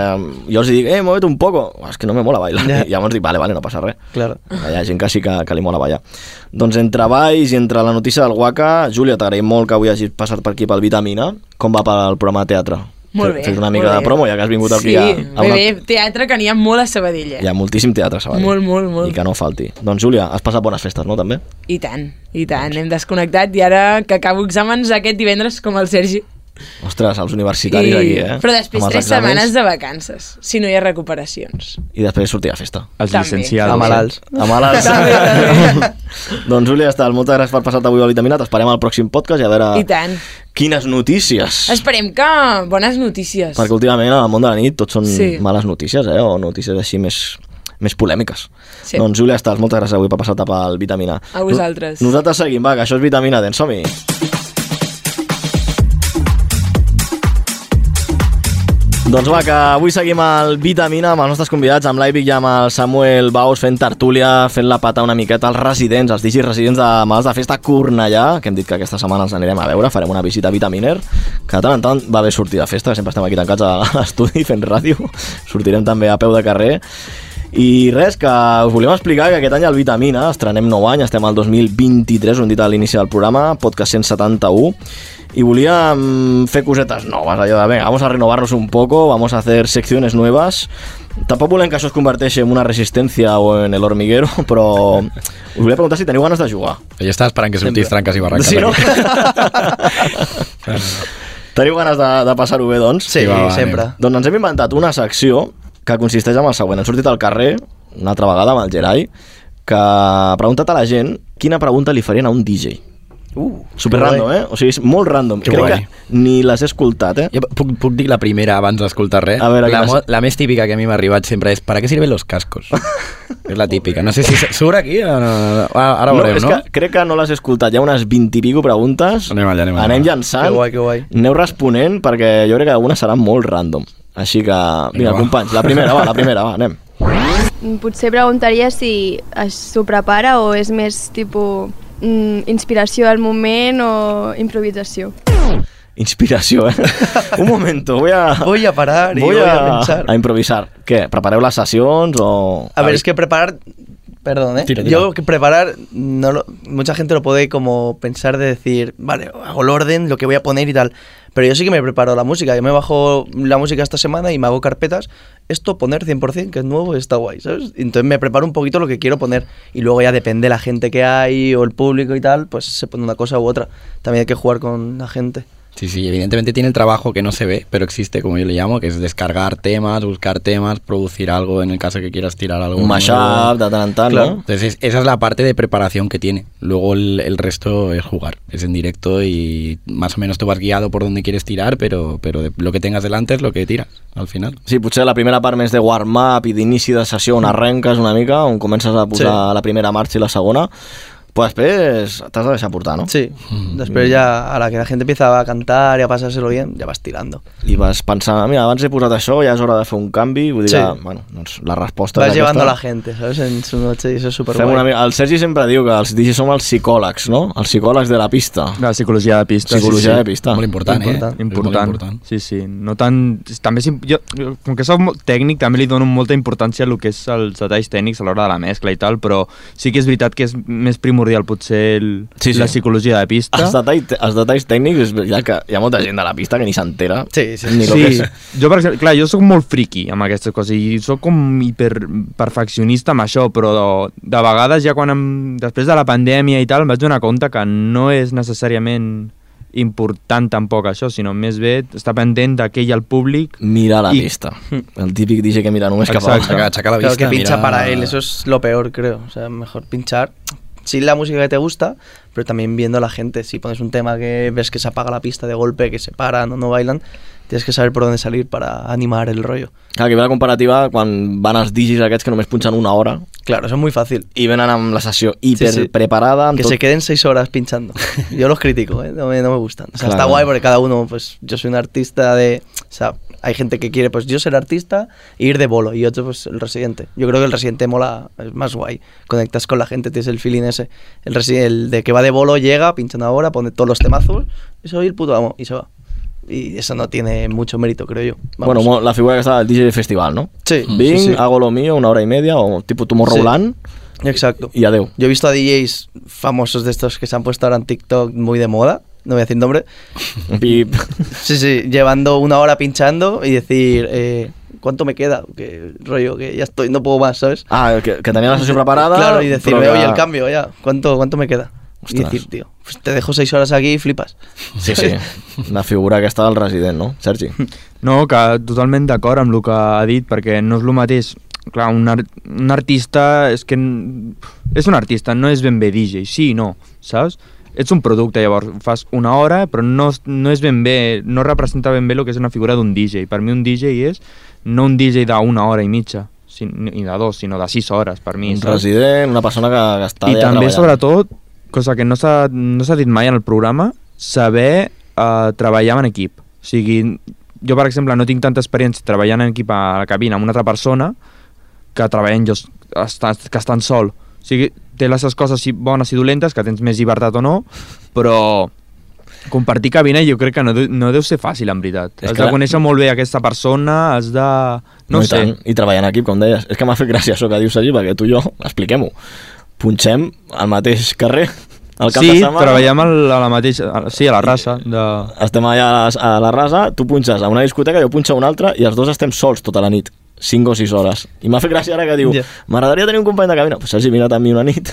Speaker 2: jo els dic, eh, muévete un poco. És que no me mola bailar.
Speaker 8: Ja.
Speaker 2: I llavors dic, vale, vale, no passa res.
Speaker 8: Claro.
Speaker 2: Hi ha gent que sí que, que li mola ballar. Doncs entre balls i entre la notícia del Waka, Júlia, t'agraïm molt que avui hagis passat per aquí pel Vitamina. Com va pel programa de teatre?
Speaker 9: Molt bé,
Speaker 2: Fes- Fes una
Speaker 9: molt
Speaker 2: mica
Speaker 9: bé.
Speaker 2: de promo, ja que has vingut
Speaker 9: sí,
Speaker 2: aquí a, a
Speaker 9: bé,
Speaker 2: una...
Speaker 9: bé, teatre que n'hi ha molt a Sabadell, eh?
Speaker 2: Hi ha moltíssim teatre, a Sabadell.
Speaker 9: Molt, molt, molt.
Speaker 2: I que no falti. Doncs, Júlia, has passat bones festes, no, també?
Speaker 9: I tant, i tant, hem desconnectat i ara que acabo exàmens aquest divendres com el Sergi.
Speaker 2: Ostres, els universitaris
Speaker 9: I-
Speaker 2: aquí, eh?
Speaker 9: Però després
Speaker 2: Amb els
Speaker 9: tres
Speaker 2: exàmens.
Speaker 9: setmanes de vacances, si no hi ha recuperacions.
Speaker 2: I després sortir a festa.
Speaker 9: Els També. llicenciados.
Speaker 2: A malalts. A malalts.
Speaker 9: També,
Speaker 2: doncs, Júlia, estal, moltes gràcies per passar-te avui a Vitamina. T'esperem al pròxim podcast i a veure
Speaker 9: I tant.
Speaker 2: quines notícies.
Speaker 9: Esperem que bones notícies.
Speaker 2: Perquè últimament en el món de la nit tot són
Speaker 9: Sí.
Speaker 2: males notícies, eh? O notícies així més, més polèmiques.
Speaker 9: Sí.
Speaker 2: Doncs, Júlia, estàs moltes gràcies avui per passar-te pel Vitamina.
Speaker 9: A vosaltres.
Speaker 2: No- Nosaltres seguim, va, que això és Vitamina Dent, som-hi. Doncs va, que avui seguim el Vitamina amb els nostres convidats, amb l'Aivic i amb el Samuel Baus fent tertúlia, fent la pata una miqueta als residents, als digis residents de Mals de Festa Cornellà, que hem dit que aquesta setmana els anirem a veure, farem una visita a Vitaminer, que de tant en tant va bé sortir de festa, sempre estem aquí tancats a l'estudi fent ràdio, sortirem també a peu de carrer, i res, que us volíem explicar que aquest any el Vitamina, estrenem nou any, estem al 2023, ho hem dit a l'inici del programa, podcast 171, i volíem fer cosetes noves, allò de, venga, vamos a renovarnos un poco, vamos a hacer secciones nuevas, Tampoc volem que això es converteixi en una resistència o en el hormiguero, però us volia preguntar si teniu ganes de jugar.
Speaker 7: Jo estava esperant que sortís tranques i barranques.
Speaker 2: Sí, no?
Speaker 7: aquí.
Speaker 2: Teniu ganes de, de passar-ho bé, doncs?
Speaker 7: Sí, Sí, va, va, sempre.
Speaker 2: Anem. Doncs ens hem inventat una secció que consisteix en el següent. Hem sortit al carrer, una altra vegada amb el Gerai, que ha preguntat a la gent quina pregunta li farien a un DJ.
Speaker 8: Uh,
Speaker 2: Super random, eh? O sigui, és molt random.
Speaker 7: Que
Speaker 2: Crec
Speaker 7: guai.
Speaker 2: que ni l'has escoltat, eh?
Speaker 7: Jo puc, puc dir la primera abans d'escoltar res?
Speaker 2: A veure,
Speaker 7: la,
Speaker 2: quina
Speaker 7: mo-
Speaker 2: és?
Speaker 7: la més típica que a mi m'ha arribat sempre és ¿para qué sirven los cascos? és la típica. No sé si se- surt aquí o no. Ah, Ara, ara veurem,
Speaker 2: és
Speaker 7: no?
Speaker 2: Que crec que no l'has escoltat. Hi ha unes 20 i pico preguntes.
Speaker 7: Anem allà, anem allà.
Speaker 2: Anem llançant.
Speaker 7: Que guai, que
Speaker 8: guai.
Speaker 2: Aneu responent perquè jo crec que algunes seran molt random. Així que, vinga,
Speaker 7: va.
Speaker 2: companys, la primera, va, la primera, va, anem.
Speaker 14: Mm, Potser preguntaria si es- s'ho prepara o és més tipus mm, inspiració al moment o improvisació.
Speaker 2: Inspiració, eh? Un momento, voy a...
Speaker 8: Voy a parar y
Speaker 2: voy
Speaker 8: voy
Speaker 2: a,
Speaker 8: a pensar.
Speaker 2: A improvisar. Què, prepareu les sessions o...?
Speaker 8: A ver, es que preparar... Perdón, ¿eh?
Speaker 2: Tira, tira.
Speaker 8: Yo que preparar, no lo- mucha gente lo puede como pensar de decir, vale, hago el orden, lo que voy a poner y tal. Pero yo sí que me preparo la música. Yo me bajo la música esta semana y me hago carpetas. Esto poner 100%, que es nuevo, está guay, ¿sabes? Entonces me preparo un poquito lo que quiero poner. Y luego ya depende la gente que hay o el público y tal, pues se pone una cosa u otra. También hay que jugar con la gente.
Speaker 7: Sí, sí, evidentemente tiene el trabajo que no se ve, pero existe, como yo le llamo, que es descargar temas, buscar temas, producir algo en el caso que quieras tirar algo.
Speaker 2: Un mashup, de tant en tant,
Speaker 7: Claro.
Speaker 2: no?
Speaker 7: Entonces, esa es la parte de preparación que tiene. Luego el, el resto es jugar, es en directo y más o menos tú vas guiado por donde quieres tirar, pero, pero de- lo que tengas delante es lo que tiras al final.
Speaker 2: Sí, potser la primera part més de warm-up i d'inici de sessió on arrenques una mica, on comences a posar
Speaker 7: Sí.
Speaker 2: la primera marxa i la segona, Però després t'has de deixar portar, no?
Speaker 8: Sí, Després ya a la que la gente empieza a cantar y a pasárselo bien, ya vas tirando.
Speaker 2: I vas pensar, mira, abans he posat això, ja és hora de fer un canvi, vull dir,
Speaker 8: Sí.
Speaker 2: sí. bueno, doncs la resposta
Speaker 8: Vas
Speaker 2: és
Speaker 8: llevando a
Speaker 2: aquesta.
Speaker 8: la gente, ¿sabes? En su noche y eso es súper
Speaker 2: Fem una mica... El Sergi sempre diu que els DJs som els psicòlegs, no? Els psicòlegs de la pista.
Speaker 4: De la psicologia de pista.
Speaker 2: Psicologia de pista. Molt important, eh?
Speaker 4: important.
Speaker 2: És molt
Speaker 4: Important.
Speaker 2: important.
Speaker 4: Sí, sí. No tan... També és, imp- jo, jo, com que soc molt tècnic, també li dono molta importància al que és els detalls tècnics a l'hora de la mescla i tal, però sí que és veritat que és més primordial potser el, sí, sí. la psicologia de pista.
Speaker 2: Els, detall, els detalls tècnics, és veritat que hi ha molta gent de la pista que ni s'entera. Sí, Ni lo que
Speaker 4: Sí,
Speaker 2: és.
Speaker 4: jo per exemple, clar, jo sóc molt friki amb aquestes coses i sóc com hiperperfeccionista amb això, però de vegades ja quan em, després de la pandèmia i tal em vaig donar compte que no és necessàriament important tampoc això, sinó més bé estar pendent de què hi ha al públic
Speaker 2: Mirar la pista. El típic DJ que mira només cap a
Speaker 4: Exacte. Aixeca- aixeca la
Speaker 8: Claro,
Speaker 4: vista,
Speaker 8: que pincha
Speaker 4: mira-
Speaker 8: para él, eso es lo peor, creo. O sea, mejor pinchar sin la música que te gusta, pero también viendo a la gente. Si pones un tema que ves que se apaga la pista de golpe, que se paran o no bailan, tienes que saber por dónde salir para animar el rollo.
Speaker 2: Clar, que ve la comparativa quan van els digis aquests que només punxen una hora.
Speaker 8: Claro, eso es muy fácil.
Speaker 2: I venen amb la sessió
Speaker 8: Sí, sí.
Speaker 2: hiperpreparada. amb
Speaker 8: Que
Speaker 2: tot-
Speaker 8: se queden seis horas pinchando. Yo los critico, ¿eh? no, me, no me gustan. O sea, está
Speaker 2: Claro.
Speaker 8: guay porque cada uno, pues yo soy un artista de... O sea, hay gente que quiere, pues yo ser artista e ir de bolo y otro, pues el residente. Yo creo que el residente mola, es más guay. Conectas con la gente, tienes el feeling ese. El, resi- el de que va de bolo llega, pincha una hora, pone todos los temazos y soy el puto amo y se va. Y eso no tiene mucho mérito, creo yo. Vamos.
Speaker 2: Bueno, mo- Mm, la figura que está el DJ de festival, ¿no?
Speaker 8: Sí, ah,
Speaker 2: Ving,
Speaker 8: sí, sí.
Speaker 2: hago lo mío, una hora y media, o tipo tu Morrowland,
Speaker 8: Exacto.
Speaker 2: y adeu.
Speaker 8: Yo he visto a DJs famosos de estos que se han puesto ahora en TikTok muy de moda, no voy a decir nombre. Sí, sí, llevando una hora pinchando y decir, eh, ¿cuánto me queda? Que rollo, que ya estoy, no puedo más, ¿sabes?
Speaker 2: Ah, que, que tenía la sesión preparada.
Speaker 8: Claro, y decir,
Speaker 2: pero
Speaker 8: "Ve,
Speaker 2: que-
Speaker 8: oye, el cambio, ya, ¿cuánto, cuánto me queda? Y
Speaker 2: Ostras.
Speaker 8: decir, tío, pues te dejo seis horas aquí y flipas.
Speaker 2: Sí, sí. La figura que està al resident, no, Sergi?
Speaker 4: No, que totalment d'acord amb el que ha dit, perquè no és el mateix. Clar, un, ar un artista és que... n- És un artista, no és ben bé DJ, sí i no, saps? Ets un producte, llavors fas una hora, però no, es- no és ben bé, no representa ben bé el que és una figura d'un DJ. Per mi un DJ és no un DJ d'una hora i mitja, sin- ni de dos, sinó de sis hores, per mi.
Speaker 2: Un
Speaker 4: saps?
Speaker 2: resident, una persona que, que està
Speaker 4: I
Speaker 2: allà
Speaker 4: també,
Speaker 2: treballant.
Speaker 4: sobretot, cosa que no s'ha no s'ha dit mai en el programa, saber eh, treballar en equip. O sigui, jo, per exemple, no tinc tanta experiència treballant en equip a la cabina amb una altra persona que treballen jo, està, que estan sol. O sigui, té les seves coses sí, bones i dolentes, que tens més llibertat o no, però compartir cabina jo crec que no, de- no deu ser fàcil, en veritat.
Speaker 2: És
Speaker 4: Has
Speaker 2: que
Speaker 4: de
Speaker 2: la-
Speaker 4: conèixer molt bé aquesta persona, has de... No,
Speaker 2: i
Speaker 4: no sé.
Speaker 2: tant. I treballar en equip, com deies. És que m'ha fet gràcia això que dius, Sergi, perquè tu i jo, expliquem-ho, punxem al mateix carrer, al cap de
Speaker 4: sí,
Speaker 2: setmana.
Speaker 4: treballem a la, a la mateixa... a- Sí, a la raça. De...
Speaker 2: Estem allà a la, a la rasa, tu punxes a una discoteca, jo punxo a una altra, i els dos estem sols tota la nit. 5 o 6 hores. I m'ha fet gràcia ara que diu,
Speaker 4: Ja.
Speaker 2: m'agradaria tenir un company de cabina. Pues Sergi, vine a mi una nit.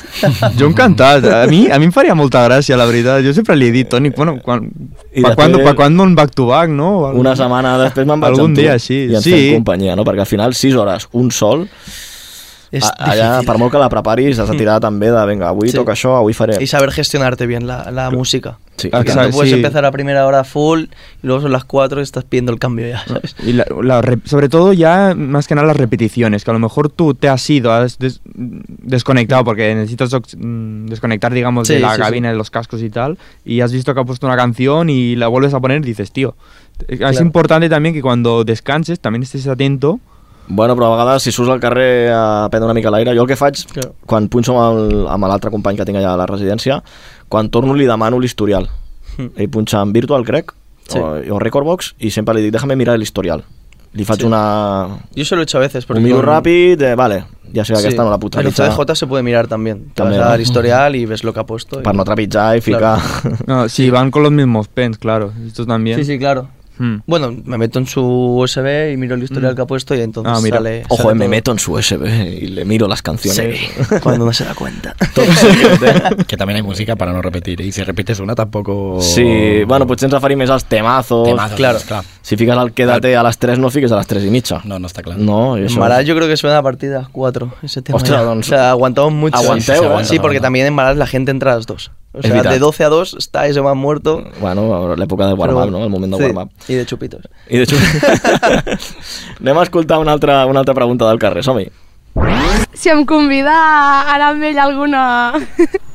Speaker 4: Jo encantat, a mi, a mi em faria molta gràcia, la veritat. Jo sempre li he dit, Toni, bueno, quan,
Speaker 2: I
Speaker 4: pa,
Speaker 2: després-
Speaker 4: quan, pa quan un back to back, no?
Speaker 2: Una setmana després me'n vaig
Speaker 4: Algun
Speaker 2: amb tu
Speaker 4: dia, sí.
Speaker 2: i ens
Speaker 4: sí.
Speaker 2: fem companyia, no? Perquè al final 6 hores, un sol,
Speaker 8: És
Speaker 2: a- allà,
Speaker 8: difícil.
Speaker 2: per molt que la preparis, has de tirar també de, vinga, avui
Speaker 8: Sí.
Speaker 2: toca això, avui faré...
Speaker 8: Y saber gestionarte bien la, la música.
Speaker 2: Ah, Sí.
Speaker 8: Porque
Speaker 4: Exacto,
Speaker 8: no puedes
Speaker 4: sí.
Speaker 8: empezar a primera hora full y luego son las cuatro y estás pidiendo el cambio ya, ¿sabes?
Speaker 4: Y la- la re- sobre todo ya más que nada las repeticiones, que a lo mejor tú te has ido, has des- desconectado, porque necesitas ox- mm, desconectar, digamos, de
Speaker 8: Sí,
Speaker 4: la
Speaker 8: sí, sí.
Speaker 4: cabina, de los cascos y tal, y has visto que ha puesto una canción y la vuelves a poner y dices, tío, es
Speaker 2: Claro.
Speaker 4: importante también que cuando descanses también estés atento.
Speaker 2: Bueno, però a vegades si surts al carrer a prendre una mica l'aire, jo el que faig,
Speaker 8: Claro.
Speaker 2: quan punxo amb el- amb l'altre company que tinc allà a la residència, quan torno li demano l'historial.
Speaker 8: Mm.
Speaker 2: Ell punxa en Virtual, crec,
Speaker 8: Sí.
Speaker 2: o, o Recordbox, i sempre li dic, déjame mirar l'historial. Li faig
Speaker 8: Sí.
Speaker 2: una...
Speaker 8: Yo se lo he hecho a veces. Porque
Speaker 2: Un miro
Speaker 8: con-
Speaker 2: ràpid, eh, vale, ja sé que
Speaker 8: Sí,
Speaker 2: aquesta no la puc
Speaker 8: En el
Speaker 2: realitzar.
Speaker 8: CDJ se puede mirar también. Te
Speaker 2: También,
Speaker 8: vas
Speaker 2: ¿no?
Speaker 8: al historial y ves lo que ha puesto. y-
Speaker 2: Per no trepitjar i ficar...
Speaker 8: Claro.
Speaker 4: No, sí, van con los mismos pens, claro, esto también.
Speaker 8: Sí, sí, claro.
Speaker 4: Hmm.
Speaker 8: Bueno, me meto en su USB y miro el historial
Speaker 4: Mm.
Speaker 8: que ha puesto y entonces
Speaker 2: Ah, mira.
Speaker 8: sale.
Speaker 2: Ojo,
Speaker 8: sale
Speaker 2: me
Speaker 8: todo.
Speaker 2: meto en su USB y le miro las canciones.
Speaker 8: Sí, cuando no se da cuenta.
Speaker 7: que también hay música para no repetir. Y si repites una tampoco...
Speaker 2: Sí, bueno, pues, potser ens referim més als temazos.
Speaker 7: Temazos, Claro. clar.
Speaker 2: Si fiques el quédate a les 3, no fiques a les 3 i mitja. No,
Speaker 7: no està clar.
Speaker 2: No, i
Speaker 8: En
Speaker 2: això...
Speaker 8: Marat yo creo que suena a partir de las 4, ese tema.
Speaker 2: Ostras,
Speaker 8: ya.
Speaker 2: doncs-
Speaker 8: o sea, aguantamos mucho.
Speaker 2: Aguanteu, Sí, sí,
Speaker 8: sí,
Speaker 2: se aguanta, se
Speaker 8: porque
Speaker 2: aguanta.
Speaker 8: también en Marat la gente entra a las 2. O
Speaker 2: Es
Speaker 8: sea,
Speaker 2: vital.
Speaker 8: de 12 a 2 está ese más muerto.
Speaker 2: Bueno, l'època del
Speaker 8: Pero
Speaker 2: warm-up,
Speaker 8: bueno,
Speaker 2: no? El moment del
Speaker 8: sí,
Speaker 2: warm-up.
Speaker 8: Y de chupitos.
Speaker 2: I de xup... Anem a escoltar una altra, una altra pregunta del carrer, som-hi.
Speaker 15: Si em convida a anar amb ell a alguna...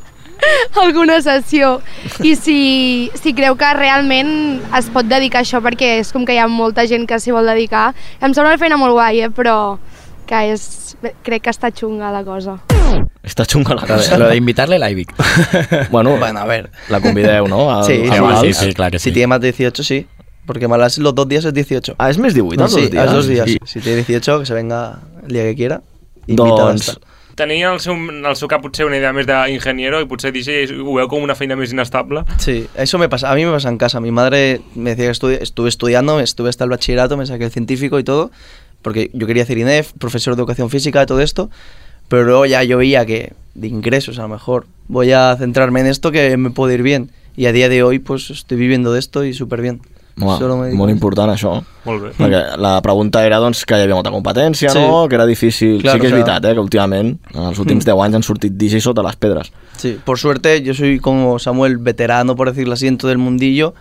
Speaker 15: alguna sessió i si, si creu que realment es pot dedicar a això perquè és com que hi ha molta gent que s'hi vol dedicar em sembla una feina molt guai, eh? però que és, crec que està xunga la cosa
Speaker 2: Està xunga la
Speaker 7: Lo de-
Speaker 2: cosa.
Speaker 7: lo de invitarle la Ibic.
Speaker 2: Bueno,
Speaker 8: Bueno, a ver.
Speaker 2: La convideu, ¿no? Al-
Speaker 8: sí,
Speaker 2: al
Speaker 8: sí,
Speaker 2: vals.
Speaker 8: Si tiene más de 18, sí. Porque malas los dos días es 18.
Speaker 2: Ah, es mes de
Speaker 8: No,
Speaker 2: huida,
Speaker 8: sí,
Speaker 2: los días.
Speaker 8: a dos días.
Speaker 2: Sí.
Speaker 8: Si tiene 18, que se venga el día que quiera. Invitada
Speaker 2: Doncs,
Speaker 8: a estar.
Speaker 3: Tenia al seu, en el seu cap potser una idea més d'ingeniero i potser DJ i ho veu com una feina més inestable.
Speaker 8: Sí, eso me pasa. A mí me pasa en casa. Mi madre me decía que estudi- estuve estudiando, estuve hasta el bachillerato, me saqué el científico y todo, porque yo quería hacer INEF, profesor de educación física, todo esto, pero luego ya yo veía que de ingresos a lo mejor voy a centrarme en esto que me puede ir bien. Y a día de hoy pues estoy viviendo de esto y súper bien.
Speaker 2: Uah, molt important, això.
Speaker 3: Molt bé.
Speaker 2: Perquè la pregunta era doncs, que hi havia molta competència, sí. no?
Speaker 8: Sí.
Speaker 2: Que era difícil.
Speaker 8: Claro,
Speaker 2: sí que és
Speaker 8: claro.
Speaker 2: veritat, eh? que últimament, en els últims
Speaker 8: Mm.
Speaker 2: 10 anys han sortit DJ sota les pedres.
Speaker 8: Sí, por suerte yo soy como Samuel, veterano, por decirlo así, en todo el mundillo.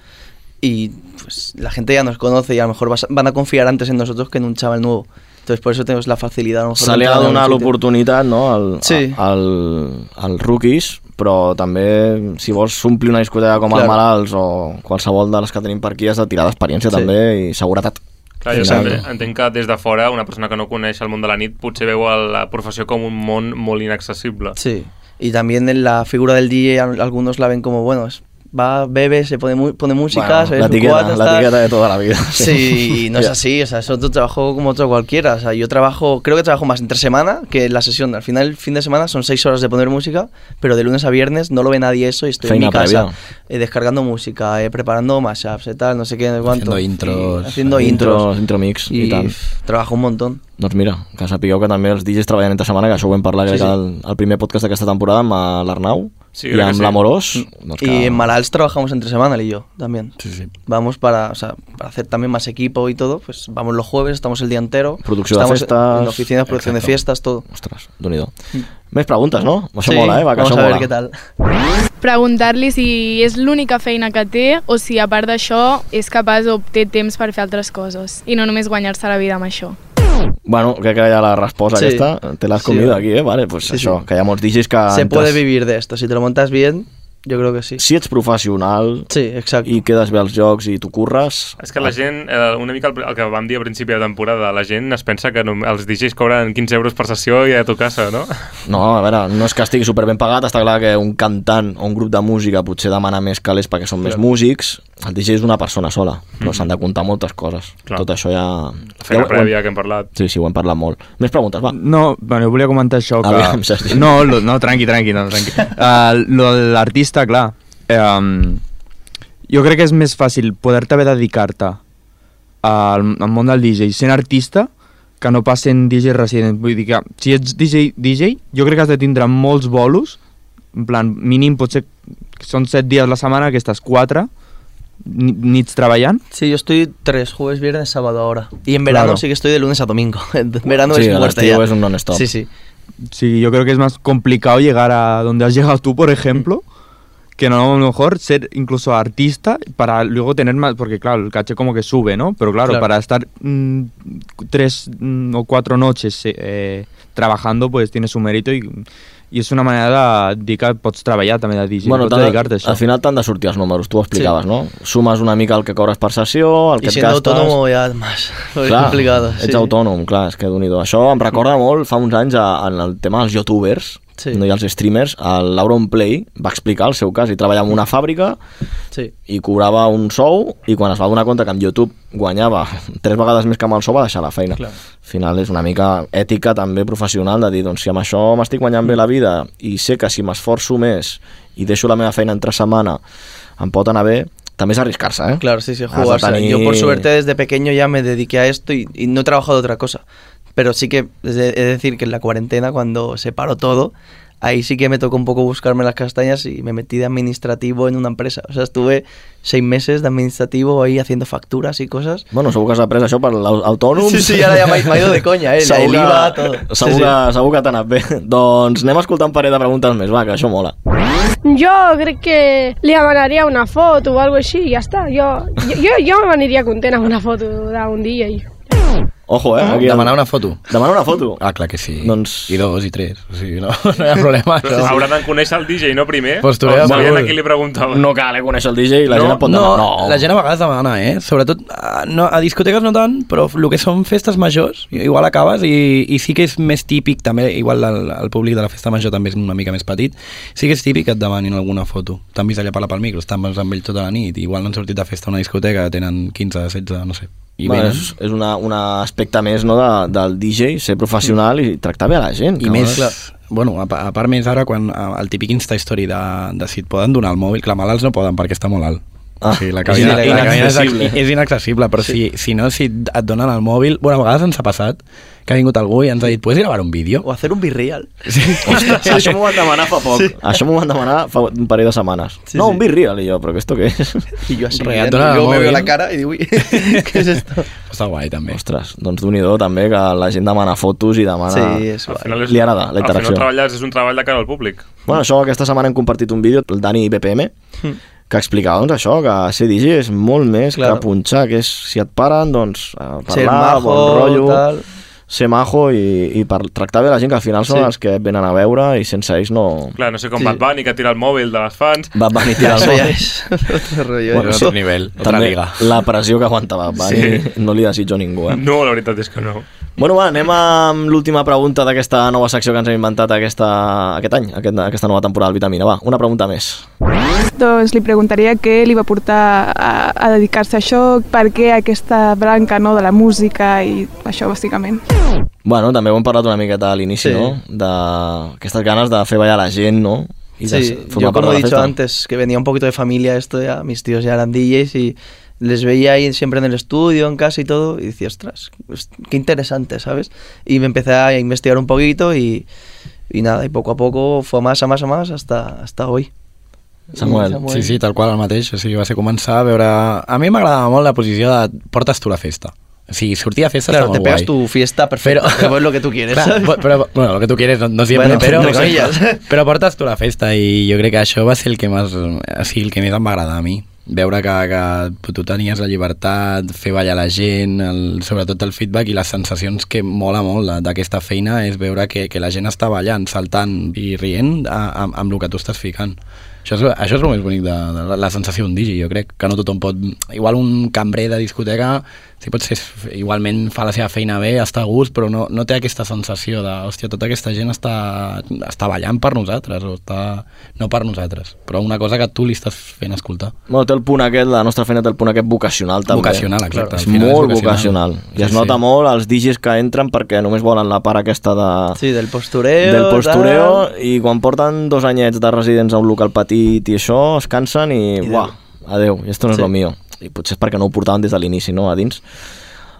Speaker 8: Y pues la gente ya nos conoce y a lo mejor vas- van a confiar antes en nosotros que en un chaval nuevo. Entonces por eso tenemos la facilidad. a lo mejor,
Speaker 2: Se
Speaker 8: de
Speaker 2: li ha
Speaker 8: entrar
Speaker 2: de
Speaker 8: en
Speaker 2: donar
Speaker 8: algún sitio.
Speaker 2: l'oportunitat no? al,
Speaker 8: Sí.
Speaker 2: a- al, als rookies, però també, si vols omplir una discoteca com el
Speaker 8: Claro.
Speaker 2: Malals o qualsevol de les que tenim per aquí, has de tirar
Speaker 8: Sí.
Speaker 2: d'experiència també i seguretat.
Speaker 3: Clar, jo
Speaker 2: Exacte.
Speaker 3: també entenc que des de fora una persona que no coneix el món de la nit potser veu a la professió com un món molt inaccessible.
Speaker 8: Sí, y también en la figura del DJ al- algunos la ven como, bueno, es- va, bebe, se pone, mu- pone música,
Speaker 2: Bueno,
Speaker 8: se ve
Speaker 2: la
Speaker 8: su
Speaker 2: etiqueta,
Speaker 8: cuata,
Speaker 2: la
Speaker 8: está-
Speaker 2: etiqueta de toda la vida.
Speaker 8: Sí, y no es
Speaker 2: Ya.
Speaker 8: así, o sea, es otro trabajo como otro cualquiera. O sea, yo trabajo, creo que trabajo más entre semana que en la sesión. Al final, el fin de semana son seis horas de poner música, pero de lunes a viernes no lo ve nadie eso y estoy
Speaker 2: Feina
Speaker 8: en mi casa
Speaker 2: previa.
Speaker 8: eh, descargando música, eh, preparando mashups, eh, tal, no sé qué, no sé cuánto.
Speaker 7: Haciendo
Speaker 8: Y
Speaker 7: intros.
Speaker 8: Haciendo
Speaker 2: intros,
Speaker 8: intros.
Speaker 2: intro mix i,
Speaker 8: I
Speaker 2: tant.
Speaker 8: Trabajo un montón.
Speaker 2: Doncs mira, que sapigueu que també els DJs treballen entre setmana, que això ho vam parlar
Speaker 8: Sí,
Speaker 2: crec,
Speaker 8: sí.
Speaker 2: al al primer podcast d'aquesta temporada amb eh, l'Arnau
Speaker 8: Sí,
Speaker 2: i
Speaker 8: crec que
Speaker 2: amb
Speaker 8: sí.
Speaker 2: l'Amorós. Doncs que...
Speaker 8: Y en Malals trabajamos entre semana, él y yo también. Vamos para, o sea, para hacer también más equipo y todo, pues vamos los jueves, estamos el día entero.
Speaker 2: Producción de
Speaker 8: estamos
Speaker 2: fiestas.
Speaker 8: En oficinas, producción
Speaker 2: Exacto.
Speaker 8: de fiestas, todo.
Speaker 2: Ostras, Déu-n'hi-do. Més preguntes, no? Això mola, eh? Va, que
Speaker 8: Mm. vamos
Speaker 2: això
Speaker 8: a ver
Speaker 2: mola.
Speaker 8: qué tal.
Speaker 17: Preguntar-li si és l'única feina que té o si, a part d'això, és capaç o té temps per fer altres coses i no només guanyar-se la vida amb això.
Speaker 2: Bueno, crec que ja la resposta
Speaker 8: Sí.
Speaker 2: sí. aquesta te l'has
Speaker 8: Sí.
Speaker 2: comido aquí, eh? Vale, pues sí, això, sí. que hi ha molts DJs que...
Speaker 8: Se puede vivir de esto, si te lo montas bien, yo creo que sí.
Speaker 2: Si ets professional
Speaker 8: sí, exacte.
Speaker 2: i quedes bé als jocs i tu curres...
Speaker 3: És que la gent, eh, una mica el, el que vam dir a principi de temporada, la gent es pensa que no, els DJs cobren 15 euros per sessió i a tu casa, no?
Speaker 2: No, a veure, no és que estigui superben pagat, està clar que un cantant o un grup de música potser demana més calés perquè són més
Speaker 3: Clar.
Speaker 2: músics, el DJ és una persona sola, però
Speaker 3: Mhm.
Speaker 2: s'han de comptar moltes coses.
Speaker 3: Clar.
Speaker 2: Tot això ja...
Speaker 3: La feina
Speaker 2: ja ho-
Speaker 3: prèvia que hem parlat.
Speaker 2: Sí, sí, ho hem parlat molt. Més preguntes, va.
Speaker 4: No, bueno, jo volia comentar això. Que...
Speaker 2: Aviam, Sergi.
Speaker 4: No, lo, no, tranqui, tranqui. No, tranqui. Uh, lo de l'artista, clar, um, jo crec que és més fàcil poder-te haver dedicar-te al, al món del DJ sent artista que no pas sent DJ resident. Vull dir que si ets DJ, DJ jo crec que has de tindre molts bolos, en plan, mínim potser són 7 dies la setmana, que estàs 4 nits treballant.
Speaker 8: Sí, yo estoy tres, jueves, viernes, sábado ahora. Y en verano
Speaker 4: Claro.
Speaker 8: sí que estoy de lunes a domingo. En verano es muerte ya. Sí, sí.
Speaker 4: Sí, yo creo que es más complicado llegar a donde has llegado tú, por ejemplo, que no a lo mejor ser incluso artista para luego tener más, porque claro, el caché como que sube, ¿no? Pero claro,
Speaker 8: Claro.
Speaker 4: para estar mm, tres mm, o cuatro noches eh, trabajando, pues tiene su mérito y, y es una manera de, de que pots treballar també de DJ,
Speaker 2: Bueno,
Speaker 4: pots
Speaker 2: t'han
Speaker 4: dedicar-te a
Speaker 2: de,
Speaker 4: això.
Speaker 2: al final t'han de sortir els números, tu ho explicaves,
Speaker 4: Sí.
Speaker 2: sí. no? Sumes una mica el que cobres per sessió, el
Speaker 8: Y
Speaker 2: que et
Speaker 8: siendo
Speaker 2: gastes...
Speaker 8: autónomo ya más. Es
Speaker 2: Clar,
Speaker 8: complicado.
Speaker 2: Ets
Speaker 8: sí.
Speaker 2: autònom, clar, és que d'un Això em recorda molt, fa uns anys, a, en el tema dels youtubers,
Speaker 8: Sí.
Speaker 2: no hi ha els streamers, el Lauron Play va explicar el seu cas, i treballava en una fàbrica
Speaker 8: Sí.
Speaker 2: i cobrava un sou i quan es va donar compte que amb YouTube guanyava tres vegades més que amb el sou va deixar la feina.
Speaker 8: Clar.
Speaker 2: Al final és una mica ètica també professional de dir, doncs si amb això m'estic guanyant bé la vida i sé que si m'esforço més i deixo la meva feina entre setmana em pot anar bé, també és arriscar-se, eh?
Speaker 8: Claro, sí, sí,
Speaker 2: Has de
Speaker 8: jugarse.
Speaker 2: tenir-
Speaker 8: Yo por suerte desde pequeño ya me dediqué a esto y, y no he trabajado de otra cosa. Pero sí que, es de- he de decir que en la cuarentena, cuando se paró todo, ahí sí que me tocó un poco buscarme las castañas y me metí de administrativo en una empresa. O sea, estuve seis meses de administrativo ahí haciendo facturas y cosas.
Speaker 2: Bueno, segur que has après això per l'autònom.
Speaker 8: Sí, sí, ara ja m'ha- m'ha ido de conya, eh, la- el IVA, todo.
Speaker 2: Segur,
Speaker 8: Sí, sí.
Speaker 2: que, segur que t'ha anat bé. doncs anem a escoltar un parell de preguntes més, va, que això mola.
Speaker 18: Jo crec que li demanaria una foto o alguna cosa així i ja està. Jo, jo, jo, jo m'aniria content amb una foto d'un DJ.
Speaker 2: Ojo, eh?
Speaker 8: Ah,
Speaker 2: Aquí,
Speaker 7: Demanar una foto.
Speaker 2: Demanar una foto?
Speaker 7: Ah, clar que sí. Doncs... I dos, i tres. O sigui, no, no hi ha problema.
Speaker 3: Però
Speaker 7: no.
Speaker 3: Haurà de conèixer el DJ, no, primer?
Speaker 7: Postureo,
Speaker 3: O sabien
Speaker 7: segur.
Speaker 3: a qui li preguntava.
Speaker 2: No cal, eh, conèixer el DJ, la
Speaker 7: no,
Speaker 2: gent et pot demanar.
Speaker 7: No, la gent a vegades demana, eh? Sobretot a, no, a discoteques no tant, però el que són festes majors, igual acabes i, i sí que és més típic, també, igual el, el públic de la festa major també és una mica més petit, sí que és típic que et demanin alguna foto. T'han vist allà parlar pel micro, estan amb ells tota la nit, igual no han sortit de festa a una discoteca, tenen 15, 16, no sé. I
Speaker 2: Bueno,
Speaker 7: venen.
Speaker 2: és, és una, un aspecte més no, de, del DJ, ser professional i tractar bé a la gent.
Speaker 7: I
Speaker 2: que
Speaker 7: més,
Speaker 2: no
Speaker 7: clar,
Speaker 2: és-
Speaker 7: bueno, a, pa- a part més ara, quan a- el típic Insta Story de, de si et poden donar el mòbil, clar, malalts no poden perquè està molt alt. Ah, o sigui, la
Speaker 2: és
Speaker 7: cabina, la,
Speaker 2: inaccessible.
Speaker 7: cabina és, ac- és inaccessible, però sí. si, si no, si et donen el mòbil... Bueno, a vegades ens ha passat que ha vingut algú i ens ha dit «Puedes gravar un vídeo?»
Speaker 8: O hacer un virreal.
Speaker 2: Ostres, això m'ho van demanar fa poc. Sí. Això m'ho van demanar fa un parell de setmanes. Sí, no, un birrial, i jo, però això què és?
Speaker 8: I jo així,
Speaker 2: Real,
Speaker 8: mirant,
Speaker 2: dona el
Speaker 8: jo me
Speaker 2: mòbil.
Speaker 8: veo la cara i diu, ui, què és esto?
Speaker 7: Està guai, també.
Speaker 2: Ostres, doncs d'un i do, també, que la gent demana fotos i demana...
Speaker 8: Sí, és guai.
Speaker 2: Al final és... Li agrada la
Speaker 3: Al final
Speaker 2: interacció.
Speaker 3: treballes, és un treball de cara al públic.
Speaker 2: Bueno, això, aquesta setmana hem compartit un vídeo, el Dani i BPM,
Speaker 3: Mm.
Speaker 2: que explicava doncs, això, que ser DJ és molt més
Speaker 8: Claro.
Speaker 2: que punxar, que és, si et paren, doncs, eh, parlar,
Speaker 8: Ser majo,
Speaker 2: bon rotllo,
Speaker 8: tal.
Speaker 2: ser majo i, i per tractar bé la gent, que al final són
Speaker 3: Sí.
Speaker 2: els que et venen a veure i sense ells no...
Speaker 3: Clar, no sé com
Speaker 2: Sí.
Speaker 3: sí. Bad Bunny, que tira el mòbil de les fans.
Speaker 2: Bad Bunny tira el Això ja mòbil.
Speaker 8: Bueno,
Speaker 2: això- també La pressió que aguantava,
Speaker 3: Sí.
Speaker 2: Bani, sí. no li desitjo a ningú, eh?
Speaker 3: No, la veritat és que no.
Speaker 2: Bueno, va, anem amb l'última pregunta d'aquesta nova secció que ens hem inventat aquesta, aquest any, aquest, aquesta nova temporada del Vitamina. Va, una pregunta més.
Speaker 19: Doncs li preguntaria què li va portar a, a dedicar-se a això, per què aquesta branca no, de la música i això, bàsicament.
Speaker 2: Bueno, també ho hem parlat una miqueta a l'inici,
Speaker 8: Sí.
Speaker 2: no? D'aquestes ganes de fer ballar la gent, no? I de
Speaker 8: Sí,
Speaker 2: formar
Speaker 8: yo
Speaker 2: part
Speaker 8: como
Speaker 2: de
Speaker 8: he
Speaker 2: la
Speaker 8: dicho
Speaker 2: festa.
Speaker 8: antes, que venía un poquito de familia esto ya, mis tíos ya eran DJs y les veía ahí siempre en el estudio, en casa y todo, y decía, ostras, pues, qué interesante, ¿sabes? Y me empecé a investigar un poquito y, y nada, y poco a poco fue a más, a más, a más, hasta, hasta hoy.
Speaker 7: Samuel. Sí, sí, tal qual, el mateix. O sigui, va ser començar a veure... A mi m'agradava molt la posició de portes tu la festa. O sigui, sortir a festa
Speaker 8: Claro,
Speaker 7: està
Speaker 8: te
Speaker 7: molt
Speaker 8: pegas
Speaker 7: guai.
Speaker 8: tu fiesta perfecta, pero es lo que tú quieres,
Speaker 7: Clar,
Speaker 8: ¿sabes?
Speaker 7: bu- però, bueno, lo que tú quieres, no, no siempre,
Speaker 8: Bueno,
Speaker 7: pero,
Speaker 8: entre comillas.
Speaker 7: però portes tu la festa i jo crec que això va ser el que més, o sigui, el que més em va agradar a mi. Veure que, que tu tenies la llibertat, fer ballar la gent, el, sobretot el feedback i les sensacions que mola molt de- d'aquesta feina és veure que, que la gent està ballant, saltant i rient a, a, amb el que tu estàs ficant. Això és, això és el més bonic de, de la, la sensació d'un digi, jo crec, que no tothom pot... Igual un cambrer de discoteca, si pot ser, igualment fa la seva feina bé, està a gust, però no, no té aquesta sensació de, hòstia, tota aquesta gent està, està ballant per nosaltres, o està... no per nosaltres, però una cosa que tu li estàs fent escoltar.
Speaker 2: Bueno, té el punt aquest, la nostra feina té el punt aquest vocacional també.
Speaker 7: Vocacional, exacte,
Speaker 2: És
Speaker 7: al final és
Speaker 2: molt
Speaker 7: vocacional.
Speaker 2: vocacional. I es
Speaker 7: Sí,
Speaker 2: nota
Speaker 7: sí.
Speaker 2: molt els digis que entren perquè només volen la part aquesta de...
Speaker 8: Sí, del postureo,
Speaker 2: Del postureo
Speaker 8: tal.
Speaker 2: i quan porten dos anyets de residents a un local petit i això, es cansen i, I uah, adeu, esto no és
Speaker 8: Sí.
Speaker 2: sí. lo mío. I potser és perquè no ho portaven des de l'inici, no?, a dins.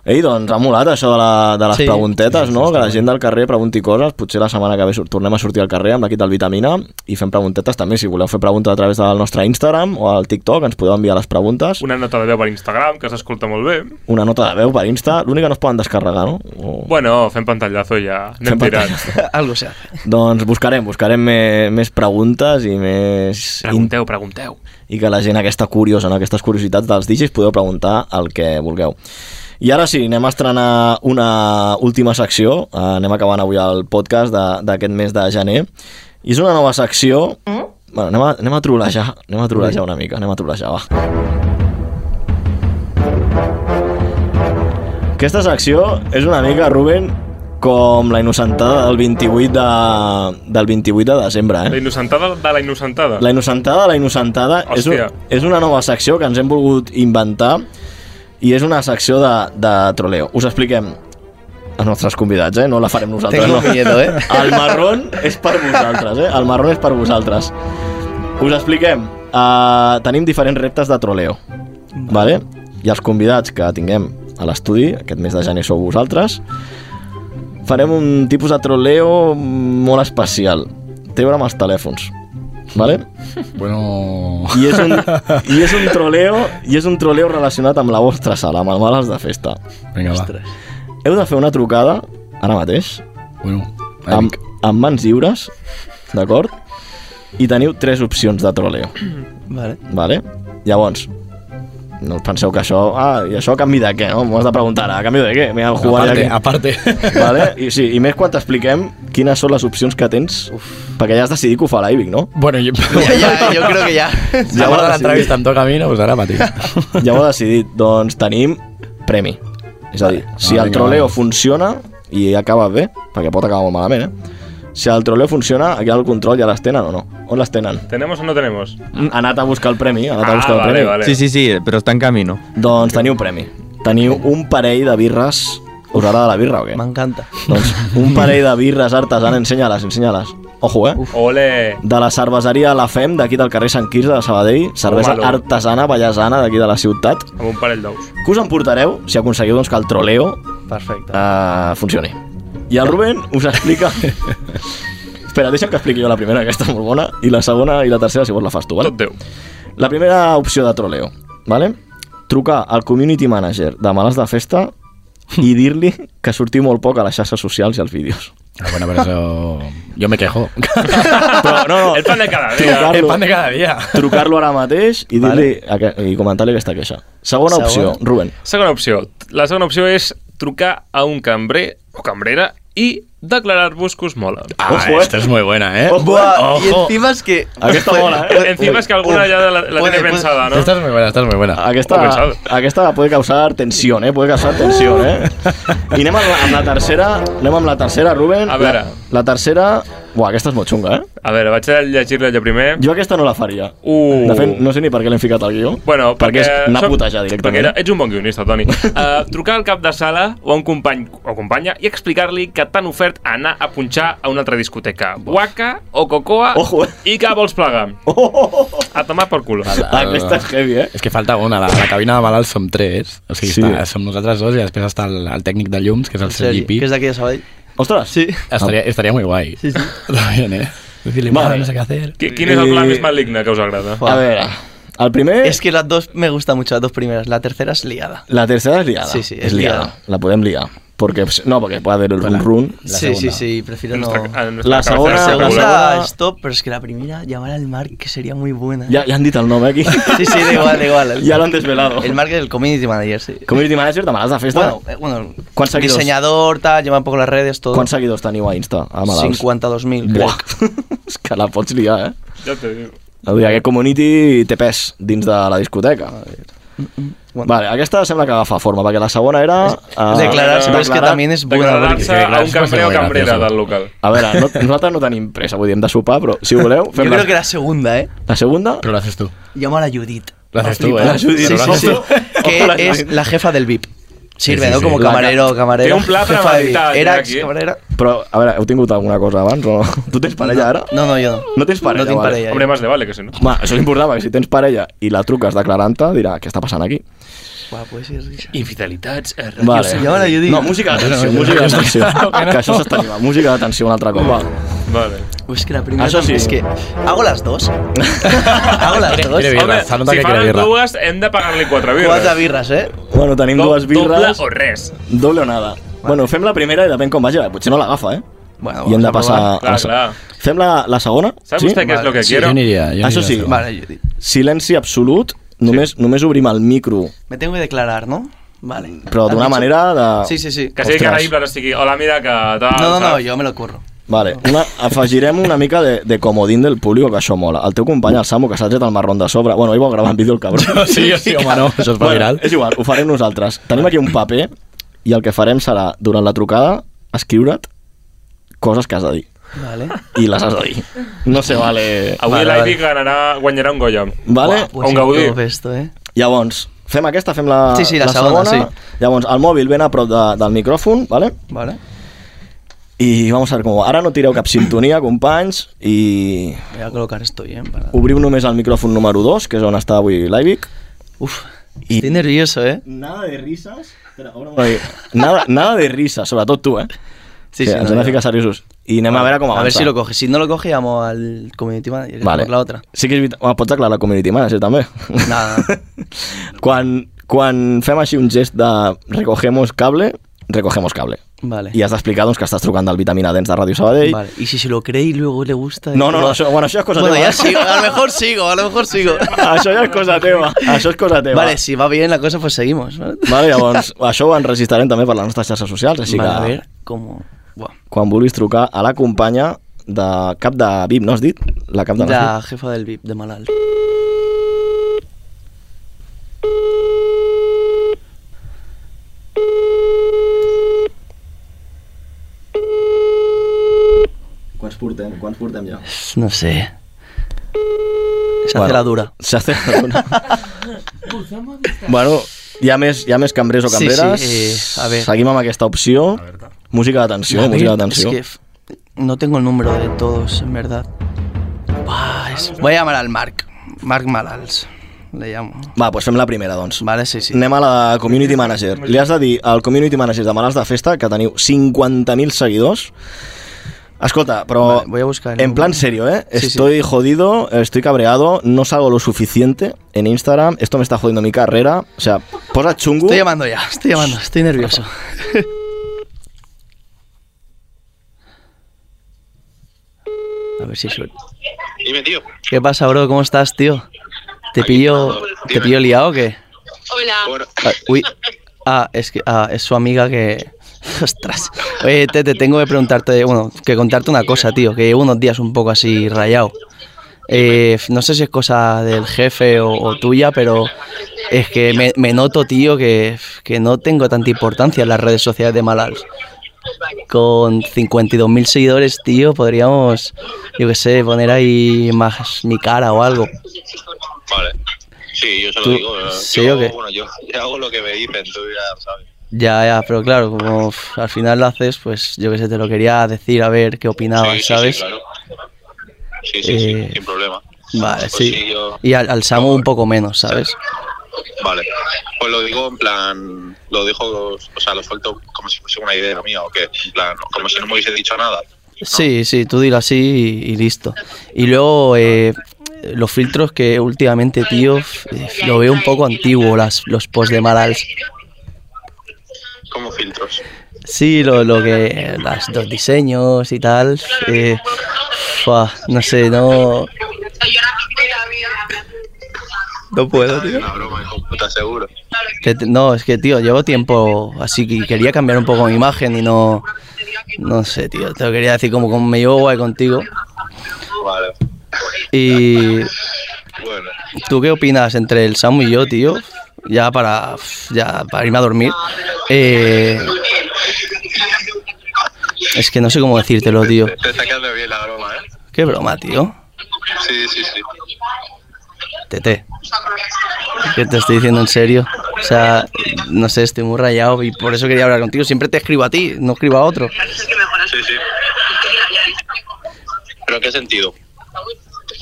Speaker 2: Ei, doncs ha molat això de, la, de les
Speaker 8: Sí.
Speaker 2: preguntetes, no? Que la gent del carrer pregunti coses. Potser la setmana que ve sur- tornem a sortir al carrer amb l'equip del Vitamina i fem preguntetes també. Si voleu fer preguntes a través del nostre Instagram o al TikTok, ens podeu enviar les preguntes.
Speaker 3: Una nota de veu per Instagram, que s'escolta molt bé.
Speaker 2: Una nota de veu per Insta. L'únic que no es poden descarregar, no? O...
Speaker 3: Bueno, fem pantallazo i ja anem
Speaker 2: Fem
Speaker 3: tirant.
Speaker 8: Algo se
Speaker 2: Doncs buscarem, buscarem més, més preguntes i més...
Speaker 3: Pregunteu, pregunteu.
Speaker 2: I que la gent aquesta curiosa, no? aquestes curiositats dels DJs, podeu preguntar el que vulgueu. I ara sí, anem a estrenar una última secció. Eh, anem acabant avui el podcast de- d'aquest mes de gener. I és una nova secció... Mm? Bueno, anem a, anem a trolejar, anem a trolejar una mica, anem a trolejar, va. Aquesta secció és una mica, Ruben, com la innocentada del 28 de, del 28 de desembre, eh?
Speaker 3: La innocentada de la innocentada.
Speaker 2: La innocentada, la innocentada és, un,
Speaker 3: Ah. Hòstia.
Speaker 2: és una nova secció que ens hem volgut inventar i és una secció de, de troleo. Us expliquem els nostres convidats, eh? No la farem nosaltres.
Speaker 8: Tengo
Speaker 2: no.
Speaker 8: miedo, eh?
Speaker 2: El marrón és per vosaltres, eh? El marrón és per vosaltres. Us expliquem. Uh, tenim diferents reptes de troleo, vale? I els convidats que tinguem a l'estudi, aquest mes de gener sou vosaltres, farem un tipus de troleo molt especial. Té a veure amb els telèfons, vale?
Speaker 7: Bueno...
Speaker 2: I és, un, i és un troleo i és un troleo relacionat amb la vostra sala, amb el Males de Festa.
Speaker 7: Vinga, va.
Speaker 2: Heu de fer una trucada, ara mateix,
Speaker 7: bueno,
Speaker 2: amb, amb mans lliures, d'acord? I teniu tres opcions de troleo,
Speaker 8: Vale.
Speaker 2: vale? Llavors, No us penseu que això... Ah, i això a canvi de què, no? M'ho has de preguntar ara, a canvi de què? Mira, el Juan aquí.
Speaker 7: Aparte, aparte.
Speaker 2: Vale? I, sí, I més quan t'expliquem quines són les opcions que tens, Uf. perquè ja has decidit que ho fa l'Ivic, no?
Speaker 7: Bueno, jo...
Speaker 8: Ja, jo crec que ja.
Speaker 2: Ja
Speaker 7: Ja
Speaker 2: ho
Speaker 7: guarda
Speaker 2: ha
Speaker 7: l'entrevista
Speaker 2: decidit.
Speaker 7: em toca a mi, no? Pues ara mateix.
Speaker 2: Ja ho ha decidit. Doncs tenim premi. És a dir, si
Speaker 7: Ah,
Speaker 2: el
Speaker 7: vinga,
Speaker 2: troleo
Speaker 7: vale.
Speaker 2: funciona i acaba bé, perquè pot acabar molt malament, eh? Si el troleo funciona, aquí al control ja les tenen o no? On les tenen?
Speaker 3: ¿Tenemos o no tenemos?
Speaker 2: Ha anat a buscar el premi, ha anat
Speaker 3: Ah,
Speaker 2: a buscar el
Speaker 3: vale,
Speaker 2: premi.
Speaker 3: vale. Sí, sí,
Speaker 2: però està en camí, no? Doncs teniu premi. Teniu un parell de birres... Us agrada la birra o què?
Speaker 8: M'encanta.
Speaker 2: Doncs un parell de birres artesana, ensenya-les, ensenya-les. Ojo, eh?
Speaker 3: Ole!
Speaker 2: De la cerveseria La Fem, d'aquí del carrer Sant Quirze de Sabadell, cervesa
Speaker 3: Malo.
Speaker 2: artesana, ballesana, d'aquí de la ciutat.
Speaker 3: Amb un parell d'ous.
Speaker 2: Que us emportareu si aconseguiu doncs, que el troleo
Speaker 8: Perfecte.
Speaker 2: eh, funcioni. I el Rubén us explica... Espera, deixa'm que expliqui jo la primera, aquesta és molt bona, i la segona i la tercera, si vols, la fas tu, vale?
Speaker 3: Tot Déu.
Speaker 2: La primera opció de troleo, vale? trucar al community manager de Males de Festa i dir-li que sortiu molt poc a les xarxes socials i als vídeos.
Speaker 7: Ah, bueno, pero eso... Yo me quejo.
Speaker 2: Però, no, no,
Speaker 3: El pan de cada dia.
Speaker 2: trucar-lo-
Speaker 7: El pan de cada dia.
Speaker 2: Trucar-lo ara mateix i, dir-li aque- i comentar-li aquesta queixa. Segona,
Speaker 3: Segona.
Speaker 2: opció, Rubén.
Speaker 3: Segona opció. La segona opció és trucar a un cambrer o cambrera i declarar-vos que us mola.
Speaker 7: Ah, esta es muy buena, ¿eh?
Speaker 8: Buah, y encima es que...
Speaker 2: Aquesta mola, eh?
Speaker 3: Encima es que alguna ya la, la tiene pensada, ¿no?
Speaker 7: Esta es muy buena, esta es muy buena.
Speaker 2: Aquesta,
Speaker 7: Ho he pensat.
Speaker 2: aquesta puede causar tensió, eh? Puede causar tensió, eh? I anem amb la, amb la tercera, anem amb la tercera, Rubén.
Speaker 3: A veure.
Speaker 2: La, la tercera... Buah, aquesta és molt xunga, eh?
Speaker 3: A veure, vaig a llegir-la jo primer.
Speaker 2: Jo aquesta no la faria.
Speaker 3: Uh.
Speaker 2: De fet, no sé ni per què l'hem ficat al guió.
Speaker 3: Bueno, perquè
Speaker 2: perquè, és anar
Speaker 3: som-
Speaker 2: a putejar
Speaker 3: Perquè
Speaker 2: directament.
Speaker 3: era, ets un bon guionista, Toni. Uh, trucar al cap de sala o a un company o companya i explicar-li que t'han ofert anar a punxar a una altra discoteca. Guaca o cocoa
Speaker 2: Ojo, eh.
Speaker 3: i que vols plegar.
Speaker 2: Oh,
Speaker 3: A tomar per culo.
Speaker 2: Aquesta és heavy, eh?
Speaker 7: És que falta una, la, la cabina de malalts som tres, o sigui,
Speaker 2: Sí.
Speaker 7: sí. està, som nosaltres dos i després està el, el tècnic de llums, que és el Sergi
Speaker 8: Sergi,
Speaker 7: Pi.
Speaker 8: que és d'aquí de Sabadell.
Speaker 3: Eh.
Speaker 2: Ostres!
Speaker 8: Sí.
Speaker 7: Estaria, estaria muy guay. Sí, sí. También, eh? Ah. Decirle,
Speaker 8: Vale.
Speaker 7: vale. no sé qué hacer.
Speaker 3: Qui- Quin
Speaker 2: Eh,
Speaker 3: és el pla més maligne que us agrada?
Speaker 8: Joder.
Speaker 2: el primer...
Speaker 8: Es que las dos me gustan mucho, las dos primeras. La tercera es liada.
Speaker 2: La tercera és liada.
Speaker 8: Sí, sí,
Speaker 2: és
Speaker 8: és
Speaker 2: liada.
Speaker 8: liada.
Speaker 2: La podem liar. Porque, no, porque puede haver el run-run.
Speaker 8: sí, sí, sí, prefiero no.
Speaker 2: La segona...
Speaker 8: la segunda
Speaker 2: segona-
Speaker 8: es top, pero es que la primera, llamar al Mark, que sería muy buena.
Speaker 2: Ya, ya han dit el nom eh, aquí.
Speaker 8: Sí, sí, da igual, da igual.
Speaker 2: Ya lo han desvelado.
Speaker 8: El Mark es el community manager, sí.
Speaker 2: Community manager de Malats de Festa.
Speaker 8: Bueno, eh, bueno
Speaker 2: ¿Cuántos seguidores?
Speaker 8: diseñador, tal, lleva un poco las redes, todo.
Speaker 2: Quants seguidors teniu a Insta, a Malalts?
Speaker 8: 52.000, crec.
Speaker 2: Buah, és que la pots liar, eh?
Speaker 3: Ja te digo.
Speaker 2: El dia, aquest community té pes dins de la discoteca. Vale, aquesta sembla que agafa forma, perquè la segona era... eh,
Speaker 3: Ah,
Speaker 8: declarar-se, però és que
Speaker 2: declarar-
Speaker 8: també és buena, Declarar-se perquè- a un cambrer o cambrera
Speaker 3: del local.
Speaker 2: A veure, no, nosaltres no tenim pressa, vull dir, hem de sopar, però si voleu...
Speaker 8: Yo creo que la segunda, ¿eh?
Speaker 2: La segunda...
Speaker 7: Però l'haces tu.
Speaker 8: Llamar a Judith.
Speaker 7: Lo haces tú, ¿eh?
Speaker 8: La Judith, sí,
Speaker 7: Pero lo
Speaker 8: sí,
Speaker 7: haces
Speaker 8: sí.
Speaker 7: tú.
Speaker 8: Que
Speaker 7: Ojalá
Speaker 8: es
Speaker 7: Judith.
Speaker 8: la jefa del VIP. Sirve,
Speaker 2: Sí, sí,
Speaker 8: ¿no?
Speaker 2: sí.
Speaker 8: Como
Speaker 2: La-
Speaker 8: camarero, camarero.
Speaker 2: Té un pla
Speaker 8: jefa del VIP.
Speaker 2: premeditat,
Speaker 8: Era
Speaker 2: eh, aquí, eh?
Speaker 8: camarera.
Speaker 2: Però, a veure, heu tingut alguna cosa abans o no? Tu tens parella ara?
Speaker 8: No, no, jo no.
Speaker 2: No tens parella,
Speaker 8: No tinc
Speaker 2: vale.
Speaker 8: parella.
Speaker 3: Hombre, más de vale que sí, no?
Speaker 2: Home, això és important, perquè si tens parella i la truques declarant-te, dirà, què està passant aquí?
Speaker 8: Buah, pues sí, sí.
Speaker 3: Infidelitats. Eh,
Speaker 2: Vale. No, música d'atenció, música d'atenció. Que això s'està animant. Música d'atenció un altre cop. Va.
Speaker 3: Vale.
Speaker 8: Pues que la primera
Speaker 2: Això sí.
Speaker 8: también es que hago las dos. hago las dos.
Speaker 3: Home, si fan dues, hem de pagar-li quatre birres.
Speaker 8: Quatre birres, eh?
Speaker 2: Bueno, tenim
Speaker 3: Do-
Speaker 2: dues birres.
Speaker 3: Doble o res.
Speaker 2: Doble o nada. Bueno, fem la primera i depèn com vagi. Potser no l'agafa, eh? Bueno, I hem de
Speaker 3: vamos a
Speaker 2: passar...
Speaker 3: provar.
Speaker 2: a la se-
Speaker 3: Clar, clar.
Speaker 2: Fem la, la segona?
Speaker 3: Sabe usted qué es lo que Sí, quiero? yo ni iría, yo ni
Speaker 2: Això
Speaker 3: iría a
Speaker 2: sí,
Speaker 3: la segona. Vale,
Speaker 2: silenci absolut, només, només obrim el micro,
Speaker 8: Me tengo que declarar, ¿no? Vale.
Speaker 2: però d'una
Speaker 8: Has dicho-
Speaker 2: manera de...
Speaker 8: Sí, sí, sí.
Speaker 3: Que sigui
Speaker 2: Ostres.
Speaker 3: creïble, no sigui... Hola, mira que... Tal,
Speaker 8: No, no, no,
Speaker 3: saps?
Speaker 8: yo me lo curro.
Speaker 2: Vale, una, afegirem una mica de, de comodín del públic, que això mola. El teu company, el Samu, que s'ha tret el marrón de sobre... Bueno, ell vol gravar en vídeo, el cabró.
Speaker 7: Sí, sí, home, no, això es fa viral.
Speaker 2: És igual, ho farem nosaltres. Tenim aquí un paper i el que farem serà, durant la trucada, escriure't coses que has de dir.
Speaker 8: Vale.
Speaker 2: I les has de dir. No se vale...
Speaker 3: Avui
Speaker 2: Vale,
Speaker 3: l'Aidy ganarà, guanyarà un Goya.
Speaker 2: Vale.
Speaker 3: Uah, un Gaudí.
Speaker 8: Pues Esto, eh?
Speaker 2: Llavors, fem aquesta, fem la,
Speaker 8: Sí, sí, la segona,
Speaker 2: sí. Llavors, el mòbil ben a prop de, del micròfon, vale?
Speaker 8: Vale.
Speaker 2: I vamos a ver com... va. Ara no tireu cap sintonia, companys, i
Speaker 8: Voy a colocar esto bien para...
Speaker 2: obriu només el micròfon número 2, que és on està avui l'Aivic.
Speaker 8: Uf, I... estic nervioso, eh?
Speaker 2: Nada de risas. Espera, obre un moment. Nada, nada de risa, sobretot tu, eh?
Speaker 8: Sí, sí,
Speaker 2: Ens
Speaker 8: no,
Speaker 2: hem de
Speaker 8: jo.
Speaker 2: ficar seriosos. I anem a veure com avança.
Speaker 8: A ver si lo coge. Si no lo coge, llamo al community manager.
Speaker 2: Vale.
Speaker 8: Por la otra.
Speaker 2: Sí que és veritat. Home, pots aclarar la community manager, també.
Speaker 8: No,
Speaker 2: quan, quan fem així un gest de recogemos cable, recogemos cable.
Speaker 8: Vale.
Speaker 2: i has d'explicar doncs, que estàs trucant del Vitamina Dents de Ràdio Sabadell.
Speaker 8: Vale. Y si se lo cree y luego le gusta...
Speaker 2: No, no, no, això, bueno, això és cosa
Speaker 8: Bueno,
Speaker 2: teva.
Speaker 8: ja sigo, a lo mejor sigo, a lo mejor sigo.
Speaker 2: Això ja és cosa teva, això és cosa teva.
Speaker 8: Vale, si va bien la cosa, pues seguimos. ¿no?
Speaker 2: Vale, llavors, això ho enregistrarem també per les nostres xarxes socials, així
Speaker 8: Vale,
Speaker 2: que...
Speaker 8: a ver, com...
Speaker 2: Quan vulguis trucar a la companya de cap de VIP, no has dit? La cap de
Speaker 8: La jefa del VIP, de malalt.
Speaker 2: Quants portem? Quants portem ja?
Speaker 8: No sé. Se hace la dura.
Speaker 2: Se hace la dura. bueno, hi ha més, hi ha més cambrers o
Speaker 8: Sí,
Speaker 2: cambreres.
Speaker 8: sí, eh, a ver.
Speaker 2: Seguim amb aquesta opció. Música d'atenció,
Speaker 8: A ver,
Speaker 2: música d'atenció.
Speaker 8: Es que f- no tengo el número de todos, en verdad. Buah, es- Voy a llamar al Marc. Marc Malals. Le llamo.
Speaker 2: Va, doncs fem la primera, doncs.
Speaker 8: Vale, sí, sí.
Speaker 2: Anem a la community manager. Li has de dir al community manager de Malals de Festa que teniu 50.000 seguidors. Escolta, però
Speaker 8: Vale, voy a buscar el
Speaker 2: Oh, en plan serio, ¿eh? estoy jodido, estoy cabreado, no salgo lo suficiente en Instagram, esto me está jodiendo mi carrera, o sea, posa chungo.
Speaker 8: Estoy llamando ya, estoy llamando, estoy nervioso. A ver si es suerte.
Speaker 5: Dime, tío.
Speaker 8: ¿Qué pasa, bro? ¿Cómo estás, tío? ¿Te pillo, ¿te pillo liado o qué?
Speaker 5: Hola.
Speaker 8: Ah, uy. Ah, es que ah, es su amiga que. Ostras. Oye, te, te tengo que preguntarte, bueno, que contarte una cosa, tío, que llevo unos días un poco así rayado. Eh, no sé si es cosa del jefe o, o tuya, pero es que me, me noto, tío, que, que no tengo tanta importancia en las redes sociales de Malals. Con 52.000 seguidores, tío, podríamos, yo qué sé, poner ahí más mi cara o algo.
Speaker 5: Vale. Sí, yo se lo
Speaker 8: Tú-
Speaker 5: digo. eh,
Speaker 8: ¿sí
Speaker 5: yo,
Speaker 8: o qué?
Speaker 5: Bueno, yo, yo hago lo que me dicen, tú ya sabes.
Speaker 8: Ya, ya, pero claro, como uf, al final lo haces, pues yo qué sé, te lo quería decir, a ver qué opinabas,
Speaker 5: Sí, sí, sí,
Speaker 8: Ah, ¿sabes?
Speaker 5: claro. Sí, sí, sí,
Speaker 8: Eh,
Speaker 5: sin problema.
Speaker 8: Vale,
Speaker 5: Pues
Speaker 8: sí.
Speaker 5: sí, yo-
Speaker 8: Y al, al Samu un poco menos, ¿sabes?
Speaker 5: Vale. Pues lo digo en plan, lo dejo, o sea, lo suelto como si fuese una idea mía o que, en plan, como si no me hubiese dicho nada.
Speaker 8: Sí, sí, tú dilo así y, y listo. Y luego eh, los filtros que últimamente, tío, f- eh, lo veo un poco antiguo, las, los posts de Malals.
Speaker 5: Como filtros.
Speaker 8: Sí, lo, lo que. Las, los diseños y tal. eh, fua, no sé, no. No puedo, tío.
Speaker 5: Una broma, hijo puta, seguro.
Speaker 8: Que te- no, es que, tío, llevo tiempo así que quería cambiar un poco mi imagen y no. No sé, tío. Te lo quería decir como, como me llevo guay contigo.
Speaker 5: Vale.
Speaker 8: Y.
Speaker 5: Bueno.
Speaker 8: ¿Tú qué opinas entre el Samu y yo, tío? Ya para, ya para irme a dormir. Eh, es que no sé cómo decírtelo, tío.
Speaker 5: Te está quedando bien la broma, ¿eh?
Speaker 8: Qué broma, tío.
Speaker 5: Sí, sí, sí.
Speaker 8: Tete. ¿Qué te estoy diciendo en serio? O sea, no sé, estoy muy rayado y por eso quería hablar contigo. Siempre te escribo a ti, no escribo a otro.
Speaker 5: Sí, sí. ¿Pero en qué sentido?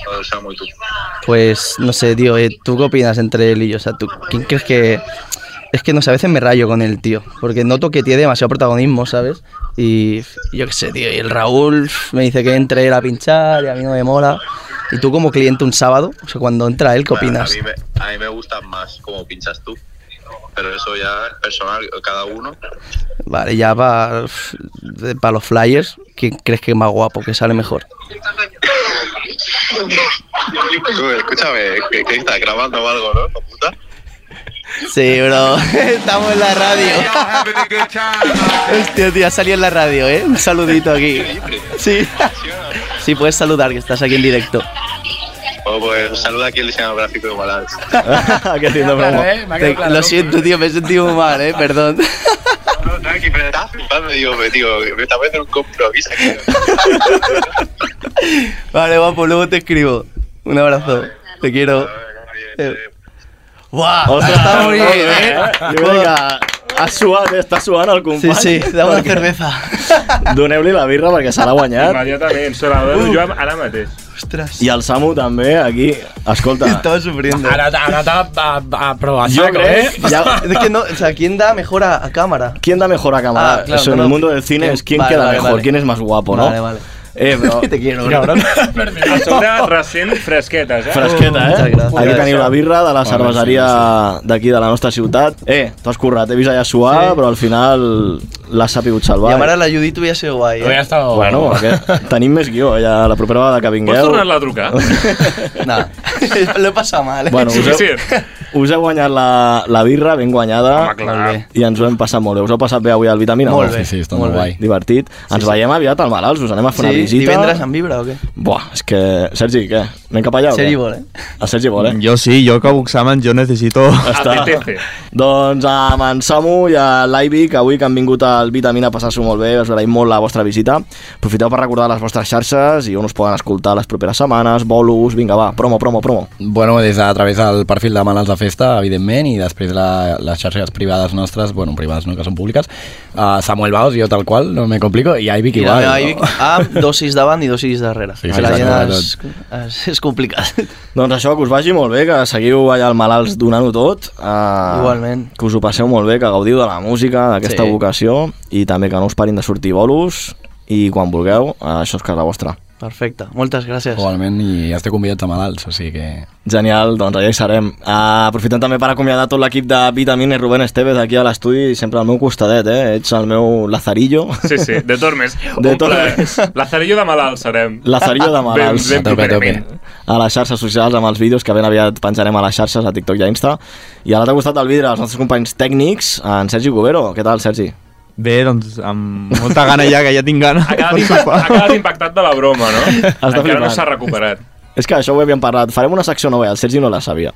Speaker 5: Lo del Samu y tú.
Speaker 8: Pues no sé, tío, eh, ¿tú qué opinas entre él y yo? O sea, ¿tú quién crees que.? Es que no sé, a veces me rayo con él, tío. Porque noto que tiene demasiado protagonismo, ¿sabes? Y f- yo qué sé, tío. Y el Raúl f, me dice que entre él a pinchar y a mí no me mola. ¿Y tú como cliente un sábado? O sea, cuando entra él, ¿qué
Speaker 5: Bueno,
Speaker 8: opinas?
Speaker 5: A mí, me, a mí me gusta más cómo pinchas tú. Pero eso ya es personal, cada uno.
Speaker 8: Vale, ya para los flyers, ¿quién crees que es más guapo, que sale mejor?
Speaker 5: Tú, escúchame, ¿qué, qué estás grabando o algo, no?
Speaker 8: Sí, bro. Estamos en la radio. Hostia, tío, ha salido en la radio, ¿eh? Un saludito aquí. Sí. Sí, puedes saludar, que estás aquí en directo.
Speaker 5: O pues saluda aquí el diseñador gráfico de Balance.
Speaker 8: Aquí haciendo
Speaker 5: Ah, Claro,
Speaker 8: promo.
Speaker 5: eh, me ha quedado
Speaker 8: Te-
Speaker 5: claro.
Speaker 8: Lo siento, tío, me he sentido muy mal, ¿eh? Perdón.
Speaker 5: No, tranqui, pero estás flipando, digo, me, digo, me está poniendo un compromiso aquí.
Speaker 8: Vale, guapo, luego te escribo. Un abrazo. Te quiero. ¡Wow! Está muy bien, ¿eh?
Speaker 2: Jo crec que ha suat, eh? està suant el company.
Speaker 8: Sí, sí, dame una cerveza.
Speaker 2: Doneu-li la birra perquè se l'ha guanyat.
Speaker 3: Immediatament, se la dono jo ara mateix.
Speaker 8: Ostres.
Speaker 2: I el Samu també, aquí. Escolta.
Speaker 8: Estava sofriendo.
Speaker 7: Ara, ara, ara, però a
Speaker 2: Jo
Speaker 7: saco, eh?
Speaker 2: crec... Ja...
Speaker 8: Es que no, o sea, ¿quién da mejor a, a cámara?
Speaker 2: ¿Quién da mejor a cámara?
Speaker 8: Ah, claro,
Speaker 2: Eso en
Speaker 8: no,
Speaker 2: el
Speaker 8: no.
Speaker 2: mundo del cine
Speaker 8: ¿Quién?
Speaker 2: es quién
Speaker 8: Vale,
Speaker 2: queda
Speaker 8: vale,
Speaker 2: mejor,
Speaker 8: vale.
Speaker 2: quién es más guapo, ¿no?
Speaker 8: Vale, vale.
Speaker 2: Eh, bro.
Speaker 8: Te quiero, bro.
Speaker 2: Cabrón.
Speaker 3: A sobre, Em recent, fresquetes, eh?
Speaker 2: Fresqueta, eh? Aquí teniu la birra de la
Speaker 3: Home,
Speaker 2: cerveseria d'aquí de la nostra ciutat. Eh, t'ho has currat, he vist allà suar, però al final l'ha sabut salvar.
Speaker 8: Llamar a la Judit hubiera sido guay. eh?
Speaker 2: Bueno, aquest, tenim més guió, eh, ja la propera vegada que vingueu.
Speaker 8: Pots tornar-la
Speaker 3: a trucar?
Speaker 8: no, l'he passat mal. Eh?
Speaker 2: Bueno, us heu, us heu guanyat la, la birra, ben guanyada.
Speaker 8: Home, clar.
Speaker 2: I ens ho hem passat molt bé. Us heu passat bé avui al Vitamina?
Speaker 8: Molt
Speaker 2: no?
Speaker 8: bé. Sí, sí, està molt Molt bé. guai.
Speaker 2: Divertit. ens
Speaker 8: sí.
Speaker 2: veiem aviat al Malalts, us anem a fer una
Speaker 8: Sí,
Speaker 2: visita.
Speaker 8: divendres en Vibra o què?
Speaker 2: Buah, és que... Sergi, què? Anem cap allà o
Speaker 8: Sergi
Speaker 2: què?
Speaker 8: vol, eh?
Speaker 2: El Sergi vol, eh?
Speaker 4: Yo sí, yo que Buxaman, yo necesito...
Speaker 2: Està. Doncs amb en Samu i a l'Aivi, que avui que han vingut al Vitamina a passar-s'ho molt bé, us agraïm molt la vostra visita. Aprofiteu per recordar les vostres xarxes i on us poden escoltar les properes setmanes, bolus, vinga va, promo, promo, promo.
Speaker 7: Bueno, des de, a través del perfil de Malalts de Festa, evidentment, i després la, les xarxes privades nostres, bueno, privades no, que són públiques, uh, Samuel Baos, jo tal qual, no me complico, i Ivy
Speaker 8: I la
Speaker 7: igual.
Speaker 8: meva Ivic Ah, amb dos sis davant i dos sis darrere.
Speaker 7: Sí,
Speaker 8: Sí,
Speaker 7: sí,
Speaker 8: sí, la
Speaker 7: sí,
Speaker 8: gent
Speaker 7: sí,
Speaker 8: és, és, és complicat.
Speaker 2: Doncs això, que us vagi molt bé, que seguiu allà al Malalts donant-ho tot. Uh,
Speaker 8: Igualment.
Speaker 2: Que us ho passeu molt bé, que gaudiu de la música, d'aquesta
Speaker 8: Sí.
Speaker 2: sí. vocació, i també que no us parin de sortir bolos, i quan vulgueu, uh, això és casa vostra.
Speaker 8: Perfecte, moltes gràcies.
Speaker 7: Igualment, i ja esteu convidats a Malalts, o sigui que...
Speaker 2: Genial, doncs allà hi serem. Uh, aprofitant també per acomiadar tot l'equip de Vitamina i Rubén Esteves aquí a l'estudi, sempre al meu costadet, eh? Ets el meu lazarillo.
Speaker 3: Sí, sí, de Tormes.
Speaker 2: De
Speaker 3: Un plaer. Lazarillo de malalt serem.
Speaker 2: Lazarillo de malalts.
Speaker 3: Ben, ben properament.
Speaker 2: A les xarxes socials amb els vídeos que ben aviat penjarem a les xarxes, a TikTok i a Insta. I a l'altre costat del vidre, els nostres companys tècnics, en Sergi Govero. Què tal, Sergi?
Speaker 4: Bé, doncs amb molta gana ja, que ja tinc gana.
Speaker 3: Ha quedat, impactat, ha quedat impactat de la broma, no?
Speaker 2: de
Speaker 3: Encara no
Speaker 2: flipar.
Speaker 3: s'ha recuperat.
Speaker 2: És que això ho havíem parlat. Farem una secció nova, i el Sergi no la sabia.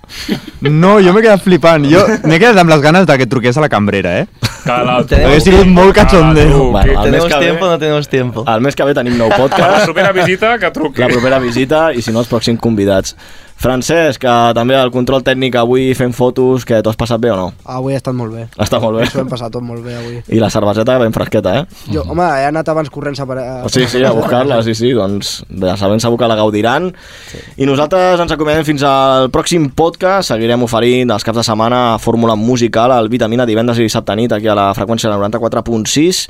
Speaker 4: No, jo m'he quedat flipant. Jo m'he quedat amb les ganes de que truqués a la cambrera, eh? Hauria sigut molt cachondeo.
Speaker 8: no tenemos tiempo.
Speaker 2: El mes que ve tenim nou
Speaker 3: Per la
Speaker 2: podcast.
Speaker 3: propera visita, que truqui.
Speaker 2: la propera visita i si no els pròxims convidats. Francesc, que també al control tècnic avui fent fotos, que t'ho has passat bé o no?
Speaker 6: Avui ha estat molt bé.
Speaker 2: Està molt bé.
Speaker 6: S'ho hem passat tot molt bé avui.
Speaker 2: I la cerveseta ben fresqueta, eh?
Speaker 6: Jo, home, he anat abans corrents a... Per...
Speaker 2: Ah, Sí, sí, a buscar-la, sí, sí, doncs de saber segur que la gaudiran. Sí. I nosaltres ens acomiadem fins al pròxim podcast, seguirem oferint els caps de setmana fórmula musical al Vitamina divendres i dissabte nit aquí a la freqüència del 94.6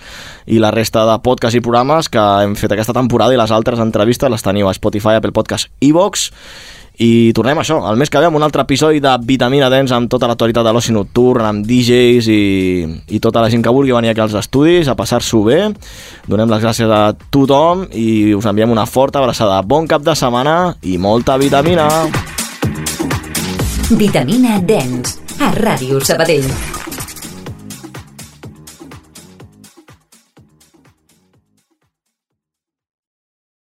Speaker 2: i la resta de podcasts i programes que hem fet aquesta temporada i les altres entrevistes les teniu a Spotify, Apple Podcast, iVox i tornem a això, el mes que ve amb un altre episodi de Vitamina Dents amb tota l'actualitat de l'oci nocturn, amb DJs i, i tota la gent que vulgui venir aquí als estudis a passar-s'ho bé. Donem les gràcies a tothom i us enviem una forta abraçada. Bon cap de setmana i molta vitamina!
Speaker 1: Vitamina Dance a Ràdio Sabadell.